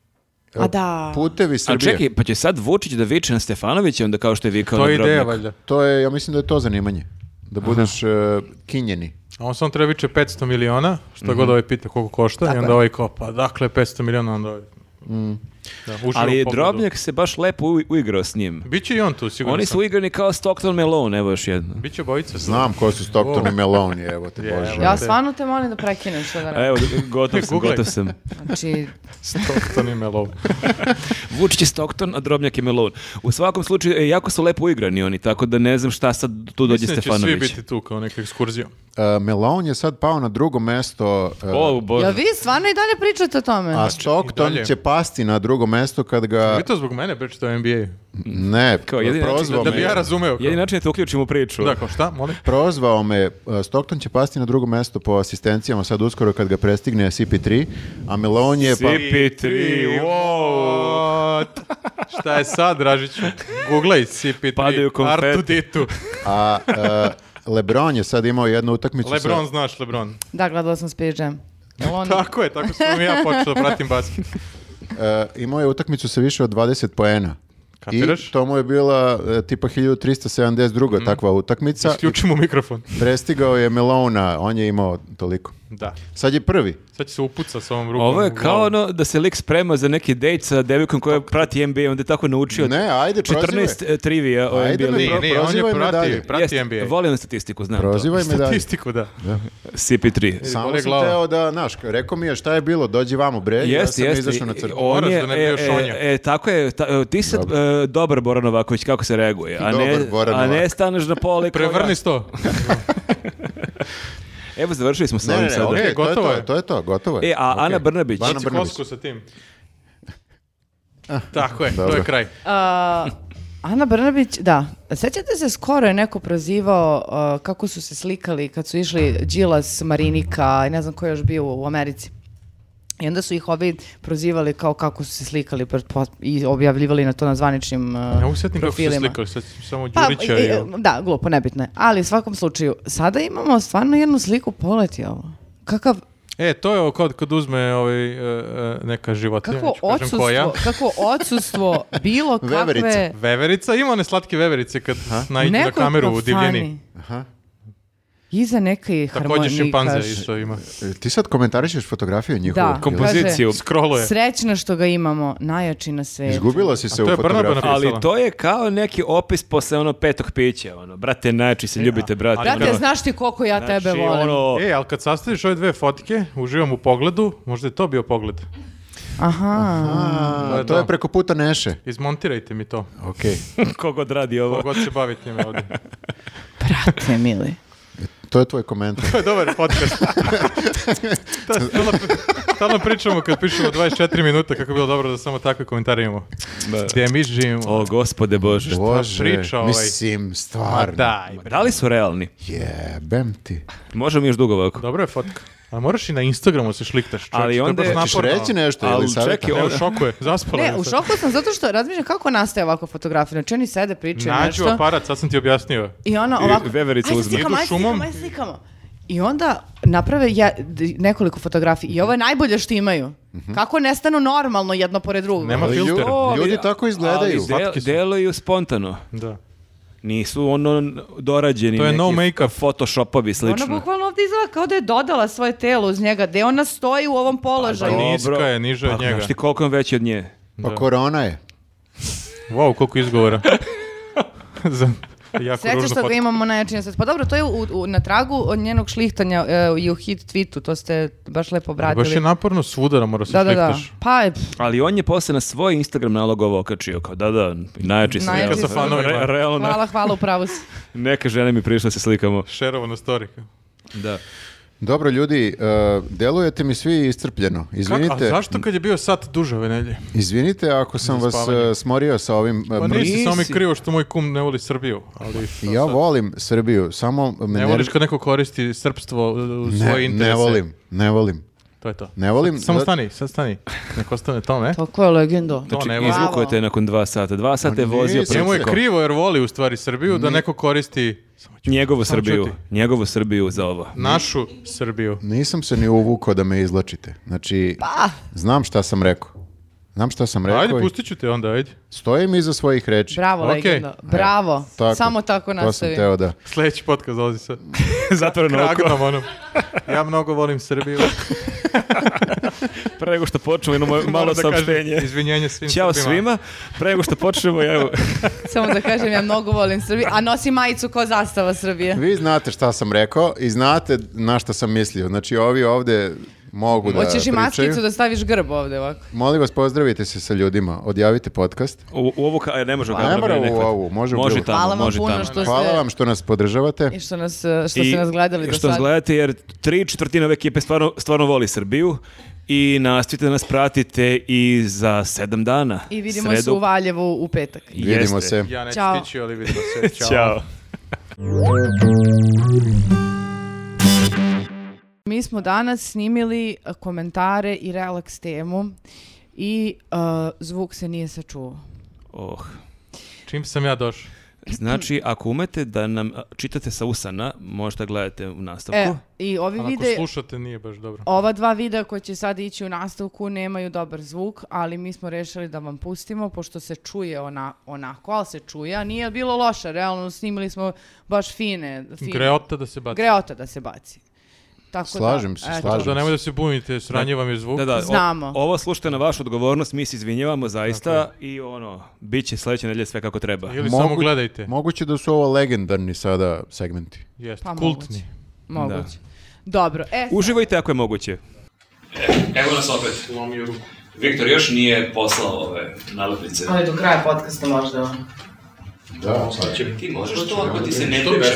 A da. Putevi A Srbije. čekaj, pa će sad Vučić da viče na Stefanovića onda kao što je vikao To na je ideja Drobnjak. valjda. To je, ja mislim da je to zanimanje. Da budeš e, kinjeni. A on samo treba viče 500 miliona, što god ovaj pita koliko košta, i onda ovaj kao, pa dakle 500 miliona, onda ovaj... Da, uši Ali u je pogled. Drobnjak se baš lepo u- uigrao s njim. Biće i on tu, sigurno Oni su uigrani kao Stockton Malone, evo još jedno. Biće obojica tu. Znam ko su Stockton i Wow. Meloni, evo te Je, bože. evo. Ja stvarno te molim da prekinem što da E, radim. Evo, gotov sam, Googlaj. gotov sam. Znači, Stockton i Melov. Vučić je Stockton, a Drobnjak je Malone. U svakom slučaju, e, jako su lepo uigrani oni, tako da ne znam šta sad tu dođe Mislim da će svi Stefanović. biti tu kao neka ekskurzija. E, Meloni je sad pao na drugo mesto, e, O, bože. jel vi stvarno i dalje pričate o tome? a znači, i Stockton dalje. će pasti na drugo mesto kad ga... Vi to zbog mene pričate o NBA. Ne, Kao, jedini način prozvao Da bi me. ja razumeo. kao. Jedini način je da te uključim u priču. Da, kao šta, molim? Prozvao me, e, Stockton će pasti na drugo mesto po asistencijama sad uskoro kad ga prestigne CP3, a Meloni je pa... CP3, wow! What? Šta je sad, Dražiću? Googlaj CP3, Padaju konfeti. Artuditu. A e, LeBron je sad imao jednu utakmicu Lebron, sa... znaš Lebron. Da, gledala sam Space Jam. Jel on- Tako je, tako sam i ja počeo da pratim basket. e, imao je utakmicu sa više od 20 poena. Kapiraš? Mhm. I to mu je bila e, tipa 1372. takva utakmica. Isključimo mikrofon. Prestigao je Melona, on je imao toliko. Da. Sad je prvi. Sad će se upuca sa ovom rukom. Ovo je u kao glavu. ono da se lik sprema za neki dejt sa devikom koja prati NBA, onda je tako naučio Ne, ajde, prozivaj. 14 trivija o Ajde, NBA ne, ligi. Nije, nije, on je Prozivaj me pratio, dalje. prati Jeste, NBA. Volim statistiku, znam Prozivaj me dalje. Statistiku, da. to. CP3. Samo Boli sam glava. teo da, znaš, rekao mi je šta je bilo, dođi vamo bre, E, ja Jeste, sam jeste. izašao na crtu. On Moraš je, da ne e, biješ Šonja. e, e, tako je, ta- e, ti si e, dobar Boran Novaković, kako se reaguje, a ne, Dobar Boran a ne Novaković. staneš na poli. kao ja. Prevrni sto. Znači, Evo, završili smo sa Ne, ne, ovim ne, sada. okej, E, to je gotovo to, je. to je to, gotovo je. E, a Okej. Ana Brnabić, Bana Baci Brnabić. kosku sa tim. Tako je, to Dobro. je kraj. A, Uh, Ana Brnabić, da. Sećate se, skoro je neko prozivao a, kako su se slikali kad su išli Đilas, Marinika i ne znam ko je još bio u Americi. I onda su ih ovi prozivali kao kako su se slikali pretpo- i objavljivali na to na zvaničnim a, Ne usetim kako se profilima. slikali, sad ću samo Pa, Đurića i- i... i- da, glupo, nebitno je. Ali u svakom slučaju, sada imamo stvarno jednu sliku poleti ovo. Kakav, E, to je ovo kod, kad uzme ovaj, e, e, neka životinja, kako neću kažem koja. odsustvo, kako odsustvo bilo kakve... Veverica. Veverica, ima one slatke veverice kad nađe na Nekoliko kameru u divljini. fani. Iza neke Takođe šimpanze harmonikaš. isto ima. E, Ti sad komentarišeš fotografiju njihovu? Da. ili- kompoziciju. Skrolo je. Srećno što ga imamo, najjači na svetu. Izgubila si se A u to je Brnaba fotografiji. napisao. Ali Pisala. to je kao neki opis posle ono petog pića, ono, brate, najči se, ljubite, brate. ono, Ali Brate, Dobro. znaš ti koliko ja tebe Znači, volim. ono, E, ali kad sastaviš ove dve fotke, uživam u pogledu, možda je to bio pogled. Aha. A, to je preko puta Neše. Izmontirajte mi to, Okej. kogod radi ovo. kogod se bavi time ovdje. Brate, mili. To je tvoj komentar. To je dobar podcast. To je stalno, stalno pričamo kad pišemo 24 minuta kako bi bilo dobro da samo takve komentare imamo. Da. Gdje mi živimo. O, gospode bože. Bože, priča ovaj? mislim, stvarno. Daj, bre. Da li su realni? Jebem ti. Možemo još dugo ovako. Dobro je fotka. A moraš i na Instagramu se šliktaš. čovječe, Ali to je onda baš je- Češ naporno. reći nešto Ali ili savjeta? čekaj, Ne, u Ona- šoku je, zaspala Ne, je u sad. šoku sam zato što razmišljam kako nastaje ovako fotografija. Znači oni sede, pričaju Nađu nešto aparat, sad sam ti objasnio. i ona I ovako... veverica Ajde uzme. slikamo, Idu ajde šumom. slikamo, ajde slikamo. I onda naprave ja, d- nekoliko fotografija i ovo je najbolje što imaju. Kako nestanu normalno jedno pored drugog. Nema Ali filter. ljudi- Ljudi tako izgledaju. Ali del, Slatki su. deluju spontano. Da. Nisu ono dorađeni. To je neki no make-up. Photoshopovi slično. Ona bukvalno ovdje izgleda kao da je dodala svoje telo uz njega, gde ona stoji u ovom položaju. nije- Pa Niska je, niža od pa, njega. Znaš ti koliko je veći od nje? Pa Da. korona je. Wow, koliko izgovora. Za jako Sreća ružnu što ga fotku. imamo najjači na svetu. Pa dobro, to je u, u- na tragu od njenog šlihtanja e, i u hit tweetu, to ste baš lepo obradili. Baš je naporno svuda da mora se da, da, da. šliktaš. Pa, e, pff, Ali on je posle na svoj Instagram nalog ovo okačio, kao da, da, najjači sam. Najjači ja. sam. Sa fanovima. Re- Ono. realno, hvala, hvala, upravo si. neka žena mi prišla da se slikamo. Šerovo na story. Da. Dobro, ljudi, e, delujete mi svi iscrpljeno. Kako, a Izvinite, zašto kad je bio sat duže ove nelje? izvinite ako sam Za vas spavanje. e, smorio sa ovim... e, Pa mr- nisi, samo mi nisi. krivo što moj kum ne voli Srbiju. Ali šta ja sad? volim Srbiju, samo me Ne ne, voliš kad neko koristi srpstvo u ne, svoje interese. ne volim, ne volim. To je to. Ne volim. Samo zato- stani, sad stani. Nek ostane tome. Tako je legendo. To ne volim. Znači, Izvukao te nakon dva sata. Dva sata je Pa vozio nisam. Njemu je preko krivo jer voli u stvari Srbiju da neko koristi njegovu Samo Srbiju. čuti. Njegovu Srbiju za ovo. našu Srbiju. Nisam se ni uvukao da me izlačite. Znači, znam šta sam rekao. Znam šta sam Ajde, rekao i pustit ću te onda, ajde. stojim iza svojih reči. Bravo, Okej. legenda. Bravo. E, Tako, Samo tako To sam nastavi. teo da... Sljedeći podcast dolazi sa Zatvoreno oko. kragnom onom. Ja mnogo volim Srbiju. Pre nego što počnemo, jedno moje malo Moram da kažem saopštenje. Izvinjenje svim Ćao Srbima. svima. Pre nego što počnemo, evo, Samo da kažem, ja mnogo volim Srbiju, a nosi majicu ko zastava Srbije. Vi znate šta sam rekao i znate na šta sam mislio. Znači, ovi ovde mogu da Hoćeš i pričaju. maskicu da staviš grb ovde ovako. Molim vas, pozdravite se sa ljudima. Odjavite podcast. u, u ovu, ka- e, ne može u Pa ne kadru, mora ne, ne u hvata. ovu, može u može drugu. tamo, Hvala vam može puno tamo. što Hvala ste- vam što nas podržavate. I što, nas, e, što ste I nas gledali do što nas sada. gledate, jer tri četvrtine ove ekipe stvarno, stvarno voli Srbiju i nastavite da nas pratite i za sedam dana. I vidimo Sredu. se u Valjevu u petak. Vidimo Jeste. se. Ja neću Ćao. stići, ali vidimo se. Ćao. Mi smo danas snimili e, komentare i relaks temu i e, zvuk se nije sačuvao. Oh. Čim sam ja došao? Znači, ako umete da nam a, čitate sa usana, možda gledate u nastavku. E, i ovi Ali vide, Ako slušate, nije baš dobro. ova dva videa koja će sad ići u nastavku nemaju dobar zvuk, ali mi smo rešili da vam pustimo, pošto se čuje ona, onako, ali se čuje, a nije bilo loše, realno snimili smo baš fine. fine. Greota da se baci. Greota da se baci. Tako Slažem da, se, eto. slažem. Da nemoj da se bunite, sranje vam je zvuk. Da, da, o- Znamo. ovo slušajte na vašu odgovornost, mi se izvinjavamo zaista i ono, bit će sledeće nedelje sve kako treba. Ili Mogu- samo gledajte. Moguće da su ovo legendarni sada segmenti. Jeste, Pa kultni. Moguće. Moguće. Dobro, e, Uživajte ako je moguće. Evo nas opet. Viktor još nije poslao ove nalepnice. ali do kraja podcasta možda. Da, Ti možeš to ako ti se ne priča.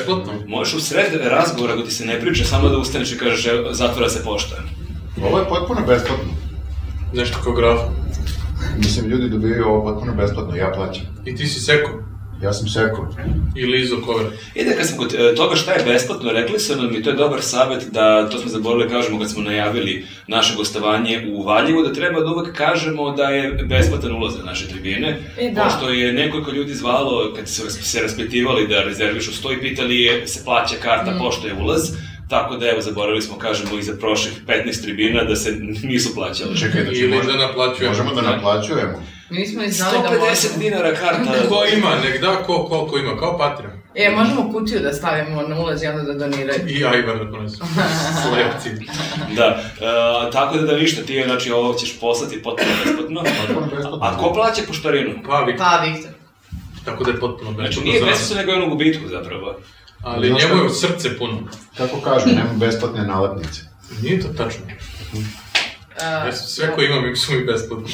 Možeš u sred razgovora ako ti se ne priča samo da ustaneš i kažeš "Evo, zatvara se pošta. Ovo je potpuno besplatno. Nešto kao graf. Mislim, ljudi dobijaju ovo potpuno besplatno, ja plaćam. I ti si seko. Ja sam sekao. I lizo kovra. I da kad smo kod e, toga šta je besplatno, rekli su nam i to je dobar savjet da, to smo zaboravili da kažemo kad smo najavili naše gostovanje u Valjevu, da treba da uvek kažemo da je besplatan ulaz na naše tribine. E, da. Pošto je nekoliko ljudi zvalo kad su ras- se raspitivali da rezervišu sto i pitali je se plaća karta pošto je ulaz. Tako da evo, zaboravili smo, kažemo, i za prošlih 15 tribina da se nisu plaćali. Čekaj, znači, Ili možda- da naplaćujemo. možemo da naplaćujemo. Nismo ni znali da 150 možemo. dinara karta. Ko ima, nek da ko koliko ima, kao Patreon. E, možemo kutiju da stavimo na ulaz i onda da doniraju. I Ajvar da ponesu. Slepci. Da, e, tako da da ništa, ti je, znači, ovo ćeš poslati potpuno besplatno. besplatno. A ko plaća poštarinu? Pa, vi- Pa, Viktor. tako da je potpuno Znači, besplatno nije za nas. besplatno, nego je ono gubitku zapravo. Ali Znaš njemu je kako? srce puno. Kako kažu, nema besplatne nalepnice. Nije to tačno. A, Ja sam- sve koje imam im su mi besplatno.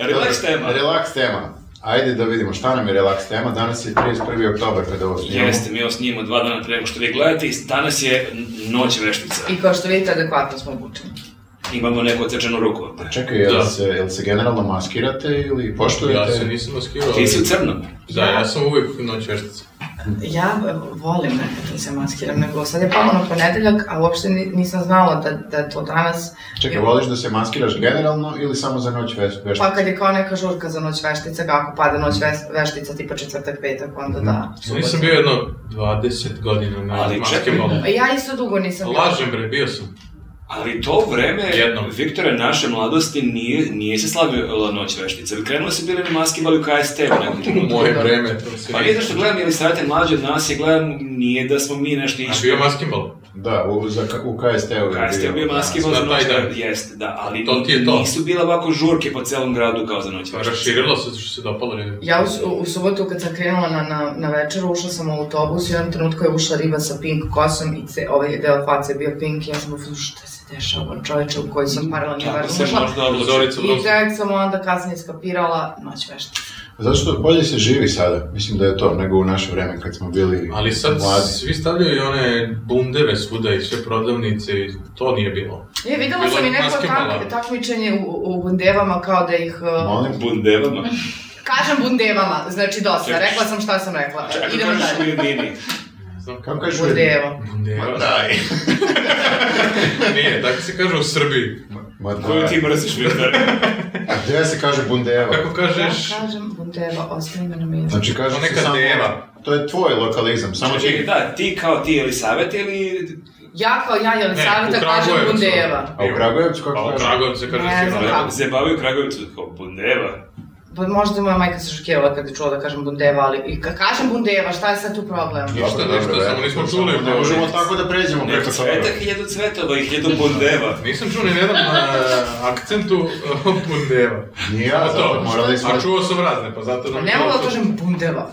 Relax tema. Relax tema. Ajde da vidimo šta nam je relax tema. Danas je 31. oktober kada ovo snimamo. Jeste, mi ovo snimamo dva dana pre nego što vi gledate i danas je n- noć veštica. I kao što vidite, adekvatno smo obučeni. Imamo neku odsečenu ruku. Čekaj, jel, Da. se, jel se generalno maskirate ili poštujete? Ja se nisam maskirao. Ti si u crnom. Da, ja sam uvijek noć veštica. Ja e, volim nekad da se maskiram, nego sad je palo na ponedeljak, a uopšte ni- nisam znala da, da je to danas. Čekaj, voliš da se maskiraš generalno ili samo za noć veš, veš- Pa kad je kao neka žurka za noć veštica, kako pada noć ves- veštica, tipa četvrtak, petak, onda da. Nisam bio jedno 20 godina na Ali maske čekaj. malo. Ja isto dugo nisam bila. Lažem bre, bio sam. Ali to vreme, Jednom. Viktore, naše mladosti nije, nije se slavila noć veštica. Krenulo se bili na maskivali u KST u nekom U trenutku. moje vreme, to se... Pa nije što gledam, ili savjete mlađe od nas i gledam, nije da smo mi nešto A išli. bio maskimbal. Da, u, za, u KST-u je Kaj ste bio bio. maski Na za taj noć dan. Jeste, da, ali To ti je to. nisu bila ovako žurke po celom gradu kao za noć Pa veštica. raširilo se zato što se dopalo. jer- Ja u, su- u subotu kad sam krenula na, na, na večeru, ušla sam u autobus i u jednom trenutku je ušla riba sa pink kosom i ce, ovaj deo face je bio pink i ja sam ufuz, šta se dešava ono, čoveče u koji sam paralelni Tako se verzum ušla. možda oblači. Zorica I Brovska. tek sam onda kasnije skapirala noć vešta. Zato što bolje se živi sada, mislim da je to, nego u naše vreme kad smo bili Ali sad mladi. svi stavljaju i one bundeve svuda i sve prodavnice i to nije bilo. Je, videla Bila sam i je neko maskembala. tak, takmičenje u, u bundevama kao da ih... uh, Molim? Bundevama. Kažem bundevama, znači dosta, Čekaj. rekla sam šta sam rekla. Čekaj, Idemo kažeš dalje. li mini? Znam kako Kako kažeš? Bundeva. bundeve. Ma daj. Nije, tako se kaže u Srbiji. Ma Koju ti daj. mrziš, Viktor? A gde se kaže bundeva? Kako Ja kažeš? kažem bundeva, ostavi me na miru. Znači kaže To se neka samo... deva. To je tvoj lokalizam, samo Čekaj, ti... da, ti kao ti ili savjet ili... Ja kao ja, Jelisaveta, u kažem Kragujevcu. Bundeva. A u Kragujevcu kako Pa u kaže? Kragujevcu se kaže Ne znam Sjeverna. kako. Zabavio Kragovicu kao bundeva. Pa možda moja majka se šokirala kad je čula da kažem Bundeva, ali i kad kažem Bundeva, šta je sad tu problem? Ništa, ništa, samo nismo čuli. Ne možemo tako da pređemo preko toga. hiljadu cvetova i hiljadu bundeva. Nisam čuo ni jedan uh, akcentu uh, Bundeva. Ni ja, Pa zato morali smo- A čuo sam razne, pa zato... Pa ne mogu da kažem Bundeva.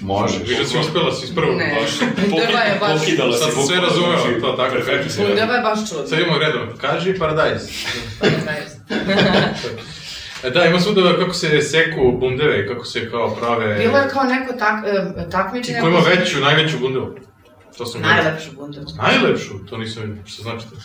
Možeš. Više si uspela, si iz prvog. Ne, Bundeva je baš... Pokidala Sad sam sve znači, razumeo, to tako. Perfektno si Bundeva je baš čudno. Sad imamo redom. Kaži paradajz. Paradajz. E, Da, ima svuda kako se seku bundeve i kako se kao prave... Bilo je kao neko tak, e, takmičenje... Ko ima veću, najveću bundevu? To sam vidio. Najlepšu Bundevu. Najlepšu? To nisam vidio. Što znači to?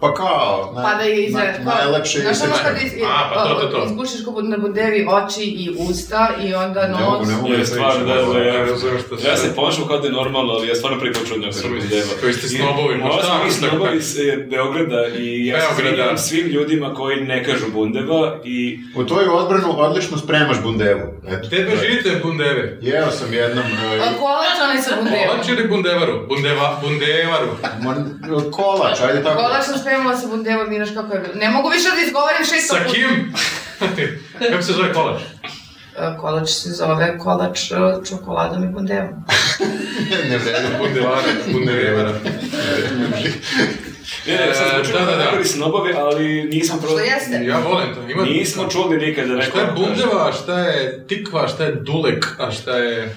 Pa kao, naj- Pa da je iza... na- kao- najlepše Znaš ono kad izrečeno. iz, A, pa to, to, to. izbušiš ko na bundevi oči i usta i onda Ne mogu, nos... ne mogu Je, da stvarno, pričam. da, da, Ja ja, razumem što se- ja se ponašam kao da je normalno, ali ja stvarno preko čudnjaka sam Koji- bundeva. koji ste snobovi, I- možda, Ovo smo mi ali- snobovi iz e, Beograda i ja se Beograda. izvinjam svim ljudima koji ne kažu bundeva i U tvoju odbranu odlično spremaš bundevu. Eto. Tebe živite bundeve. Jeo sam jednom... e, A Pa Kolač onaj sa bundevom. Kolač ili bundevaru? Bundeva, bundevaru. mon- Kolač, ajde tako. Kolač sam spremala sa bundevom, Miraš kako je bilo. Ne mogu više da izgovarim šesto Sa kim? Kako se zove kolač? E, Kolač se zove kolač e, čokoladom i bundevom. Ne vredi. Bundevara, bundevara. ne, ne, sad E, smo čuli da, da, da, da. snobovi, ali nismo pro... Što jeste? Ja volim to. Ima... Nismo čuli nikada neko Šta je da kaže. bundeva, a šta je tikva, šta je dulek, a šta je...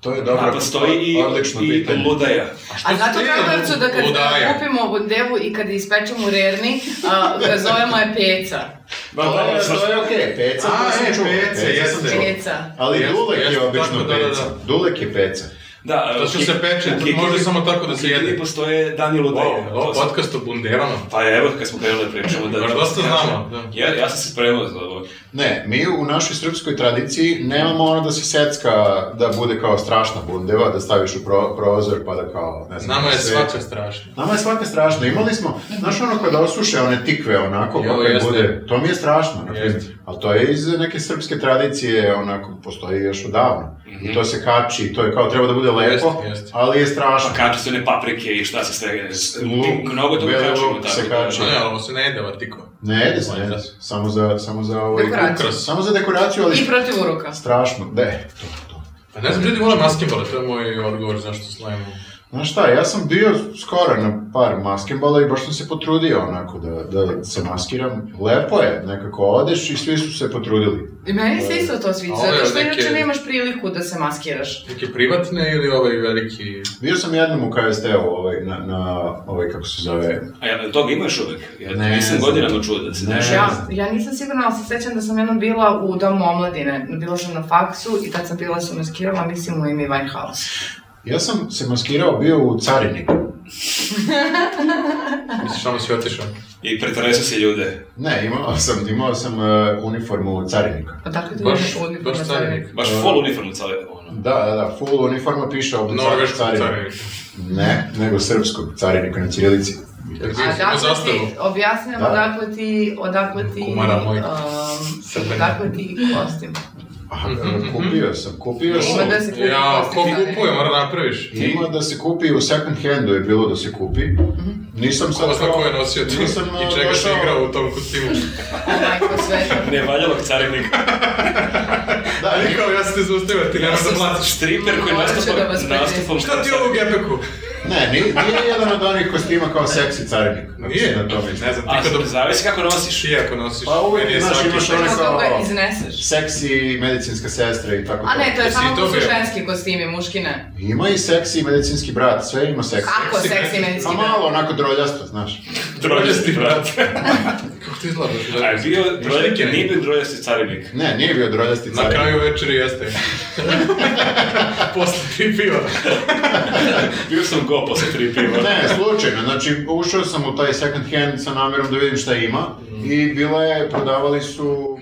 To je A dobro. postoji i, Odlično i pitanje. ludaja. A zato ste jedan Kragujevcu da kad ludaja? kupimo bundevu i kad je ispečemo u rerni, a, ga zovemo je peca. To je, to je okej, peca. A, to sam e, čuo. pece, sam jeste. čuo. Peca. Ali Jeste, dulek je jeste, obično tako, da, da, peca. da. Dulek je peca. Da, To što se peče, to može samo tako da se jede. I postoje dani ludaja. Wow, ovo To sam- podcast o bundevama. Pa evo, kad smo krenuli da pričamo da... Baš dosta znamo, da. Ja, ja sam se spremao za ovo. Ne, mi u našoj srpskoj tradiciji nemamo ono da se secka da bude kao strašna bundeva, da staviš u pro- prozor pa da kao, ne znam, Nama je sveća. svaka strašna. Nama je svaka strašna. Imali smo, znaš ono kada osuše one tikve onako, Jo, pa kad jeste. bude, to mi je strašno, na primjer. Jeste. Ali to je iz neke srpske tradicije, onako, postoji još odavno. I to se kači, to je kao treba da bude lepo, Mhm. jeste. ali je strašno. Pa kače su one paprike i šta se sve... Luk, mnogo toga beli kačemo. luk tako se da- kači. Ne, ali ovo se ne jede, va tikva. Ne jede se, ne jede se. Samo za, samo za ovaj Dekoraciju. ukras. Samo za dekoraciju, ali I protiv uroka. strašno. De, to, to. Pa ne znam, ljudi vole maskebale, to je moj odgovor zašto slavimo. Znaš šta, ja sam bio skoro na par maskembala i baš sam se potrudio onako da, da se maskiram. Lepo je, nekako odeš i svi su se potrudili. I meni se isto to sviđa, A ovo je zato što neke- inače nemaš priliku da se maskiraš. Neki privatne ili ovaj veliki... Bio sam jednom u KST-u ovaj, na, na ovaj, kako se zove, A ja, toga imaš uvek. Ja Ne nisam znam. godinama čuo da se Ne. dešava. Ja, ja nisam sigurna, ali se sećam da sam jednom bila u domu omladine. Bila sam na faksu i tad sam bila se maskirala, mislim u imi Winehouse. ja sam se maskirao bio u cariniku. Misliš, samo si otišao. I pretresu se ljude. Ne, imao sam, imao sam e, uniformu carinika. Odakle ti Baš, imaš uniformu baš na carinik. Baš full uniformu cale. Ono. Da, da, da, full uniforma piše ovdje Norveško carinik. carinik. Ne, nego srpskog carinika na cijelici. Jer A ima dakle zastavu. ti, objasnim Da. odakle ti, odakle ti, Kumara moj. um, Srbin. odakle ti kostim. Aha, kupio sam, kupio sam. Ima da se kupi Ja, kostim, ko da ne? kupuje, mora napraviš. Ima da se kupi, u second handu je bilo da se kupi. Nisam sad Mhm. Ko zna ko je nosio to nisam, ono, i čega se došao- igrao u tom kostimu. O, Majko sveta. Ne valjalog carinika. Da, Ali kao, ja sam te zaustavio, ti nema Ja da sam platiš. striper koji Morat ću nastupa, da vas pritisnem. nastupom... Šta ti je ovo u gepeku? ne, nije, nije jedan od onih kostima kao seksi carinik. Znači, Nije, Na tome. ne znam, A, ti kad zavisi kako nosiš. ti ako nosiš. Pa uvijek, meni je znaš, svaki imaš šest. one Kako kao ga izneseš? seksi medicinska sestra i tako A ne, to. to je Jesi samo i to to su bio? ženski kostimi, muški ne. Ima i seksi medicinski brat, sve ima seksi. Kako Seksi seksi ne. medicinski Pa malo onako droljasto, znaš. Drojasti brat. Kako ti izgledaš? A je bio drojasti, nije bio drojasti carinik. Ne, nije bio droljasti Na carinik. kraju večeri jeste. Posle tri piva. Bio sam go posle tri piva. Ne, slučajno, znači ušao sam u taj second hand sa namjerom da vidim šta ima i Mhm. bila je, prodavali su...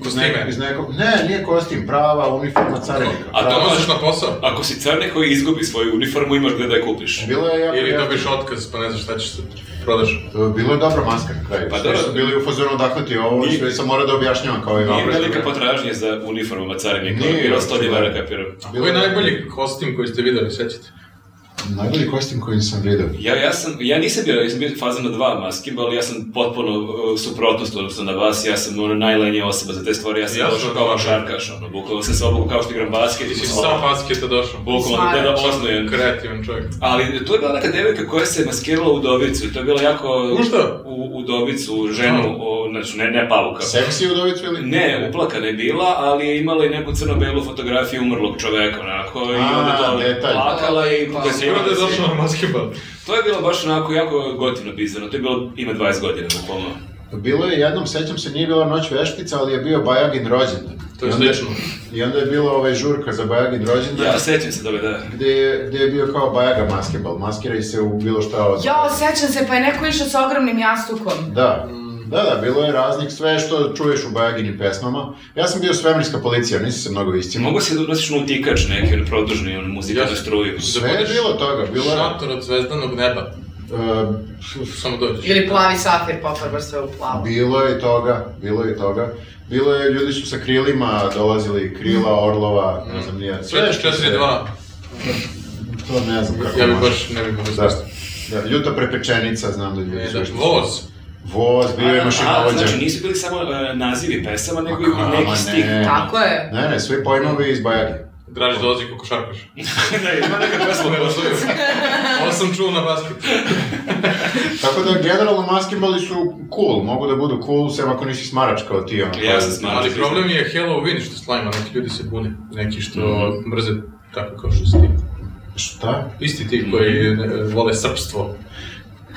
Iz, Kostime. iz nekog, ne, nije kostim, prava uniforma carinika. A to Da prava- možeš na posao. Ako si carnik koji izgubi svoju uniformu, imaš gde da je kupiš. Bilo je jako... Ili jako- dobiš otkaz, pa ne znaš šta ćeš da prodaš. Bilo je dobra maska na kraju. Pa Pa dobro. su bili u fazonu odakle ti ovo, Nije- sve sam morao da objašnjavam kao i Nije vama. velika potražnja za uniformama carinika. Nije, Bilo 100 očigledno. dinara kapiram. Koji je najbolji kostim koji ste videli, sećate? Najbolji kostim koji sam vidio. Ja, ja, sam, ja nisam bio, ja sam bio fazan na dva maskimba, ali ja sam potpuno uh, suprotnost odnosno na vas, ja sam ono najlenija osoba za te stvari, ja sam Ja sam došao kao šarkaš, ono, bukvalno sam se obukao kao što igram basket, Ti si ono, sam ono, basketa došao. bukvalno da da osnojem. Kreativan čovjek. Ali tu je bila neka devojka koja se maskirala u dobicu i to je bilo jako... U šta? U, u dobicu, ženu, o, znači ne, ne pavuka. Seksi udovicu ili? Ne, uplakana je bila, ali je imala i neku crno-belu fotografiju umrlog čoveka, onako, i A, onda to detalj. plakala i... Da si imao da je došao na basketbal. To je bilo baš onako jako gotivno bizarno, to je bilo, ima 20 godina, bukvalno. Bilo je jednom, sećam se, nije bila noć veštica, ali je bio Bajagin rođendan. To je I onda- slično. I onda je bilo ovaj žurka za Bajagin rođendan. Ja sećam se toga, da. Gde je, gde je bio kao Bajaga maskebal, maskiraj se u bilo šta od... Ja, osjećam se, pa je neko išao sa ogromnim jastukom. Da. Da, da, bilo je raznih, sve što čuješ u Bajaginim pesmama. Ja sam bio svemirska policija, nisam se mnogo istimo. Mogu se da nosiš na utikač neki, on produžni, on muzika Ja- na struju. Sve je bilo toga, bilo je... Šator od zvezdanog neba. e, Samo dođeš. Ili plavi safir, pa farba sve u plavo. Bilo je i toga, bilo je i toga. Bilo je, ljudi su sa krilima dolazili, krila, orlova, ne znam nije. Sve što se- 4-2. To ne znam kako Ja bi može. baš, ne bi baš Zašto? Da, ljuta prepečenica, znam da ljudi Da, su išli. voz. Voz, bio je A, mašinovođa. znači nisu bili samo e, nazivi pesama, nego i Ma, Pa, ma, neki stih. ne. Tako je. Ne, ne, svi pojmovi iz Bajagi. Draži dolazi kako šarkaš. da, ima neka pesma. Ne razumijem. Ovo sam čuo na basketu. Tako da, generalno, maskembali su cool, mogu da budu cool, sem ako nisi smarač kao ti, ono. Ja sam smaran. Ali problem je Halloween što slajma, neki ljudi se bune, neki što Mhm. mrze tako kao što si ti. Šta? Isti Mhm. ti koji e, vole srpstvo.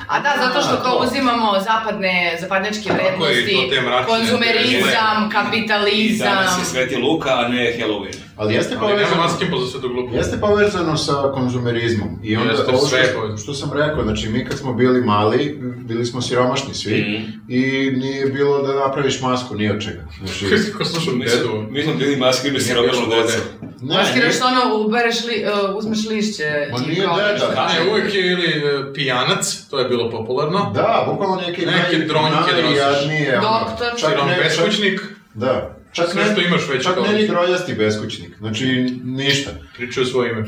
A da, zato A, što kao to. uzimamo zapadne, zapadnečke je, i to vrednosti, te mračne konzumerizam, I danas je kapitalizam. Sveti Luka, a ne Halloween. Ali jeste Ali nema povezano... maskim za sve do glupo. Pa Jeste povezano sa konzumerizmom. I onda Jeste, ovo sve je što, povezano. što sam rekao, znači mi kad smo bili mali, bili smo siromašni svi Mhm. i nije bilo da napraviš masku ni od čega. Znači, Kako slušam Mi smo- dedu. Mi smo bili maskirani i siromašno bilo deca. ne, Maskiraš nije- ono, ubereš li, uh, uzmeš lišće. Ma i nije kao- deda. Ne, uvijek je ili e, pijanac, to je bilo popularno. Da, bukvalno neki Neke naj- dronjke najjadnije, ono, Doktor. čak Sirom ne- beskućnik, Da. Čak Sve ne- što imaš već Čak kao- ne ni droljasti beskućnik. Znači, ništa. pričaju svoje ime.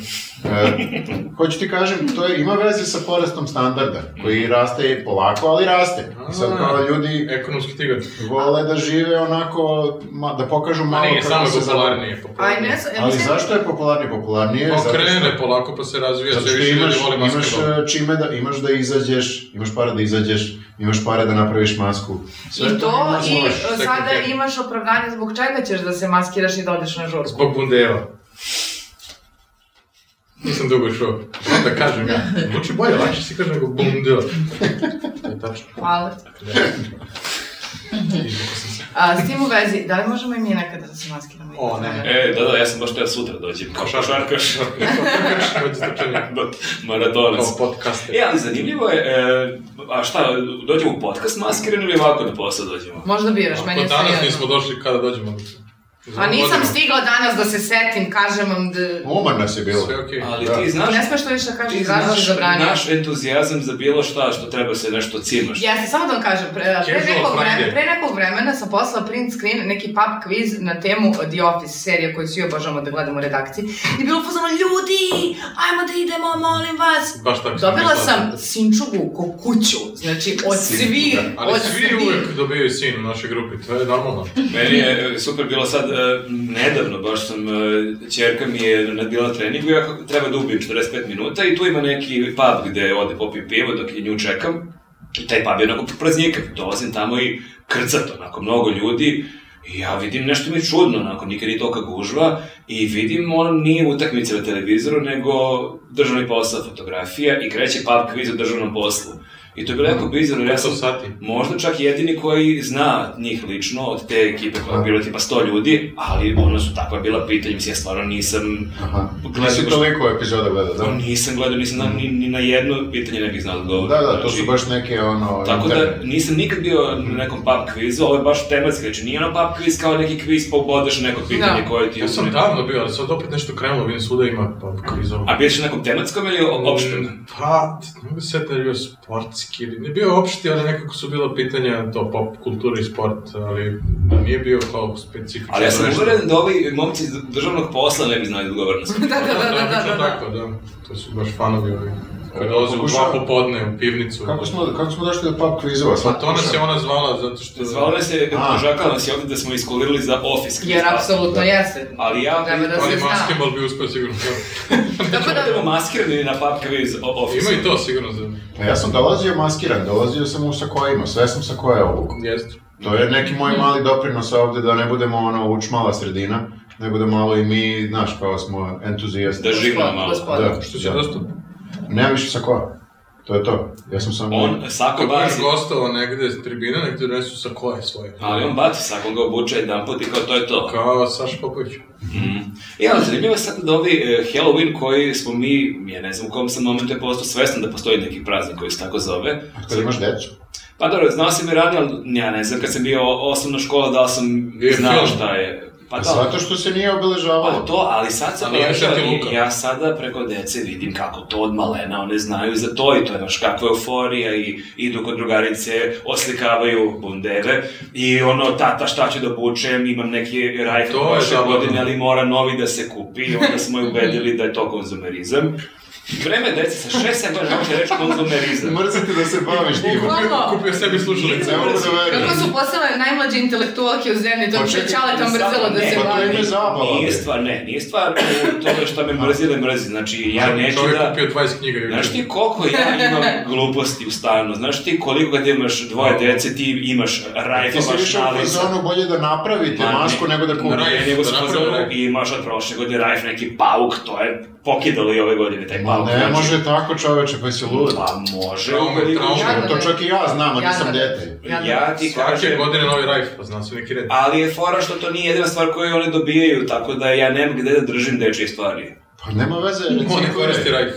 E, hoću ti kažem, to je, ima veze sa porastom standarda, koji raste polako, ali raste. I sad kao ljudi Ekonomski tigar. vole da žive onako, ma, da pokažu Ma malo nije, samo je zabavi. popularnije. Aj, popularnije. ne znam, ja Ali E, mislim- zašto je popularnije? Popularnije je Pa zato što, krene polako pa se razvija, zato sve što više ljudi imaš, vole imaš basketbol. e, čime da, imaš da izađeš, imaš para da izađeš, imaš pare da napraviš masku. I to, imaš, i možeš. uh, sve sada konkretno. imaš opravdanje zbog čega ćeš da se maskiraš i da odeš na žurku. Zbog bundeva. Nisam dugo čuo. Šta da kažem ja? Zvuči bolje, lakše si kaže nego bundeva. To je tačno. Hvala. Izvukao sam se. A, s tim u vezi, da li možemo i mi nekada da se maskiramo? O, ne. E, da, da, ja sam baš teo sutra dođem. Kao šarkaš. Kako je strčanje? Da, Maratonac. Kao podcaster. E, ali zanimljivo je, e, a šta, dođemo u podcast maskiran ili ovako na posao dođemo? Možda biraš, Ako meni je Pa danas sve nismo jedno. došli, kada dođemo? A nisam stigao. stigla danas da se setim, kažem vam da... Umar nas je bilo. Sve okej. Ali Da. ti znaš, Ne smeš to više da ti kažeš, razloži znaš za branje. naš entuzijazam za bilo šta, što treba se nešto cimaš. Jeste, samo da vam kažem, pre, pre, Casual nekog Friday. vremena, pre nekog vremena sam poslala print screen, neki pub quiz na temu The Office, serija koju svi obožavamo da gledamo u redakciji. I bilo pozvano, ljudi, ajmo da idemo, molim vas. Baš tako. Dobila mislila. sam sinčugu ko kuću, znači od svih, Ali od svi svih. uvijek dobijaju sin u našoj grupi, to je normalno. Meni je e, super bilo sad, e, nedavno baš sam, e, ćerka mi je na- bila na treningu, ja kako- treba da ubijem 45 minuta i tu ima neki pub gde ode popim pivo dok je nju čekam. I taj pub je onako praznjikav, dolazim tamo i krcat onako, mnogo ljudi. I ja vidim nešto mi je čudno, onako, nikad nije toka gužva. I vidim, ono nije utakmica na televizoru, nego državni posao, fotografija i kreće pub kviz o državnom poslu. I to je bilo jako Mm. bizarno, jer ja Ja sam sam sati. možda čak jedini koji zna njih lično od te ekipe koja je bilo tipa 100 ljudi, ali ono su takva bila pitanja, mislim ja stvarno nisam Aha. gledao, Nisi toliko epizoda gledao, da? Pa nisam gledao, nisam znao ni, ni na jedno pitanje ne bih znao odgovor. Da, da, to su Znači, baš neke ono... Tako interne. da nisam nikad bio na nekom pub kvizu, ovo je baš tematski, znači nije ono pub kviz kao neki kviz pa ubodaš neko pitanje Da. koje ti... Ja sam davno bio, ali sad opet nešto krenulo, vidim svuda ima pa kriza. Mm, E, A bio si na nekom tematskom ili o- opštem? Pa, ne mogu se setiti da je bio sport, tematski, ili ne bio opšti, ali nekako su bila pitanja to pop kultura i sport, ali da nije bio kao specifično. Ali ja sam nešto. uveren da ovi momci iz državnog posla ne bi znali da odgovore na sve. Da, da, da, da, da, Obično da, da. tako, da. To su baš fanovi ovi. Kad Kako dolaze u dva pokušava- popodne u pivnicu. Kako smo, kako smo došli do pub kvizova? Pa to nas je ona zvala zato što... Zvala nas je, A. požakala nas je ovde da smo iskolirali za office. Jer apsolutno jeste. Ali ja- Treba da Ali se zna. basketbal bi uspeo sigurno. Tako da, Idemo maskirani na pub quiz o- office. Ima i to sigurno za... Pa ja sam dolazio maskiran, dolazio sam u sakojima, sve sam sakoje obuku. Jeste. To je neki moj mali doprinos ovde da ne budemo ono učmala sredina, nego da malo i mi, znaš, kao smo entuzijasti. Da živno malo. gospodin. Da, Što što će će dosta? Nema više sakoa. To je to. Ja sam Mm. samo... On sako Ako budeš baci, gostovao negde s tribine, nek ti donesu sa koje svoje. ali on baci sako, on ga obuče jedan put i kao to je to. Kao Saš Popović. I onda zanimljivo je sad da ovi e, Halloween koji smo mi, ja ne znam u kom sam momentu je postao svestan da postoji neki praznik koji se tako zove. Kad imaš decu. Pa dobro, znao sam i ranije, ali ja ne znam, kad sam bio osnovna škola, da li sam Bio je znao film. šta je. Pa da, Zato što se nije obeležavalo. Pa to, ali sad sam Ali ja ležao ti i Luka. ja sada preko dece vidim kako to od malena, one znaju za to i to je naš kakva euforija i idu kod drugarice, oslikavaju bundeve i ono, tata šta ću da bučem, imam neki rajfel To je prošle zabavno. godine, ali mora novi da se kupi i onda smo je ubedili da je to konzumerizam. Vreme dece sa 6-7 godina uopšte reći konzumerizam. Mrzite da se baviš tim. Bukvalno, Kupio sebi slušalice. Ne ono. mogu da kako verujem. su postale najmlađe intelektualke u zemlji, to Pa je čekaj, čale tam mrzelo da se Ne, to bavi. ime zabava, Nije bre. stvar, ne, nije stvar u tome što me mrzi ili mrzi, znači ja neću Čovjek da... kupio 20 knjiga i Znaš ti koliko ja imam gluposti u stanu, znaš ti koliko kad imaš dvoje dece ti imaš rajfa, Ti si imaš više u nalica. fazonu bolje da napravite Ma ne. masku nego da Na kupite. raj- Ne, nego sam Da napravim fazonu rajf. i imaš od prošle godine rajf neki pauk, to je pokidalo i ove godine taj pauk. Pa Ne znači, može tako čoveče, pa si lud. Pa može. Trauma je ukoliko- trauma. Jadno To je. čak i ja znam, a nisam Jadno je. dete. Jadno je. Ja ti Svake kažem, godine novi rajf, pa zna se neki red. ali je fora što to nije jedina stvar koju one dobijaju, tako da ja nemam gde da držim dečije stvari. Pa nema veze, On ne koristi recikliraj. rajf.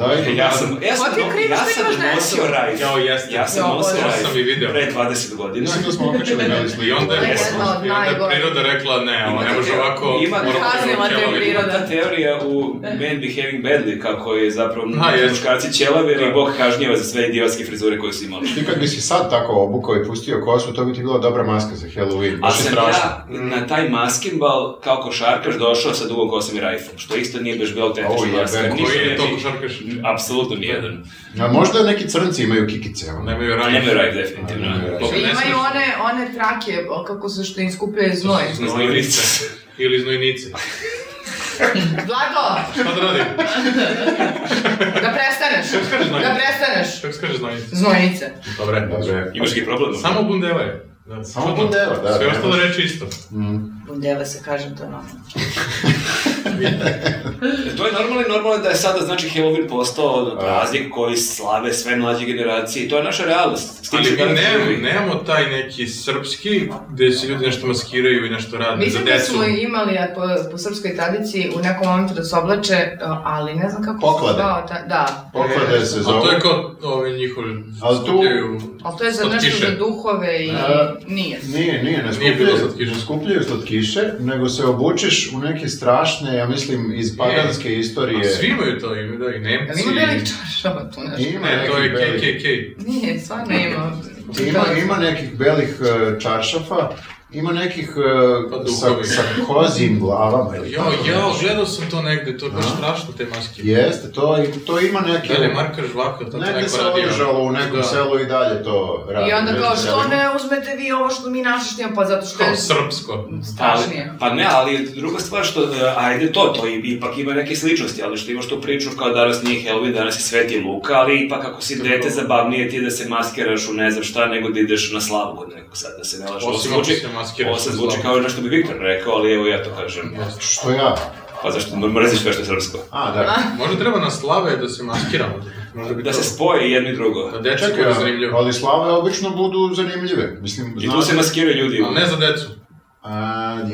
Daj, Ja sam, ja sam, Ko ti je no- kriv ja što sam imaš nešto? nosio rajf. Jao, jeste. Ja sam Jao, nosio Bože. rajf. Sam i video. Pre 20 godina. mislim da smo okačili bili sliku. I onda je, E, Jedno od i onda je najgorih. priroda rekla ne, ovo ne može ovako... Ima moramo kaznila te ćelavima. priroda. ta teorija u Men Behaving Badly, kako je zapravo Ha, jest. muškarci ćelavi, jer je Bog kažnjava za sve idiotske frizure koje su imali. Ti kad bi si sad tako obukao i pustio kosu, to bi ti bila dobra maska za Halloween. A Baš je sam strašno. ja na taj maskinbal kao košarkaš došao sa dugom kosom i rajfom, što isto nije baš bilo autentično Au, jebe, maska. koji Ništa Koji je ne to bi- košarkaš? Apsolutno nijedan. A možda neki crnci imaju kikice, ono. Nemaju A rajf. nemaju rajf definitivno. Nemaju rajf. Bog ne smije. Imaju one, one trake, o, kako se što im skupljaju znoj. Znojnice. Ili znojnice. Blago, Šta da radim? da prestaneš, da prestaneš. Kako se kaže znojnice? Znojnice. Dobre. Dobre. Imaš ki problem? Samo bundeva je. Da, Samo bundeva, da, Sve nemaš. ostalo reči isto. Bundeva se kažem to je normalno. To je normalno i normalno je da je sada znači Halloween postao praznik koji slave sve mlađe generacije i to je naša realnost. S tim Ali se mi danas nemamo, živi. nemamo taj neki srpski gde se ljudi nešto maskiraju i nešto rade za Mislim da decu. smo imali a, po, po srpskoj tradiciji u nekom momentu da se oblače, a, ali ne znam kako Poklade. se zvao. Ta, da. Poklade se A to zove. je kao ove njihove Ali tu- skupljaju... Ali to je za Od nešto kiše. za duhove i E, nije. Nije, nije, ne Nije bilo skupljaju, slatkiše. ne skupljaju slatkiše, nego se obučeš u neke strašne, ja mislim, iz paganske E, A istorije. svi imaju to ime, da, i Ali Nemci. ima belih čaršava tu nešto. Ima Ne, to nekih je belih- KKK. Nije, stvarno ima. Ima, ima nekih belih e, čaršafa, ima nekih e, Pa sa, duhovi. sa kozim glavama ili Jo, tako jo, nešto. gledao sam to negde, to je baš strašno te maske. Jeste, to, to ima neke... Da li je Marka Žvaka, to ti Negde neko se radi. održalo u nekom Da. selu i dalje to radi. I onda Ne kao, znam, što ja ne uzmete vi ovo što mi naše što imamo, pa zato što je Kao srpsko. Ali, strašnije. pa ne, ali druga stvar što, e, ajde to, to i- ipak ima neke sličnosti, ali što imaš tu priču kao danas nije Halloween, danas je Sveti Luka, ali ipak ako si dete zabavnije ti je da se maskiraš u ne znam šta, nego da ideš na slavu od nekog sad, da se ne lažeš. Ovo Osim ako se maskiraš Ovo se na zvuči slavu. kao nešto ono bi Viktor rekao, ali evo ja to kažem. Što ja? Pa zašto mrziš sve što je srpsko? A, da. Možda treba na slave da se maskiramo. Možda bi Da to- se spoje jedno i drugo. Da dečak Čekaj, bude ja, zanimljivo. ali slave obično budu zanimljive. Mislim, I tu se maskiraju ljudi. Ali ne za decu. A,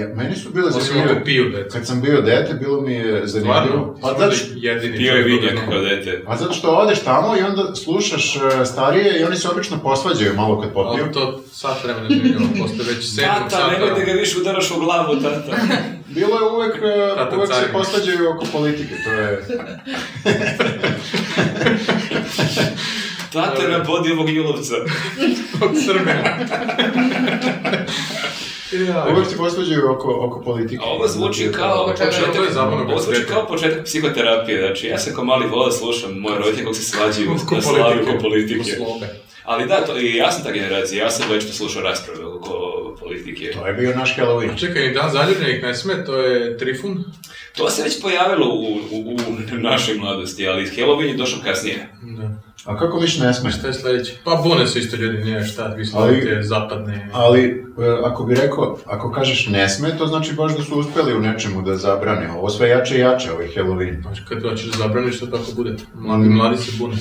ja, meni su bile Osim zanimljive. ako piju decu. Kad sam bio dete, bilo mi je zanimljivo. Stvarno, Pa smo zato, bili jedini. Pio je čovjek vinjak koji kao je dete. a zato što odeš tamo i onda slušaš e, starije i oni se obično posvađaju malo kad znao. popiju. Ali to sat vremena življamo, postoje već sedmog Znači, Tata, sata. nemoj da ga više udaraš u glavu, tata. Bilo je uvek, e, Tata uvek se carina. posvađaju oko politike, to je... Tata na bodi ovog julovca. od Srbe. ja, Uvijek ti posveđaju oko, oko politike. A ovo zvuči kao Ovo čega- početak, ovo je zabavno ovo zvuči besprekorno. kao početak psihoterapije, znači ja sam kao mali vola slušam moje roditelje kako se svađaju Oko na slavi politike. oko politike. Oko slobe. Ali da, to, i ja sam ta generacija, ja sam već to slušao rasprave oko politike. To je bio naš Halloween. Čekaj, ni dan zaljubljenih ne sme, to je Trifun. To se već pojavilo u, u, u našoj mladosti, ali Halloween je došao kasnije. Da. A kako miš ne smeš? Šta je sledeće? Pa bune su isto ljudi, nije šta, vi slavite zapadne. Ali, e, ako bi rekao, ako kažeš ne sme, to znači baš da su uspeli u nečemu da zabrane. Ovo sve jače i jače, ovaj Halloween. Znaš, kad hoćeš da zabraniš, to tako bude. Mladi, mladi se bune.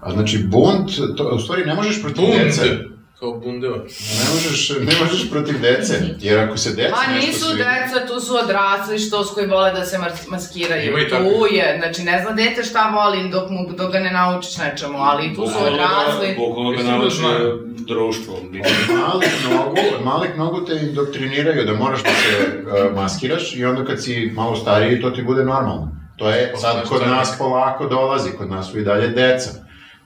A znači, bunt, to, u stvari ne možeš protiv dece. Bunde! Kao bundeva. Ne možeš, ne možeš protiv dece, jer ako se deci Ma nešto nisu sviđa- deca, tu su odrasli što s koji vole da se mas- maskiraju. Ima i tu takvih. je, znači ne zna dete šta voli dok, mu, dok ga ne naučiš nečemu, ali tu su Bukvalno ga- odrasli. Bukvalno ga Mislim da nauči znaju. društvo. Od malih nogu, od malih nogu te indoktriniraju da moraš da se e, maskiraš i onda kad si malo stariji to ti bude normalno. To je sad kod nas polako dolazi, kod nas su i dalje deca.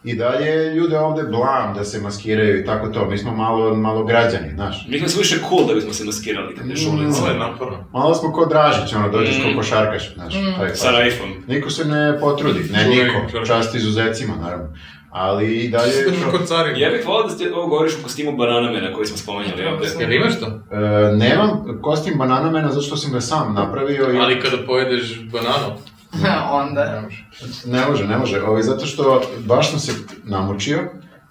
I dalje ljude ovde blam da se maskiraju i tako to. Mi smo malo, malo građani, znaš. Mm. Mi smo više cool da bismo se maskirali kad je šulin Ovo je sve. naporno. Malo smo ko Dražić, ono, dođeš ko košarkaš, znaš. taj Sa fazon. rajfom. Niko se ne potrudi, ne Čuveni niko, košarkaš. čast izuzecima, naravno. Ali i dalje... Slično kod carina. Ja bih volao da ste ovo govoriš u kostimu bananamena koji smo spomenjali ovde. Jel imaš to? E, nemam kostim bananamena zato što sam ga sam napravio i Ali kada pojedeš bananu, Onda. ne može, ne može. Ovaj, zato što baš sam se namučio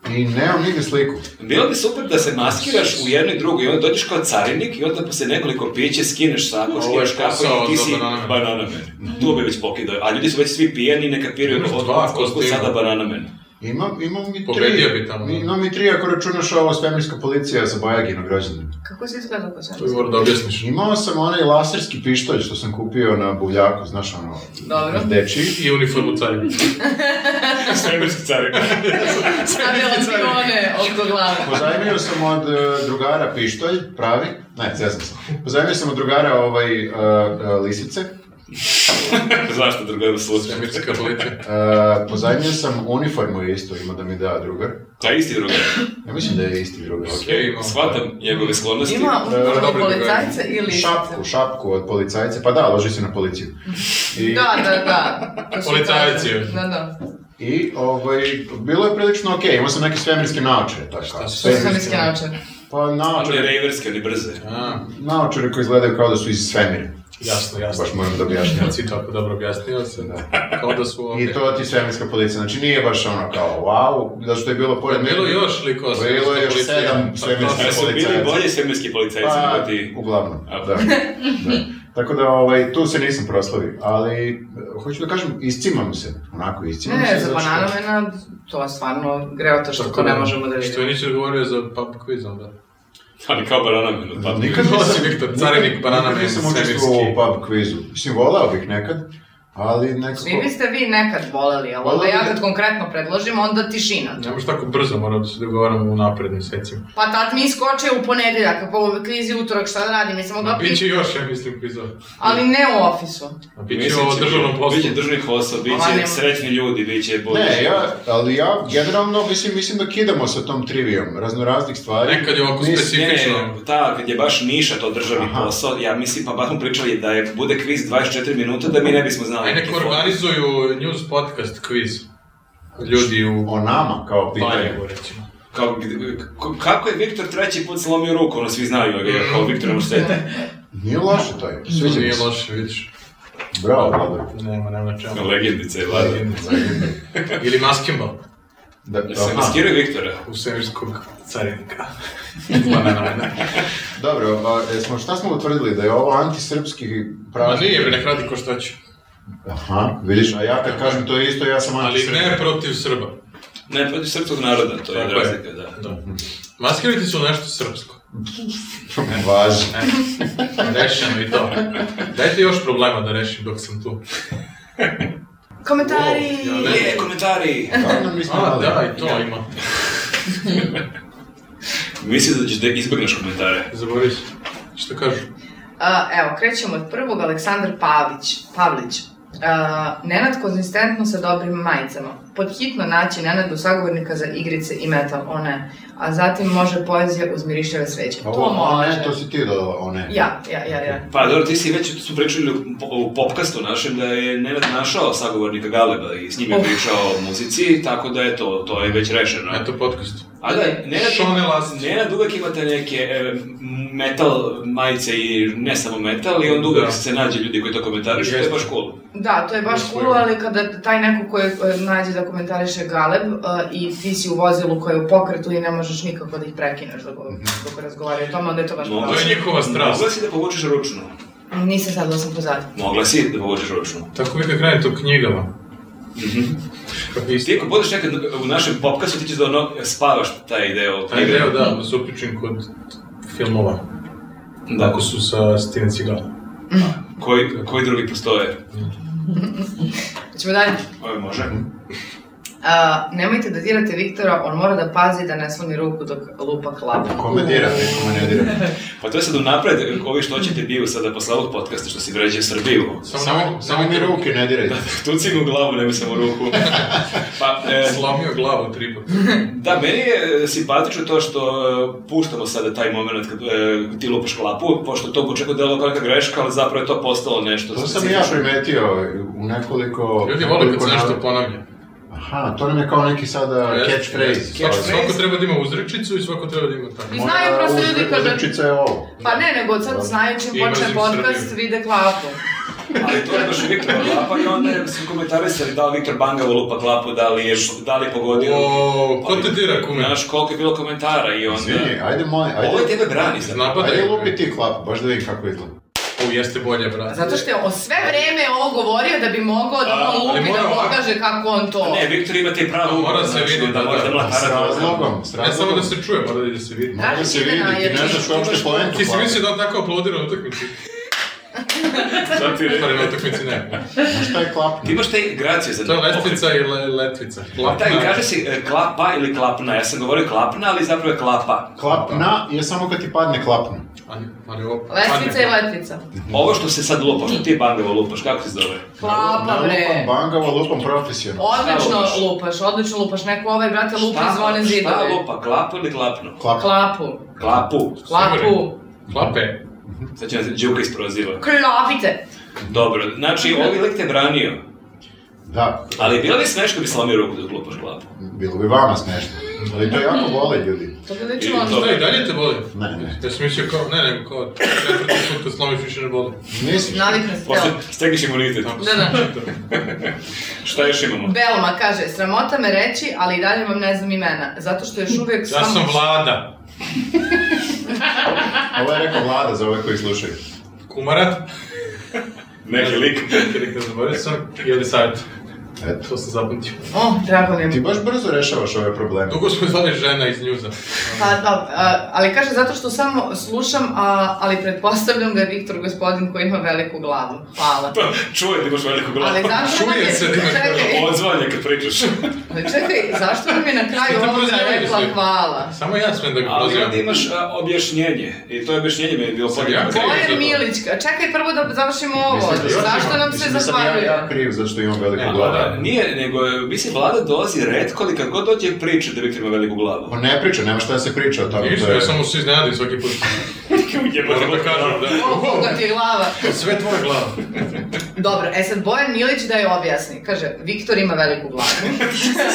i nemam nigde sliku. Bilo bi super da se maskiraš u jednu i drugu i onda dođeš kao carinik i onda posle nekoliko piće skineš sako, Ovo je skineš kapu posao i ti za si bananamen. bananamen. Tu bi već pokidao, a ljudi su već svi pijeni i ne kapiraju Imaš od dva od kostima. sada bananamen. Imam, imam mi Pobedio tri. bi tamo. Imam mi tri ako računaš ovo svemirska policija za Bojaginog rođendan. Kako si izgledao ko sam? to bi morao da objasniš. Imao sam onaj laserski pištolj što sam kupio na buljaku, znaš ono, Dobro. dečiji. I uniformu carina. Svemirski carinik. Stavila ti one oko glave. Pozajmio sam od e, drugara pištolj, pravi, ne, zezam sam. Pozajmio sam od drugara ovaj, e, e, lisice, Zašto drugom slučaju? Svemirska policija. E, pozajmio sam uniformu isto, ima da mi da drugar. Ta Pa isti drugar. Ja mislim da je isti drugar. Okej, imamo. Shvatam njegove sklonosti. Ima uniformu dobro, policajca ili... Šapku, šapku od policajca, pa da, loži se na policiju. I, Da, da, da. To su Policajci. kaže. Da, da. i ovaj, bilo je prilično okej, imao sam neke svemirske naočare, tako. Šta su To su sam iskinačar. Pa One naočare, rejverske, one brze. A, naočare koji izgledaju kao da su iz svemira. jasno, jasno. Baš moram da objašnjam. Kad si tako dobro objasnio se, kao da su ovdje. I to ti svemirska policija, znači nije baš ono kao wow, zato što je bilo pored Pa Bilo još Pa likova Bilo je još sedam svemirskih Ali su bili Policajci. bolji svemirski policajci Pa, nego ti. uglavnom, A. da. da. Tako da, ovaj, tu se nisam proslavio, ali e, hoću da kažem, iscimam se, onako iscimam Ne, se. za zato znači što- bananamena, to je stvarno greota što to ne možemo da Što vidimo. je nisi odgovorio za pub quiz onda. Ali kao pa bananamen od Mhm. tada. Nikad Hvala, nisam, Pa Viktor, carinik nikad- banana nikad man, nisam svemirski. učestvovao u pub kvizu. Mislim, volao bih nekad, ali nekako... Svi biste vi nekad voleli, ali onda Voleli. ja kad konkretno predložim, onda tišina. Ne možeš tako brzo, moram da se dogovaramo u napred mesecima. Pa tad mi iskoče u ponedeljak, pa u krizi utorak, šta da radim, nisam mogla Biće piti, još, ja mislim, quizova. ali ne u ofisu. A Biće o državnom poslu. poslu. Biće državnih posla, Ova biće nema. srećni ljudi, biće bolje. Ne, ja, ali ja generalno mislim, mislim da kidamo sa tom trivijom, raznoraznih stvari. Nekad je ovako Mislim- Ne, ne, specifično. ta, kad je baš niša to državni Aha. posao, ja mislim, pa baš smo pričali da je, bude kviz 24 minuta, da mi ne bismo znali. Aj neko neki fond. organizuju news podcast quiz. Ljudi u O nama, kao pitanje. Valjevu, recimo. Kao, gd- k- kako je Viktor treći put slomio ruku, ono svi znaju ga, kao Viktor nam štete. Nije loše to je, sviđa mi Nije se. loše, vidiš. Bravo, Vlado. Nema, nema na čemu. Legendica je vlada. Ili maskembal Da, Da se aha. maskiraju Viktora. u semirskog carinika. Banana. Dobro, a, jesmo, šta smo utvrdili? Da je ovo antisrpski Ma praznik? Pa nije, bre, nek radi ko šta će. Aha, vidiš, a ja kad kažem to isto, ja sam Ali antisrpski. ne protiv Srba. Ne, protiv srpskog naroda, to je Tako je. razlika, da. Da. Maskirajte se u nešto srpsko. Važi. Rešeno i to. Dajte još problema da rešim dok sam tu. Komentari! O, ja ne- E, komentari! Da, nam nismo A, dali. da, i to ima. Mislim da ćeš da izbjegneš komentare. Zaboravio sam. Šta kažu? A, evo, krećemo od prvog, Aleksandar Pavić. Pavlić. Uh, Nenad konzistentno sa dobrim majicama. Podhitno naći Nenadu sagovornika za igrice i metal, o ne. A zatim može poezija uz mirišljave sveće. to Pa Ovo, a može. ne, to si ti dodala, o ne. Ja, ja, ja, ja. Pa dobro, ti si već su pričali u po- u popkastu našem da je Nenad našao sagovornika Galeba i s njim je Oh. Uf. pričao o muzici, tako da je to, to je već rešeno. Eto podcast. A da, Nenad, Šone Lazić. Nenad uvek ima te neke e, metal majice i ne samo metal i onda uvek Da. se nađe ljudi koji to komentarišu, to je Jeste. baš cool. Da, to je baš cool, ali kada taj neko koji e, nađe da komentariše Galeb e, i ti si u vozilu koje je u pokretu i ne možeš nikako da ih prekineš dok, Mhm. dok razgovaraju o tome, onda je to baš Mogla To problem. je njihova strast. Mogla si da povučeš ručno. Nisam sad da sam pozadnja. Mogla si da povučeš ručno. Tako uvijek krene to knjigama. Mhm. Ti ako budeš nekad u našem popkastu, ti ćeš da ono spavaš taj deo. Taj deo, Pa da, se upričim kod filmova. Da. Tako su sa Steven Seagalom. Koji, koji drugi postoje? Ćemo dalje. Ovo može. A, nemojte da dirate Viktora, on mora da pazi da ne slomi ruku dok lupa hlapa. Kome dira, kome ne dira. Pa to je sad unapred, ovi što ćete biju sada posle ovog podcasta što si vređe Srbiju. Samo, samo mi ruke ne dirajte. Tuci mi u glavu, ne mislim u ruku. pa, e, Slomio glavu tri puta. da, meni je e, simpatično to što e, puštamo sada taj moment kad e, ti lupaš klapu, pošto to počekao delo kao neka greška, ali zapravo je to postalo nešto. To sam i ja specifično. primetio u nekoliko... Ljudi vole kad se nekoliko nešto navr- ponavlja. Aha, to nam je kao neki sada Jeste, catchphrase. jeste. Znači, Svako treba da ima uzrečicu i svako treba da ima tako. I znaju prosto ljudi kada... kada... Uzrečica je ovo. Pa ne, nego sad znaju čim Ima počne zim podcast, Srbiju. vide klapu. Ali to je baš Viktor klapa i onda je- su komentarisali da li Viktor Banga lupa klapu, da li je, da li je pogodio. O, ko te dira, kume? Znaš koliko je bilo komentara i onda... Izvini, ajde moj, Ovo je ajde... tebe brani sad. Napadaj. Ajde lupi ti klap, baš da vidim kako izgleda. O, jeste bolje, brate. Zato što je o sve vreme ovo govorio da bi mogao da A, on ali lupi da mora ovako. pokaže kako on to... Ne, E, Viktor ima te pravo. Mora se znači, vidjeti, da, da, možda da. mlatara S dobro. razlogom, s Ne E, samo razlogom. da se čuje, mora da i da se vidi. Da, Može se vidi, ti ne znaš uopšte poentu Ti si klape. mislio da on tako aplaudira na utakmici? Sad ti Stvari na utakmici ne. Znaš šta je klap? Ti imaš te gracije za To je pokret. lestvica i le, letvica. Pa Platna. Taj, kaže si e, klapa ili klapna, ja sam govorio klapna, ali zapravo je klapa. Klapna je samo kad ti padne klapna. Ali, ali ovo... Lestvica i padne. letvica. Ovo što se sad lupa, što ti bandovo lupaš, kako se zove? Klapa, bre. Lupam bangava, lupam profesionalno. Odlično Šta lupaš? lupaš, odlično lupaš. Neko ovaj, brate, lupi Šta- zvone Šta zidove. lupa, klapu ili klapno? Klap. Klapu. Klapu. Klapu. Klape. Sad će nas Đuka isproziva. Klapite. Dobro, znači ovaj lik te branio. Da, Ali bilo bi smeško bi slomio ruku dok lupaš klapu? bilo bi vama smešno. Ali to jako boli ljudi. To bi I ličilo ono... to- Šta i dalje te boli? Ne, ne. Ja sam mislio kao, ne, nego kao, četvrti put te slomiš više ne boli. Nisi. Navikne se Posle telo. stekneš imunitet. Tako Da, sam da. čitao. Šta još imamo? Belma kaže, sramota me reći, ali i dalje vam ne znam imena, zato što još uvijek Ja samo... sam vlada. Ovo je rekao vlada za ove koji slušaju. Kumarat. Neki lik. Kada ga zaboravio sam, jeli savjet. Eto. To sam zapamtio. O, drago mi Ti je. baš brzo rešavaš ove probleme. Dugo smo zvali žena iz njuza. Pa, da, a, ali kaže, zato što samo slušam, a, ali pretpostavljam da je Viktor gospodin koji ima veliku glavu. Hvala. Čuje da imaš veliku glavu. Ali zašto nam Čuje je... se da ima Čekaj, Odzvanja kad pričaš. ali čekaj, zašto nam je na kraju Što te ovoga prozivaju rekla svi? hvala? Samo ja smem da ga Ali prozivam. onda imaš a, objašnjenje. I to je objašnjenje meni bilo Sam podjednako. ja kriv? za to. Bojan Milić, čekaj prvo da završimo ovo. Mislim da još Zašto ima- nam se mislim da sam ja- zahvaljuje? Ja kriv zašto imam Ne, veliku vlada, glavu. nije, nego, e, mislim, vlada dolazi redko, ali kad god dođe priča da Viktor ima veliku glavu. On ne priča, nema šta da se priča o tome. Ništa, to je- ja sam mu se iznenadim svaki put. Moram da kažem, O, koga ti je glava. da. Sve tvoja glava. Dobro, e sad Bojan Milić da je objasni. Kaže, Viktor ima veliku glavu.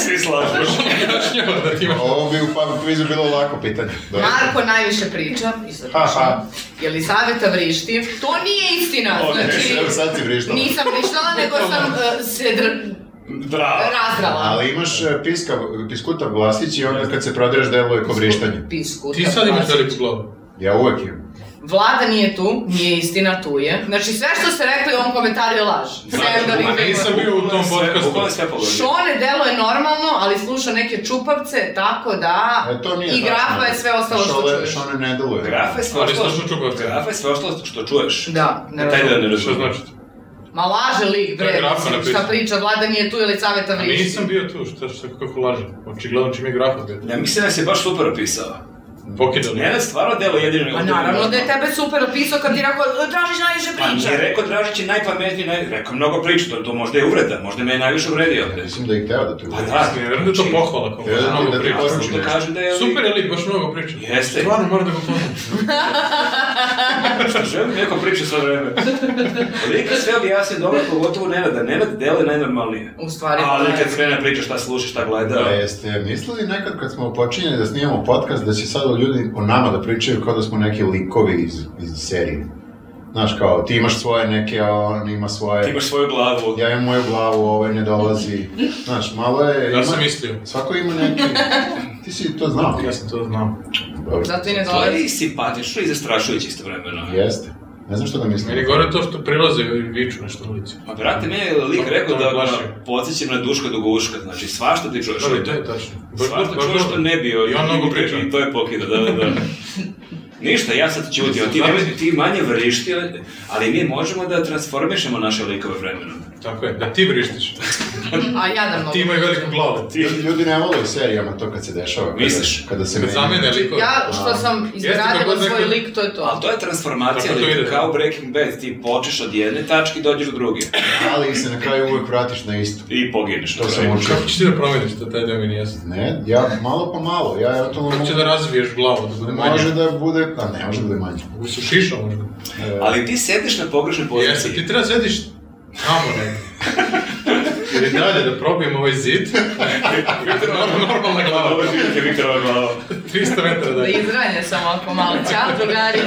Svi slažeš. Objašnjava da ti imaš. Ovo bi u pub kvizu bilo lako pitanje. Dobro. Marko najviše priča, isto priča. Aha. Jelisaveta vrišti. To nije istina, znači... Evo sad si vrištala. Nisam vrištala, nego sam uh, se dr... Bravo. razdrala. Ali imaš e, piska, piskutav glasić i onda kad se prodereš deluje ko vrištanje. Pisku. Ti sad imaš Znači, veliku glavu. Ja uvek imam. Vlada nije tu, nije istina, tu je. Znači sve što ste rekli u ovom komentaru je laž. Znači, Sve da A vi nisam bio u tom podcastu. Bukvalno sve pogodio. Šone deluje normalno, ali sluša neke čupavce, tako da... E, to nije I grafa je sve ostalo što Šole- čuješ. Šone ne deluje. Grafa je sve Ali ostalo slušam čupavce. Grafa je sve ostalo što čuješ. Da, ne Taj razumijem. deo ne Što razumem. znači? Ma laže lik, To je bre, grafa mislim, napisala. šta priča, vlada nije tu ili saveta A vrišti. nisam bio tu, šta, šta, kako lažem. Očigledno čim je grafa bio. Ja mislim da si baš super opisao. Pokidali. Nenad stvarno delo jedino nego... Pa naravno da je tebe super opisao kad ti je rekao, Dražić najviše Pa priča. nije rekao Dražić je najpametniji, naj... rekao je mnogo priča, to, to možda je uvreda, možda me je najviše uvredio. Mislim da je hteo da te Pa uvijek. da, Ne vjerujem da je to pohvala kao Ja, mnogo da ti priča. poruči što nešto. kažem da je... Super je lik, baš mnogo priča. Jeste. Stvarno moram da ga poznam. Što želim neko priča sa vreme. Lika sve objasni dobro, pogotovo Nenada. Nenad dele najnormalnije. U stvari, Ali da. kad krene priča šta sluša, šta gleda... Da, jeste mislili nekad kad smo počinjeli da snimamo podcast da će sad ljudi o nama da pričaju kao da smo neki likovi iz, iz serije. Znaš kao, ti imaš svoje neke, a on ima svoje... Ti imaš svoju glavu. Ja imam moju glavu, ovaj ne dolazi. Znaš, malo je... Ja sam ima- mislio. Svako ima neki... Ti si to znao. Ja sam to znao. Dobro. Zato i ne To je dolazi. i simpatično i zastrašujuće istovremeno. Jeste. Ne znam što da mislim. Meni je gore to što prilaze i viču nešto na ulici. Pa brate, meni je lik To- rekao to me da plaši. ono, podsjećam na Duška Duguška, znači svašta ti čuješ. Ali to je tačno. Baš, baš, Svašta baš, čuješ što dobro. ne bio. I on mnogo priča. I to je pokida, da, da, da. Ništa, ja sad ćutim, a znači- ti, nemoj, ti manje vrišti, ali- ali mi možemo da transformišemo naše likove vremenom. Tako je, da ti vrištiš. A ja da mnogo. Ti imaju veliku glavu. Ljudi, ljudi ne vole u serijama to kad se dešava. Kada, Misliš? Kada se Kad menja. zamene likove. Ja što sam Jeste, kako izgradila god svoj rekao- lik, to je Ali to. to je transformacija, Tako to ali ide. kao Breaking Bad, ti počeš od jedne tačke i dođeš do druge. Ali se na kraju uvek vratiš na isto. I pogineš. To na sam kraju. učio. Kako ćeš ti da promeniš to, taj deo mi nije jasno? Ne, ja malo po malo, ja eventualno Kako će mogu... da razviješ glavu, da bude manje? Može da bude, a ne može da bude manje. Su šiša možda. Ali ti sediš na pogrešnoj Jeste, ti poziciji. treba sediš tamo ne. Ili dalje da probijem ovaj zid. Normalna, normalna glava. je Viktorova glava. 300 metara Da dalje. izranje sam ovako malo. Ćao, drugari.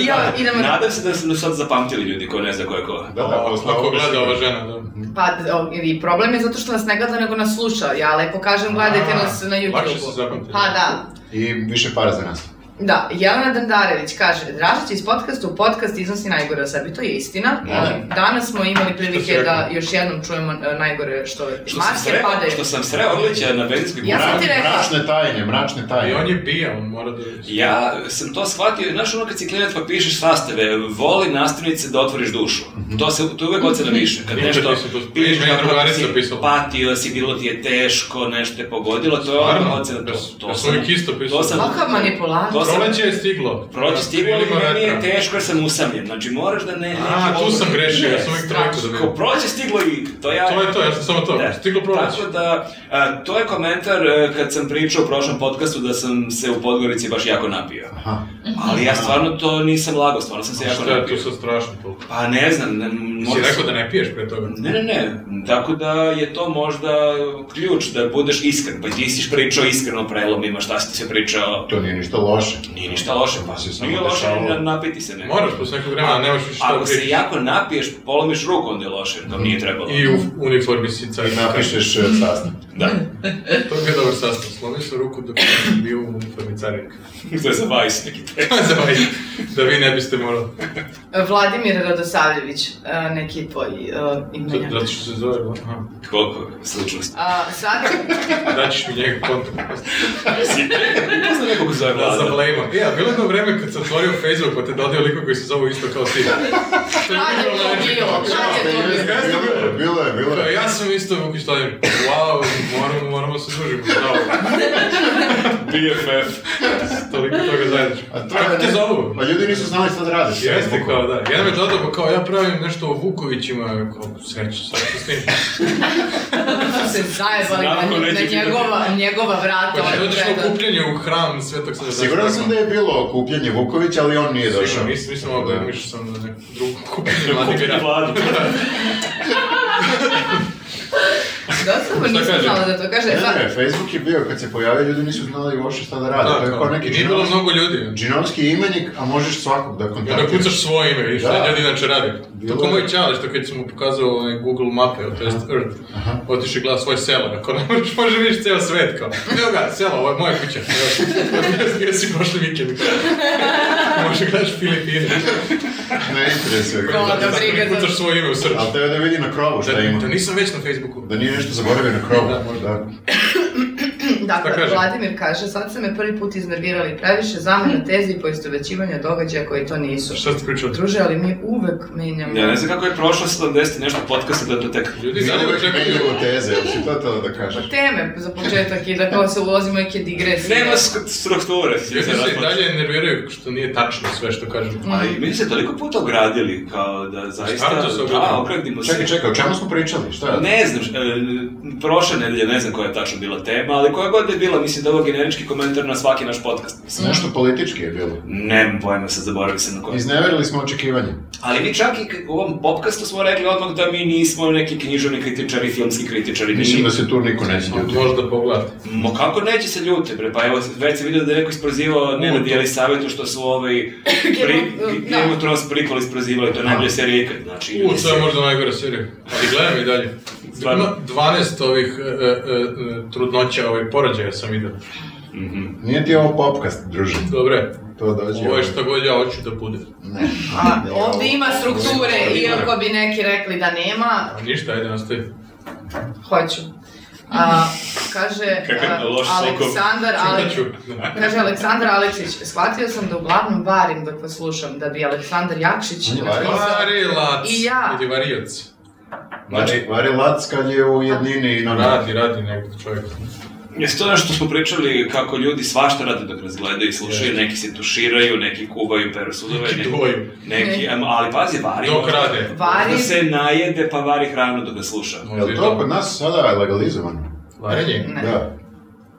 Ja, idemo... Nadam se da su nas sad zapamtili ljudi ko ne zna ko je ko. Da, da, posle Ako ovoga gleda ova se- žena, da. Pa, o, i problem je zato što nas ne gleda, nego nas sluša. Ja lepo kažem, gledajte A, nas na YouTube-u. lakše se zapamti. Pa da. I više para za nas. Da, Jelena Dandarević kaže, Dražić iz podcasta u podcast iznosi najgore o sebi, to je istina. E, Danas smo imali Što si prilike rekla? da još jednom čujemo e, najgore što je. Što sam Maske sreo, padaju. što sam sreo Orlića na benzinskoj Ja sam gumi. ti rekla. Mračne tajne, mračne I tajne. on je bija, on mora da... Ja sam to shvatio, znaš ono kad si klinac pa pišeš sastave, voli nastavnice da otvoriš dušu. To se to je uvek ocena Mhm. više. Kad Nikad nešto nisam to- pišeš meni je kako drugarica si pisala. patio, si bilo ti je teško, nešto te pogodilo, to je Stvarno? ono ocena. To, Ja- to ja sam uvijek isto pisao. To sam, Kakav manipulator. to sam, Proleće je stiglo. proći Na stiglo, ali krilima meni je vetra. teško jer sam usamljen. Znači moraš da ne... A, neki tu sam oblik- grešio, ja Ne, sam uvijek trojku da Ko vidim. prođe stiglo i to ja... To je to, ja sam samo to. Da. Stiglo proleće. Tako da, a, to je komentar e, kad sam pričao u prošlom podcastu da sam se u Podgorici baš jako napio. Aha. Ali ja stvarno to nisam lagao, stvarno sam se jako Šta je napio. tu sad strašno toliko? Pa ne znam, ne, Si možda... rekao sam- da ne piješ pre toga? Ne, ne, ne, tako da je to možda ključ da budeš iskren, pa ti si pričao iskreno o prelomima, šta si ti se pričao, To nije ništa loše. nije ništa loše, To se pa samo nije loše, dešavalo. na- napiti se ne. Moraš posle nekog vremena, nemaš više šta Ako da se pričaš. jako napiješ, polomiš ruku, onda je loše, to nije trebalo. I u uniformi si car. I napišeš e, sastav. Da, To mi je dobar sastav. Slomi se ruku dok sam bio u uniformi carinika. to je za Vice neki tekst. Za ovaj, da vi ne biste morali. E, Vladimir Radosavljević, e, neki tvoj e, imenjak. Zato što se zove, aha. Koliko sličnosti. A, sad, Daćeš Pa mi njega kontakt. Ne znam nekog zove Da, vlada. za blame Ja, bilo je jedno vreme kad sam otvorio Facebook, pa te dodio liku koji se zove isto kao ti. kad je to bilo? Kad je to Bilo bilo? je, bilo je, bilo Kao, je. Pa Ja sam isto Vukić Stadion. Wow, moramo, moramo se družimo. Da, BFF. toliko toga zajedničko. A to Kako je te zovu? Pa ljudi nisu znali šta da rade. Jeste kao da, jedan me dodao pa kao ja pravim nešto o Vukovićima, ja kao sreću, sad ću s tim. se zajebali na, Nakon nje- na nećeg njegova, njegova vrata. Pa ovaj dođeš na predan. okupljanje u hram Svetog Svetog. Siguran sam da je bilo okupljanje Vukovića, ali on nije došao. Sigurno, nisam, nisam mogu, Da. mišljao sam na neku drugu okupljanje Vladimira. Dosta nisam kaže? znala da to kaže. Ne, E, sad- ne, Facebook je bio kad se pojavio, ljudi nisu znali uopšte šta da rade. Da, to je kao kao, neki i nije bilo džinovski- mnogo ljudi. džinovski imenik, a možeš svakog da I onda kontaktiraš. kucaš svoje ime, vidiš šta Dakle, Da. ljudi inače rade. Bilo To kao je. moj čale, što kad sam mu pokazao onaj Google mape, to jest Earth, otiši gleda svoje selo, ako ne možeš, može vidiš ceo svet, kao, evo ga, selo, ovo je moja kuća. Gdje si prošli vikend, kao, može gledaš Filipine. Ne interesuje ga. Kao da Tako briga mi za- kucaš svoje ime u srcu. Ali tebe da vidi na krovu šta Da, ima. da nisam već na Facebooku. Da nije nešto zaboravio na krovu. Da, možda. Da. Šta Dakle, kaže? Vladimir kaže, sad ste me prvi put iznervirali previše zamena tezi i poistovećivanja događaja koji to nisu. Šta ste pričali? Druže, ali mi uvek menjamo. Ja ne znam kako je prošlo 70 i nešto podcasta da to tek... Ljudi, Mi zanima uvek čekaju. menjamo teze, jel si to htjela da kažeš? Teme za početak i da kao se ulazimo u neke digresije. Nema sk- strukture. Ljudi se i dalje nerviraju što nije tačno sve što kažem. A i mi se toliko puta ogradili, kao da zaista... Stvarno se ogradili? Da, ogradimo se. Čekaj, čekaj, o čemu smo pričali? Šta je? Ne znam, š- e, prošle nedelje ne znam koja je tačno bila tema, ali koja god je bila, mislim da je ovo generički komentar na svaki naš podcast. Mislim, Nešto politički je bilo. Nemam pojma, sad zaboravio sam na koji. Izneverili smo očekivanje. Ali mi čak i k- u ovom popkastu smo rekli odmah da mi nismo neki književni kritičari, filmski kritičari. Mislim Mi- da se tu niko neće ljutiti. Možda pogledati. Mo kako neće se ljute, bre, pa evo, već sam vidio da je neko isprozivao Nenad Jelisavetu što su ovaj pri, Game of- Game of Thrones prikoli isprozivali, to je najbolja serija ikad, znači... U, to je možda najgora serija. Ali gledam i dalje. Stvarno? Ima 12 ovih e, e, e, trudnoća, ovaj porođaja sam vidio. Nije ti ovo popkast, druže. Dobre, To dođe. ovo je šta god ja hoću da bude. Ne. A Ne, ovo- ovdje ima strukture, iako bi neki rekli da nema, A ništa, ajde nastavi. hoću. A, kaže Kakav a, loš sukob. Aleksandar, Čukat Alek- ću. Kaže Aleksandar Aleksić, shvatio sam da uglavnom varim dok vas slušam, da bi Aleksandar Jakšić On je vario. napisao- Varilac. I ja. Ili varijac. Vari, Znači, vari lac kad je u jednini i na Radi, radi nekog čovjek. Jesi to nešto što smo pričali kako ljudi svašta rade dok nas gledaju i slušaju, neki se tuširaju, neki kuvaju peru sudove, Neki neki, duaju. neki em, ali pazi, vari. Dok možda- rade. Vari. Da se najede pa vari hranu dok ga sluša. Možda Jel i to kod nas sada je legalizovano? Varenje? Ne. Da.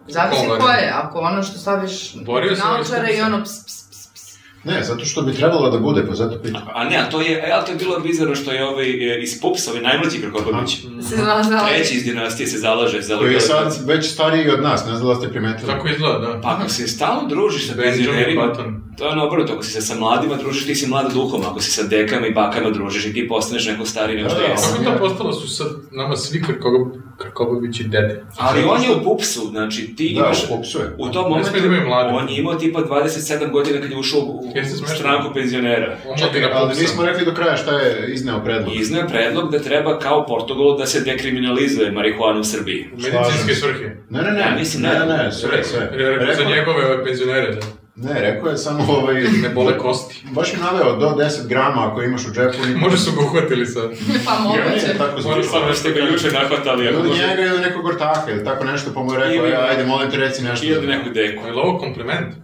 Zavisi Koga ko ne? je, ako ono što staviš Borio se ovaj naočare i skup ono ps, ps, ps, ps. Ne, zato što bi trebalo da bude, pa zato pitam. A ne, a to je, e, ali to je bilo bizarno što je ovaj e, iz Pupsa, ovaj najmlađi Krkobabić, Se zalažala. treći iz dinastije se zalaže za Koji je legalizaciju. sad već stariji od nas, ne znam da li ste primetili. Tako izgleda, da. Pa ako se stalno družiš sa Benjamin penzionerima, Button. to je ono obrnuto, ako si se sa mladima družiš, ti si mlad duhom, ako si sa dekama i bakama družiš i ti postaneš neko stariji nego što Da, da. jesi. Kako to postalo su sad nama svi Krkogo- Krkogovići dede? Ali on je u pupsu, znači ti Da, imaš... u popsu je. U tom Ne momentu smije da imaju mlade. on je imao tipa 27 godina kad je ušao u Jesi smešno? stranku penzionera. Čekaj, Omladina ali Pupsa. nismo rekli do kraja šta je izneo predlog. I iznao je predlog da treba kao Portugalu da se dekriminalizuje marihuana u Srbiji. U medicinske Slažem se. svrhe. Ne, ne, ne, Ja mislim da- ne, ne, sve, Rekao- sve. Rekao za njegove ove penzionere, da. Ne, rekao je samo ovaj... Ne bole kosti. Baš je naveo do 10 grama ako imaš u džepu. ni- Možda su ga uhvatili sad. Pa Ja, moguće. ne, tako Oni zvuči. stvarno Pa ste ga juče nahvatali, ako Ili može- njega ili nekog ortaka ili tako nešto, pa mu je rekao, Ili- "E, ajde, molim te, reci nešto. ili neku deku. Je li ovo kompliment?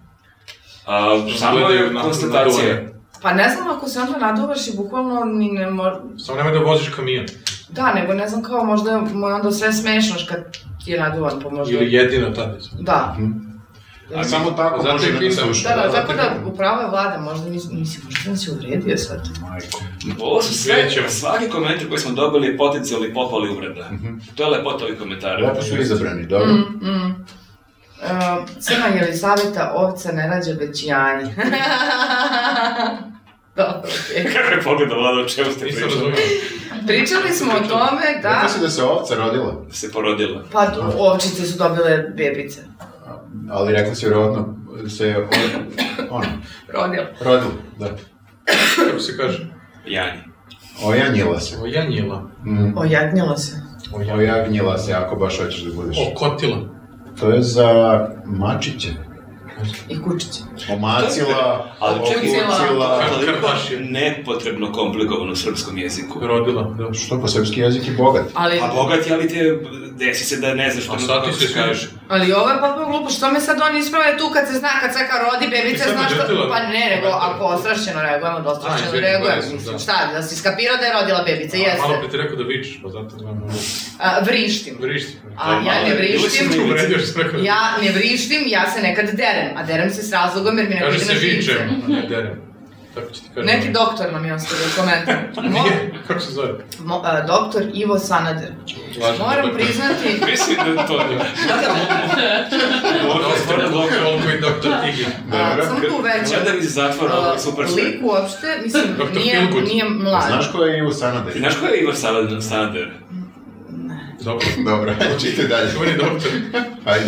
A, samo Gledaju je na- na konstatacija. dole. Pa ne znam ako se onda naduvaš i bukvalno ni ne mor... Samo nemoj da voziš kamion. Da, nego ne znam kao možda mu je onda sve smešnoš kad je naduvan, pa možda... Ili jedino tada. Da. A samo tako Zato može i da pitam. sluša. Da, da, tako zato da, upravo je vlada, možda nisi, nisi, možda nas je uvredio sad. Ovo su sve, Vidjet ćemo. svaki komentar koji smo dobili je potencijalni pohvali uvreda. Mhm. To je lepota ovih komentara. Lepo su izabrani, dobro. Mm. Uh, crna Jelisaveta, ovca ne rađa već janje. Dobro, okej. Kako je pogleda vlada, o čemu ste Nisam pričali? razumio. Pričali smo o tome da... Rekao si da se ovca rodila, Se porodila. Pa d- ovčice su dobile bebice. ali rekla si vjerojatno se je ono, Rodila. rodila, da. Kako se kaže? Janje. Ojanjila se. O janjila. Mm. Ojagnjila se. Ojagnjila se, ako baš hoćeš da budeš. O kotila. To je za mačiće. I kučiće. Omacila, Ali čekaj, okucila. Kako Toliko Krmaš je. nepotrebno komplikovano u srpskom jeziku. Rodila, da. Što, pa srpski jezik je bogat. Ali, Pa bogat je, ali te desi se da ne znaš A kako sad kako ti se se kaže. kaže. ali ovo je potpuno glupo, što me sad oni isprave tu kad se zna, kad sveka rodi bebica, I sad znaš što... odletila. Pa ne, nego ako ostrašćeno reagujemo, da A, ostrašćeno izvini, reagujemo, bolje su, mislim, da. šta, da si skapirao da je rodila bebica, A, Malo jeste. pre ti rekao da vičeš, pa zato gledam ovo. A, vrištim. Vrišti. A ja ne vrištim, Tu vredio što sam rekao. ja ne vrištim, ja se nekad derem, a derem se s razlogom jer mi ne Kaže ide se na živce. vičem, a ne derem. Tako ću ti kažem. Neki doktor nam je ostavio komentar. Mo, Nije, kako se zove? mo- a, doktor Ivo Sanader. Lažno, Moram doktor. priznati, Mislim da to ne. Doktor, Doktor, doktor, doktor. Olko i doktor Igi. a, sam tu veća. Sada mi se zatvora, ovo je super sve. lik uopšte, mislim, Doktor nije, Feelgood. nije mlad. Znaš ko je Ivo Sanader? Ti znaš ko je Igor Sanader? Sanader? Doktor. Dobro, čitaj dalje. Čuveni doktor. Ajde.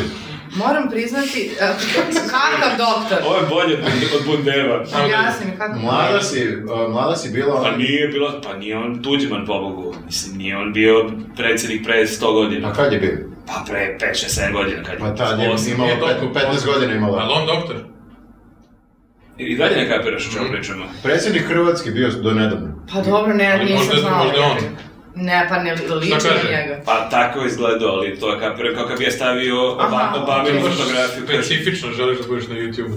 Moram priznati, a, kakav doktor? Ovo je bolje od- od Bundeva. Ajmo dalje. Objasni mi kakav Mlada si, uh, mlada si bila... Pa ona- nije bilo, pa nije on Tuđman pobogu, mislim, nije on bio predsjednik pre 100 A godina. kad je bio? Pa pre 5-6-7 godina kad Pa tad je imalo nije toliko. 15 godina Ali imala. on doktor. I i dalje ne kapiraš o čemu pričamo. Predsjednik Hrvatske bio do nedavno. Pa dobro, ne, Ali nisam možda- znala. možda on. Ne, pa ne liči kaže? na njega. Pa tako je izgledao, ali to je kapirao kao kad bi ja stavio Obama, Aha, Obaminu okej. fotografiju. kaže, Specifično želiš da budeš na YouTube.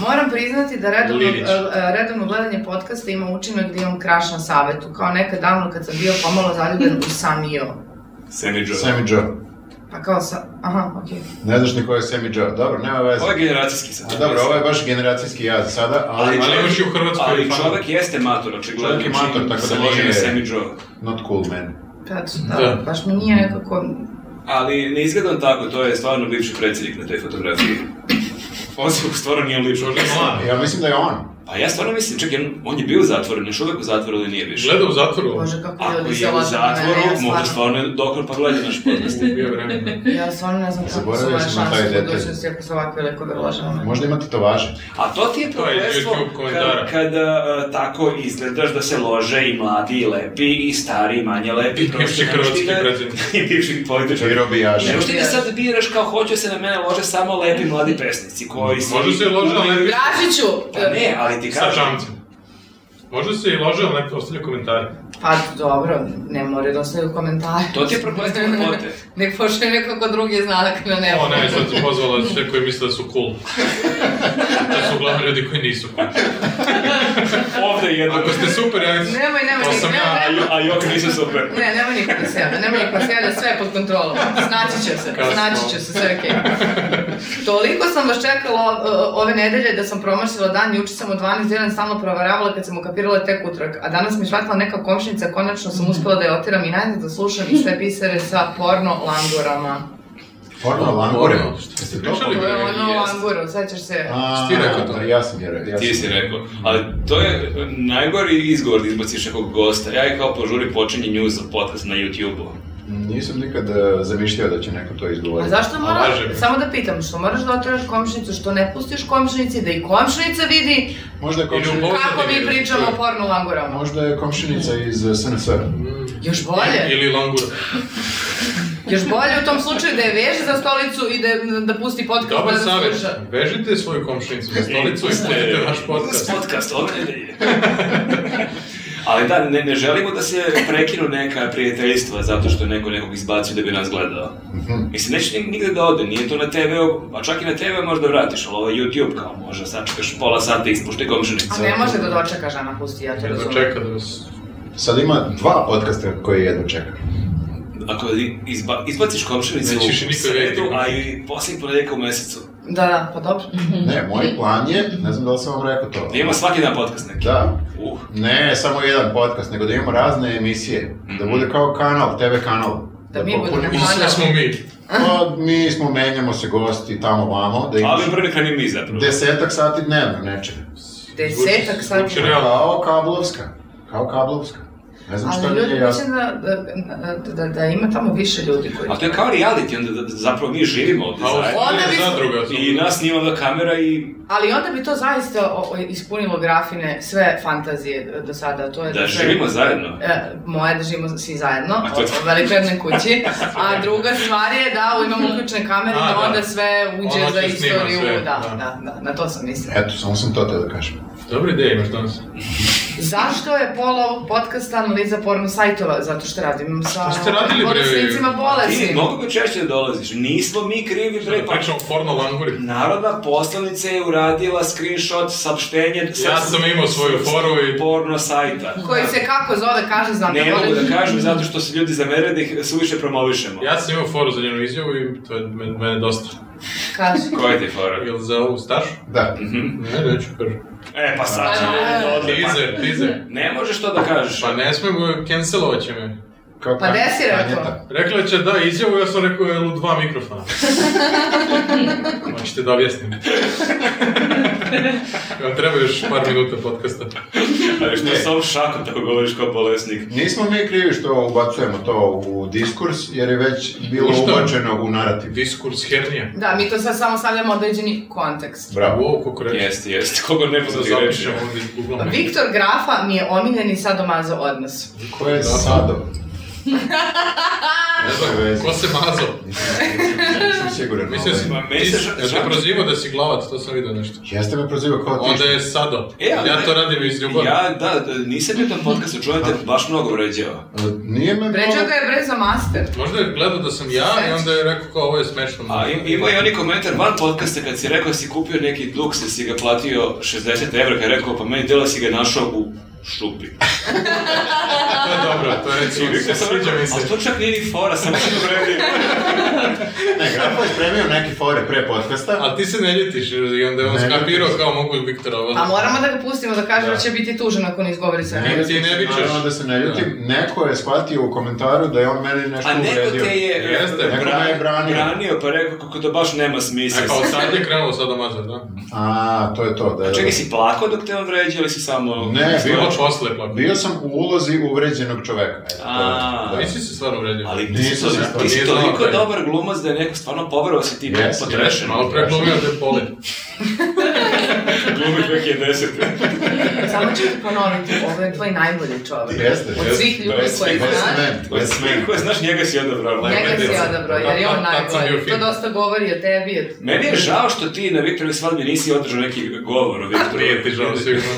Moram priznati da redovno, Lilić. e, redovno gledanje podcasta ima učinak da imam kraš na savetu. Kao nekad davno kad sam bio pomalo zaljubljen u Samio. Sammy Joe. Sammy Joe. Pa kao sa... Aha, okej. Ne znaš ni ko je Sammy Joe. Dobro, nema veze. Ovo je generacijski sad. A dobro, ovo je baš generacijski jaz sada, ali... Ali imaš i u Hrvatskoj. Ali fan. čovjek jeste mator, očigledno. Čovjek je mator, čim tako da se loži nije- na Sammy Joe. Not cool, man. Pa, Da. da, baš mi nije nekako... Ali ne izgleda on tako, to je stvarno bivši predsjednik na toj fotografiji. Osim, stvarno nije lično. Možda je mlad. Ja mislim da je on. Pa ja stvarno mislim, čekaj, on- on je bio u zatvoru, još uvijek u zatvoru ili nije više? Gleda u zatvoru. Bože, kako Ako ljudi se je u lažu na mene, zatvoru, ja možda stvarno- stvarno je doktor pa gleda naš podcast. Bio vremena. Ja stvarno ne znam kako su Zaboravio moje sam na taj šanse u detalj. budućnosti ako se ovakve lekove lažu na mene. Možda ima titovaže. A to ti je To je prokletstvo YouTube komentara. kad, kada e, tako izgledaš da se lože i mladi i lepi i stari i manje lepi. I bivši Prosto ne možeš ti hrvatski da- predsjednik. I bivši političar. I robijaši. Ne možeš ti da sad biraš kao hoću se na mene lože samo lepi mladi pesnici koji su... Možda se i lože, ali ne Dražiću! Pa ne, ali ti sa kažem... čamcem. Možda se i lože, ali neko ostavlja komentare. Pa dobro, ne moraju da ostaju komentare. To ti je prokletstvo lepote. Nek pošli neko ko drugi zna da kada ne Ono O ne, mogu. sad si pozvala sve koji misle da su cool. To su uglavnom ljudi koji nisu cool. Ovdje je jedno. Ako ste super, ja Nemoj, nemoj, to sam nemoj, ja. nemoj. A jok nisu super. Ne, nemoj niko da sebe, nemoj niko da sebe, sve je pod kontrolom. Snaći će se, Kasno. snaći će se, sve je okej. Toliko sam vas čekala o- ove nedelje da sam promašila dan, juče sam u 12 jedan stalno provaravala kad sam ukapirala tek utrak, a danas mi švatila neka komšinica, konačno sam uspela da je otiram i najzad da slušam iste pisare sa porno langurama. Porno langure. porno. Jeste to? Pričali? To je ono Jest. languro, sećaš se? A, Ti rekao to? Ja sam jer... Ja Ti sam- si rekao, ali to je najgori izgovor da izbaciš nekog gosta. Ja je kao požuri počinje news za podcast na YouTube-u. Nisam nikad e, zamišljao da će neko to A izgovoriti. zašto moraš, laže me. samo da pitam, što moraš da otraš komšnicu, što ne pustiš komšnici, da i komšnica vidi Možda je, komšin- Ili u Bosni kako mi vidi, pričamo to o je. porno langurama. možda je komšinica iz e, SNS. Još bolje. Ili langura. Još bolje u tom slučaju da je veže za stolicu i da, da pusti podcast Dobar da ga savjet. sluša. Vežite svoju komšinicu za stolicu i pustite naš podcast. Podcast ove nedelje. ali da, ne, ne želimo da se prekinu neka prijateljstva zato što je neko nekog izbacio da bi nas gledao. Mhm. Mislim, neće ni- nigde da ode, nije to na TV-u, pa čak i na TV možda vratiš, ali ovo je YouTube kao može, sačekaš pola sata i ispušti komšinicu. A ne može da dočeka žena pusti, ja to Jedno razumijem. čeka da vas... Sad ima dva podcasta koje jedno čeka. Ako izba, izbaciš komšinicu Nećeš i u nikad sredu, vidjeti. a i posljednji ponedjeljka u mesecu, Da, da, pa dobro. Ne, moj plan je, ne znam da li sam vam rekao to. da ima svaki dan podcast neki. Da. Uh, Ne, samo jedan podcast, nego da imamo razne emisije. Da bude kao kanal, TV kanal. Da mi popunimo- budemo I sve smo mi. Pa, mi smo, menjamo se gosti tamo vamo, da imaš ali brnika ni mi zapravo. desetak sati dnevno nečega. Desetak sati. Zvuči realno. Kao kablovska. Kao kablovska. Ne znam što Ali ljudi ljudi, je jasno. mislim da, da, da, da ima tamo više ljudi koji... A to je kao reality, onda da- da zapravo mi živimo ovdje A ovo zajedno. Onda je bi- zadruga. I nas snima onda kamera i Ali onda bi to zaista o- o- ispunilo grafine sve fantazije do sada. To je da sve- živimo zajedno. E, moje da živimo svi zajedno, A to je- u velikodnoj kući, a druga stvar je da u- imamo uključene kamere A, da, da. onda sve uđe Ono za će snima istoriju, sve, da, da. da, da, na to sam mislila. Eto, samo sam to te da kažem. Dobra ideja imaš danas. Zašto je pola ovog podcasta analiza porno sajtova? Zato što radim sa šta ste radili, bre? bolesnicima Ti bolesnim. mnogo bi češće da dolaziš, nismo mi krivi bre, pa Pričamo o porno languri. Narodna poslanica je uradila screenshot, saopštenje... sa- Ja sam imao svoju foru i- Porno sajta. Koji se kako zove, kaže znam Ne da mogu volim. da kažem zato što se ljudi zamere da ih suviše promovišemo. Ja sam imao foru za njenu izjavu i to je me- mene dosta. Kaže. Koja ti je fora? Jel za ovu stašu? Da. Ne, neću kažem. E, pa sad ćemo ovdje odmah. Teaser, teaser. Ne možeš to da kažeš. Pa ne smemo, cancelovat će me. Kao Pa desi rekao. Kanjeta. Rekla će da izjavu, ja sam rekao jel u dva mikrofona. Hoćete da objasnim. Vam treba još par minuta podcasta. Ali što sa ovom šakom tako govoriš kao bolesnik? Nismo mi krivi što ubacujemo to u diskurs, jer je već bilo U šta? ubačeno u narativ. Diskurs hernija. Da, mi to sad samo stavljamo određeni kontekst. Bravo. Wow, koliko reći. Jeste, jeste. Koga ne Da poznati reći. zapišem ovdje Google. Viktor Grafa mi je omiljeni sadomazo odnos. Ko je Sado? Ne znam, ko se mazao? Nisam siguran. ovaj. Mislim, da si, Ma, meni ti se si- ža- jel te ža- prozivao da si glavac, to sam vidio nešto. Jeste me prozivao Pa, kao ti. Onda je sado. E, ali ja ne- to radim iz ljubavi. Ja, da, da, nisam bio tam podcastu, čujem te baš mnogo vređao. E, Nije me... Vređao ga je brzo master. Možda je gledao da sam ja i onda je rekao kao ovo je smešno. A im, imao je oni komentar van podcasta kad si rekao da si kupio neki duks, da si ga platio 60 evra, kad je rekao pa meni djelo si ga našao u šupi. To je dobro, to je recimo, Rekao sam, sviđa mi Ali se. to čak nije ni fora, samo sam vredio. Ne, Grafa je spremio neke fore pre podcasta. Ali ti se ne ljetiš i onda je on Ne, ne, skapirao ne. kao mogu li Viktora ovo. Pa moramo da ga pustimo da kaže da će biti tužen ako ne izgovori sve. Ne. ti ljutim se, vičeš. Naravno da se ne ljutim. Neko je shvatio u komentaru da je on meni nešto A neko uvredio. te je, Jeste, e, neko bra- me je branio. pa rekao kako to baš nema smisla. E, kao sad je krenuo sad omazar, da? A, to je to. Da, A je- čekaj, si plakao dok te on vređa ili si samo... Ne, Bilo bio, posle, pa. bio sam u ulozi uvređenog čoveka. Eto, to je- A. da. Nisi se stvarno vredio. Ali ti Nisam si, to, se stvarno- ti si nije znao toliko da je. dobar glumac da je neko stvarno poverovao si ti yes, Jes, potrešen. Malo pre glumio da je poli. Glumi 2010. Samo ću ti ponoviti, ovo je tvoj najbolji čovjek. Jeste, Od jeste, svih ljudi bez- koje bez znaš, mene, bez mene. Kako je, znaš, njega si odabrao. lepo je njega si djeca. odabrao, jer je on Tad- tad sam bio najbolji. To fin. dosta govori o tebi. o- Meni je žao što ti na Viktorovoj svadbi nisi održao neki govor o Viktoru. Nije ti žao, sigurno.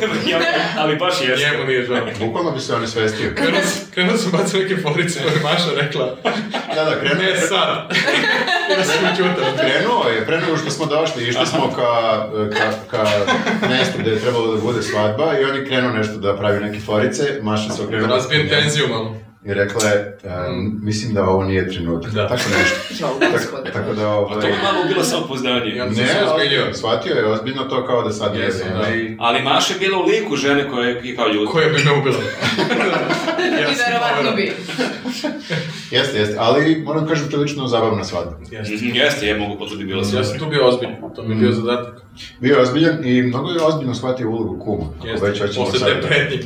ali baš jeste. Njemu nije žao. Bukvalno bi se on isvestio. Krenuo sam- Krenuo sam bacao neke forice koje je Maša rekla. Da, da, krenuo Ne je. sad. Ja sam učutao. Krenuo je, pre nego što smo došli, išli smo ka, ka, ka mestu gde je trebalo da bude svadba i on je krenuo nešto da pravi neke forice, Maša se okrenula. Razbijem tenziju malo. I rekla je, em, mislim da ovo nije trenutak, Da. tako nešto. Žao, Tako, gospode. tako da To ovaj... je malo bilo samopouzdanje. Ja mislim- Ne, se ozbiljio. ali shvatio je ozbiljno to kao da sad nije Jesam, da. vreme i... Ali Maša je bila u liku žene koja je kao ljudi. Koja bi me ubila. I verovatno povjerovao. bi. Jeste, jeste, ali moram kažem prilično zabavna svadba. Mhm, Jeste, ja mogu potvrditi bilo sam. Ja sam tu bio ozbiljno, to mi je Mm. bio zadatak. Bio je ozbiljan i mnogo je ozbiljno shvatio ulogu kuma, ako već Jeste, hoćemo posle sad te da- prednje.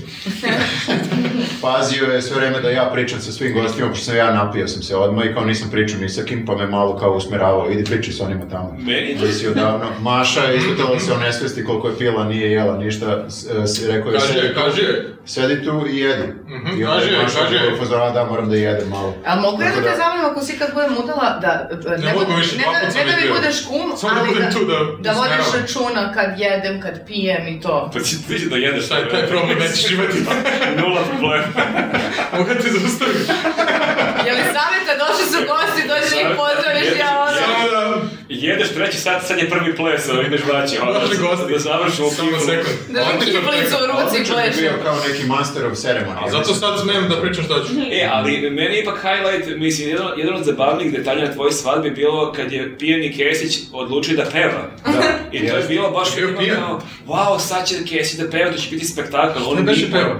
Pazio je sve vreme da ja pričam sa svim gostima, pošto sam ja napio sam se odmah i kao nisam pričao ni sa kim, pa me malo kao usmeravao, idi pričaj sa onima tamo. Meni je to- Ti si odavno. Maša je ispitala da se on nesvesti koliko je pila, nije jela ništa, s- s- rekao je Kaži je, sedi, kaži je. sedi tu i jedi. Mhm, I onda kaži joj, je Maša kaži joj. bila upozorava da moram da jedem malo. Ali mogu ja Tako da te zamolim ako si kad budem udala da... e, Ne mogu bu- više, ne dva da, put sam ne da već mi bio. budeš kum, Samo da ali budem da, tu da da vodiš usmeravam. računa kad jedem, kad pijem i to. Pa ti vidi da jedeš. Šta je taj problem, nećeš imati. Nula problema. Mogu da te zaustavim. Je li savjeta došli su gosti, došli ih pozdraviš ja ono... Samo Pa da... Jedeš treći sat, sad je prvi ples, ali ideš vraći. ono, Došli da- gosti. Da završimo Samo pivu. sekund. Da mi Antičar kiplicu u teka. ruci Čak je pleše. bio kao neki master of ceremony. A zato sad smem da pričam šta ću. E, ali meni je ipak highlight, mislim, jedan, jedan od zabavnijih detalja na tvojoj svadbi bilo kad je pijeni Kesić odlučio da peva. Da, I to je jeste. bilo baš Bio ono pijan. kao, wow, sad će Kesić da peva, to će biti spektakl. On Ne nije- beše pevao?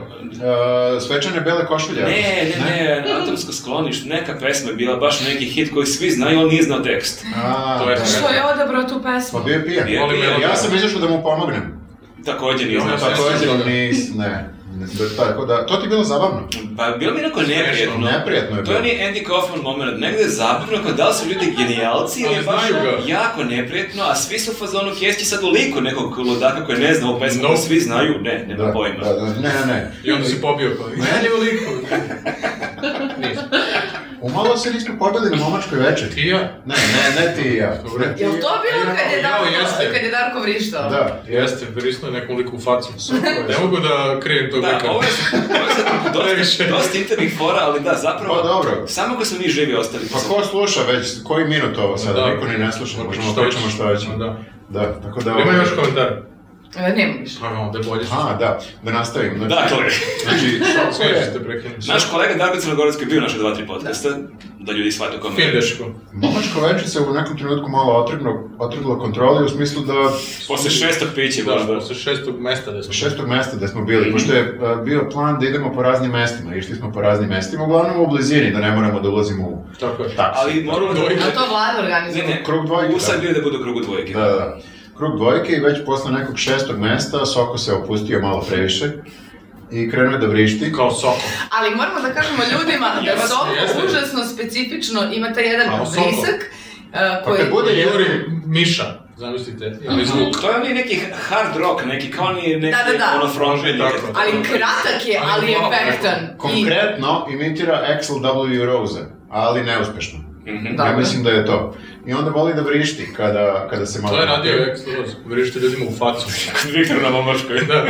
E, svečane bele košulje. Ne, ne, ne, atomsko sklonište, neka pesma je bila baš neki hit koji svi znaju, ali nije znao tekst. A, To je- da. Što je odabrao tu Pa pesmu? bio je pijan. Bio je pijan. Ja sam izašao da mu pomognem. Pa Također nije znao Ja sam- tekst. Također toga. nis, ne. Da- Tako da, to ti je bilo zabavno. Pa bilo mi neko neprijatno. Neprijatno je To je bilo. onaj Andy Kaufman moment, negde je zabavno kao da li su ljudi genijalci ili je Ali baš znaju ga. jako neprijatno, a svi su u fazonu kesti sad u liku nekog ludaka koji ne zna ovu pesmu, ali svi znaju, ne, nema Da, pojma. da, da, ne, ne, ne. I onda si pobio kao, meni u liku. Umalo se nismo pobili na momačkoj večer. Ti i ja? Ne, ne, ne ti i ja. Dobro. Ne ti i Jel ja. to bilo kad je Jao, Darko, jeste. kad je Darko vrištao? Da, jeste. Jeste, brisno je nekom liku u facu. Ne mogu da krijem tog Da, lika. ovo je, ovo je sad dosta, Previše. dosta internih fora, ali da, zapravo, Pa dobro. samo ko smo mi živi ostali. Pa ko sluša već, koji minut ovo sada, Da. niko ni ne sluša, Možemo možemo šta pričamo hoćeš. šta hoćemo. Da. Da, tako da... Ima još komentar. E, Nema više. Pa onda je bolje što A, da, da nastavim. Znači, Dakle, znači šok sve što je, ste prekinuli. naš kolega Darko Crnogorac koji je bio naša dva, tri podcasta, da ljudi shvate kome. Fin dečko. momačko večer se u nekom trenutku malo otrgno, otrglo kontroli u smislu da Posle šestog pića Da, možda. posle šestog mesta da smo. šestog mesta da smo bili, pošto je a, bio plan da idemo po raznim mestima, išli smo po raznim mestima, uglavnom u blizini, da ne moramo da ulazimo u Tako je. taksi. Ali moramo da... Dvojka. A to vlada Ne, organizuje. ne, Krug dvojke, Usa da. bio da bude u krugu dvojke. Da, da. Krug dvojke i već posle nekog šestog mesta Soko se opustio malo previše i krenuo je da vrišti. Kao soko. Ali moramo da kažemo ljudima da Jeste, Soko jeste. užasno specifično ima taj jedan A, Soko. brisak e, Pa koji... kad bude Juri juri, Miša. Zamislite. Ili zvuk. To je onaj neki hard rock, neki kao oni neki Da, da, da. ono fronženje. Tako. Ali kratak je, ali Ali je malo, efektan. I konkretno imitira Axel W. Rose. ali neuspešno. Ja Mhm. Dobro. mislim da je to. I onda voli da vrišti kada, kada se malo... To je radio Exodus, vrište ljudima u facu. Viktor na momačkoj. Da.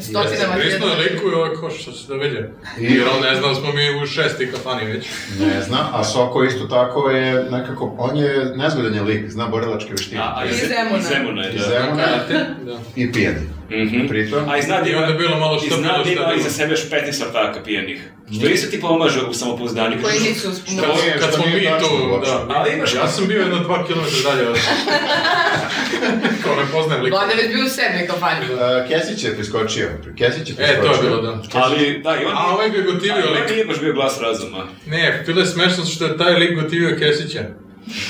Stotinama Prisno je hiljada. liku i ovako što se da vidi. Jer on ne zna da smo mi u šesti kafani već. Ne zna, a Soko isto tako je nekako, on je nezgodan je lik, zna borilačke veštine. A, a Iz iz Zemuna. Zemuna. Iz Zemuna je, Iz da. Zemuna Da. i pijen. Mhm. Pritom, A i zna da I onda je bilo malo i što zna bilo da šta ima bilo. iza sebe još 15 ortaka pijenih. Što isto ti pomaže u samopouzdanju. Koji Kažeš, nisu Kad, To je, kad to smo nije mi tačno tu, uopšte. da. Ali imaš- Ja sam bio jedno dva kilometra dalje od... Kao ne poznajem liku. Vlada je već bio u sedmi kampanji. uh, Kesić je priskočio. Kesić je E, priskočio. to je bilo, da. Ali, da, i on... A ovaj ga je gotivio Ali on lik. nije baš bio glas razuma. Ne, bilo je smešno što je taj lik gotivio Kesića.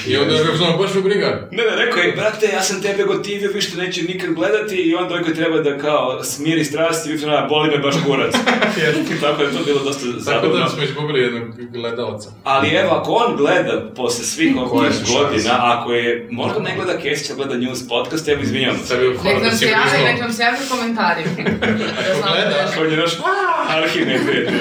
I onda je ga baš u briga. Ne, ne, rekao je, brate, ja sam tebe gotivio, više te neće nikad gledati i onda ovaj koji treba da kao smiri strasti, više na, ono, boli me baš kurac. Tako da je to bilo dosta Tako zabavno. da smo izgubili jednog gledalca. Ali evo, ako on gleda posle svih Koje ovih su šanse? godina, ako je, možda ne gleda Kesića, gleda News podcast, evo, izvinjam se. Sebi hvala Nek da nam si se javi, nek priznao. nam se javi u komentarima. Da znamo Gleda. da je- On je naš arhivni prijatelj.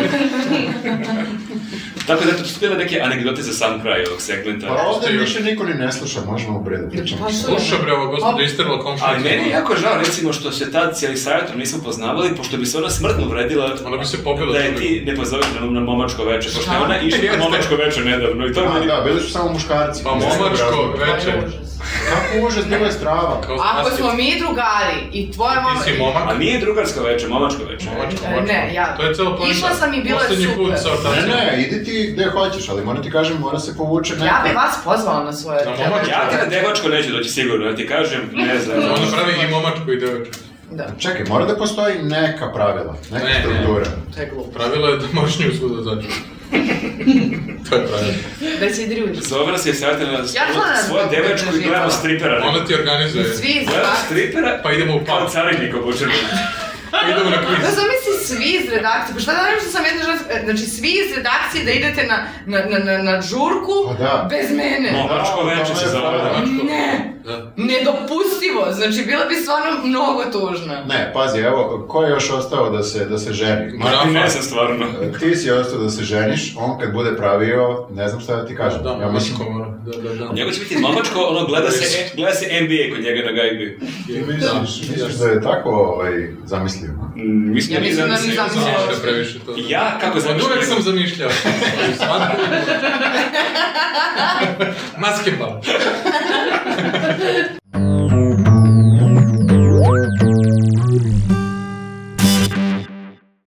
Tako da, eto, to su bile neke anegdote za sam kraj ovog Pa segmenta. ovdje više niko ni ne sluša, možemo bre da pričamo. Pa što? Sluša bre, ovo gospodo Op. istrlo komšnicu. Ali meni je jako žao, recimo, što se tad cijeli sajatru nismo poznavali, pošto bi se ona smrtno vredila Ona Ono bi se pobila. da je ti ne pozoveš na, na momačko večer, pošto je ona išla Jeste. na momačko večer nedavno i to je A, meni... da, bili su samo muškarci. Pa Ne znam momačko razloga. večer. Kako užas, bilo je strava. Kao Ako spasti. smo mi drugari i tvoja mama... Ti si momak. A nije drugarska večer, momačko večer. Momačko, E, momačko. ne, ja- To je celo plan. Išla sam i bilo je super. Poslednji put sa Ne, ortacijom. ne, idi ti gdje hoćeš, ali moram ti kažem, mora se povuče neko. Ja bi vas pozvala na svoje... Na momačko. Ja ti na devačko neću doći sigurno, ja ti kažem, ne znam. Ona pravi i momačku i devojčku. Da, Čekaj, mora da postoji neka pravila, neka Ne, ne. struktura. to je glupo. Pravilo je da možeš nju svuda zaći. to je pravilo. Da se idri Zovra se i sajatru na gledam svoje zbog devačko i gledamo tebe živjela. stripera. Ona ti organizuje. Svi iz Gledamo redakcije. stripera, Pa idemo u kao pub. carinik obučeno. Pa idemo na Da kviz. zamisli svi iz redakcije, pa šta da radim što sam jedna žena, e, znači svi iz redakcije da idete na, na, na, na, na Pa žurku da. bez mene. Momačko Da, večer to se je zove. pravo. Ne, Da. nedopustivo, znači bila bi stvarno mnogo tužna. Ne, pazi, evo, ko je još ostao da se, da se ženi? Ma, Marafan. Ne sam stvarno. Ti si ostao da se ženiš, on kad bude pravio, ne znam šta da ti kažem. Da, ja mislim, momačko mora. Da, da, da. Njega će biti momačko, ono gleda se, e, gleda se NBA kod njega na gajbi. ti misliš, misliš da je tako ovaj, zamislio? Mm, Mislim, Ja mislim da nisam- ni zamislio. Znaš da previše to. Ja, kako Od zamišljam? uvek sam zamišljao. Maske pa.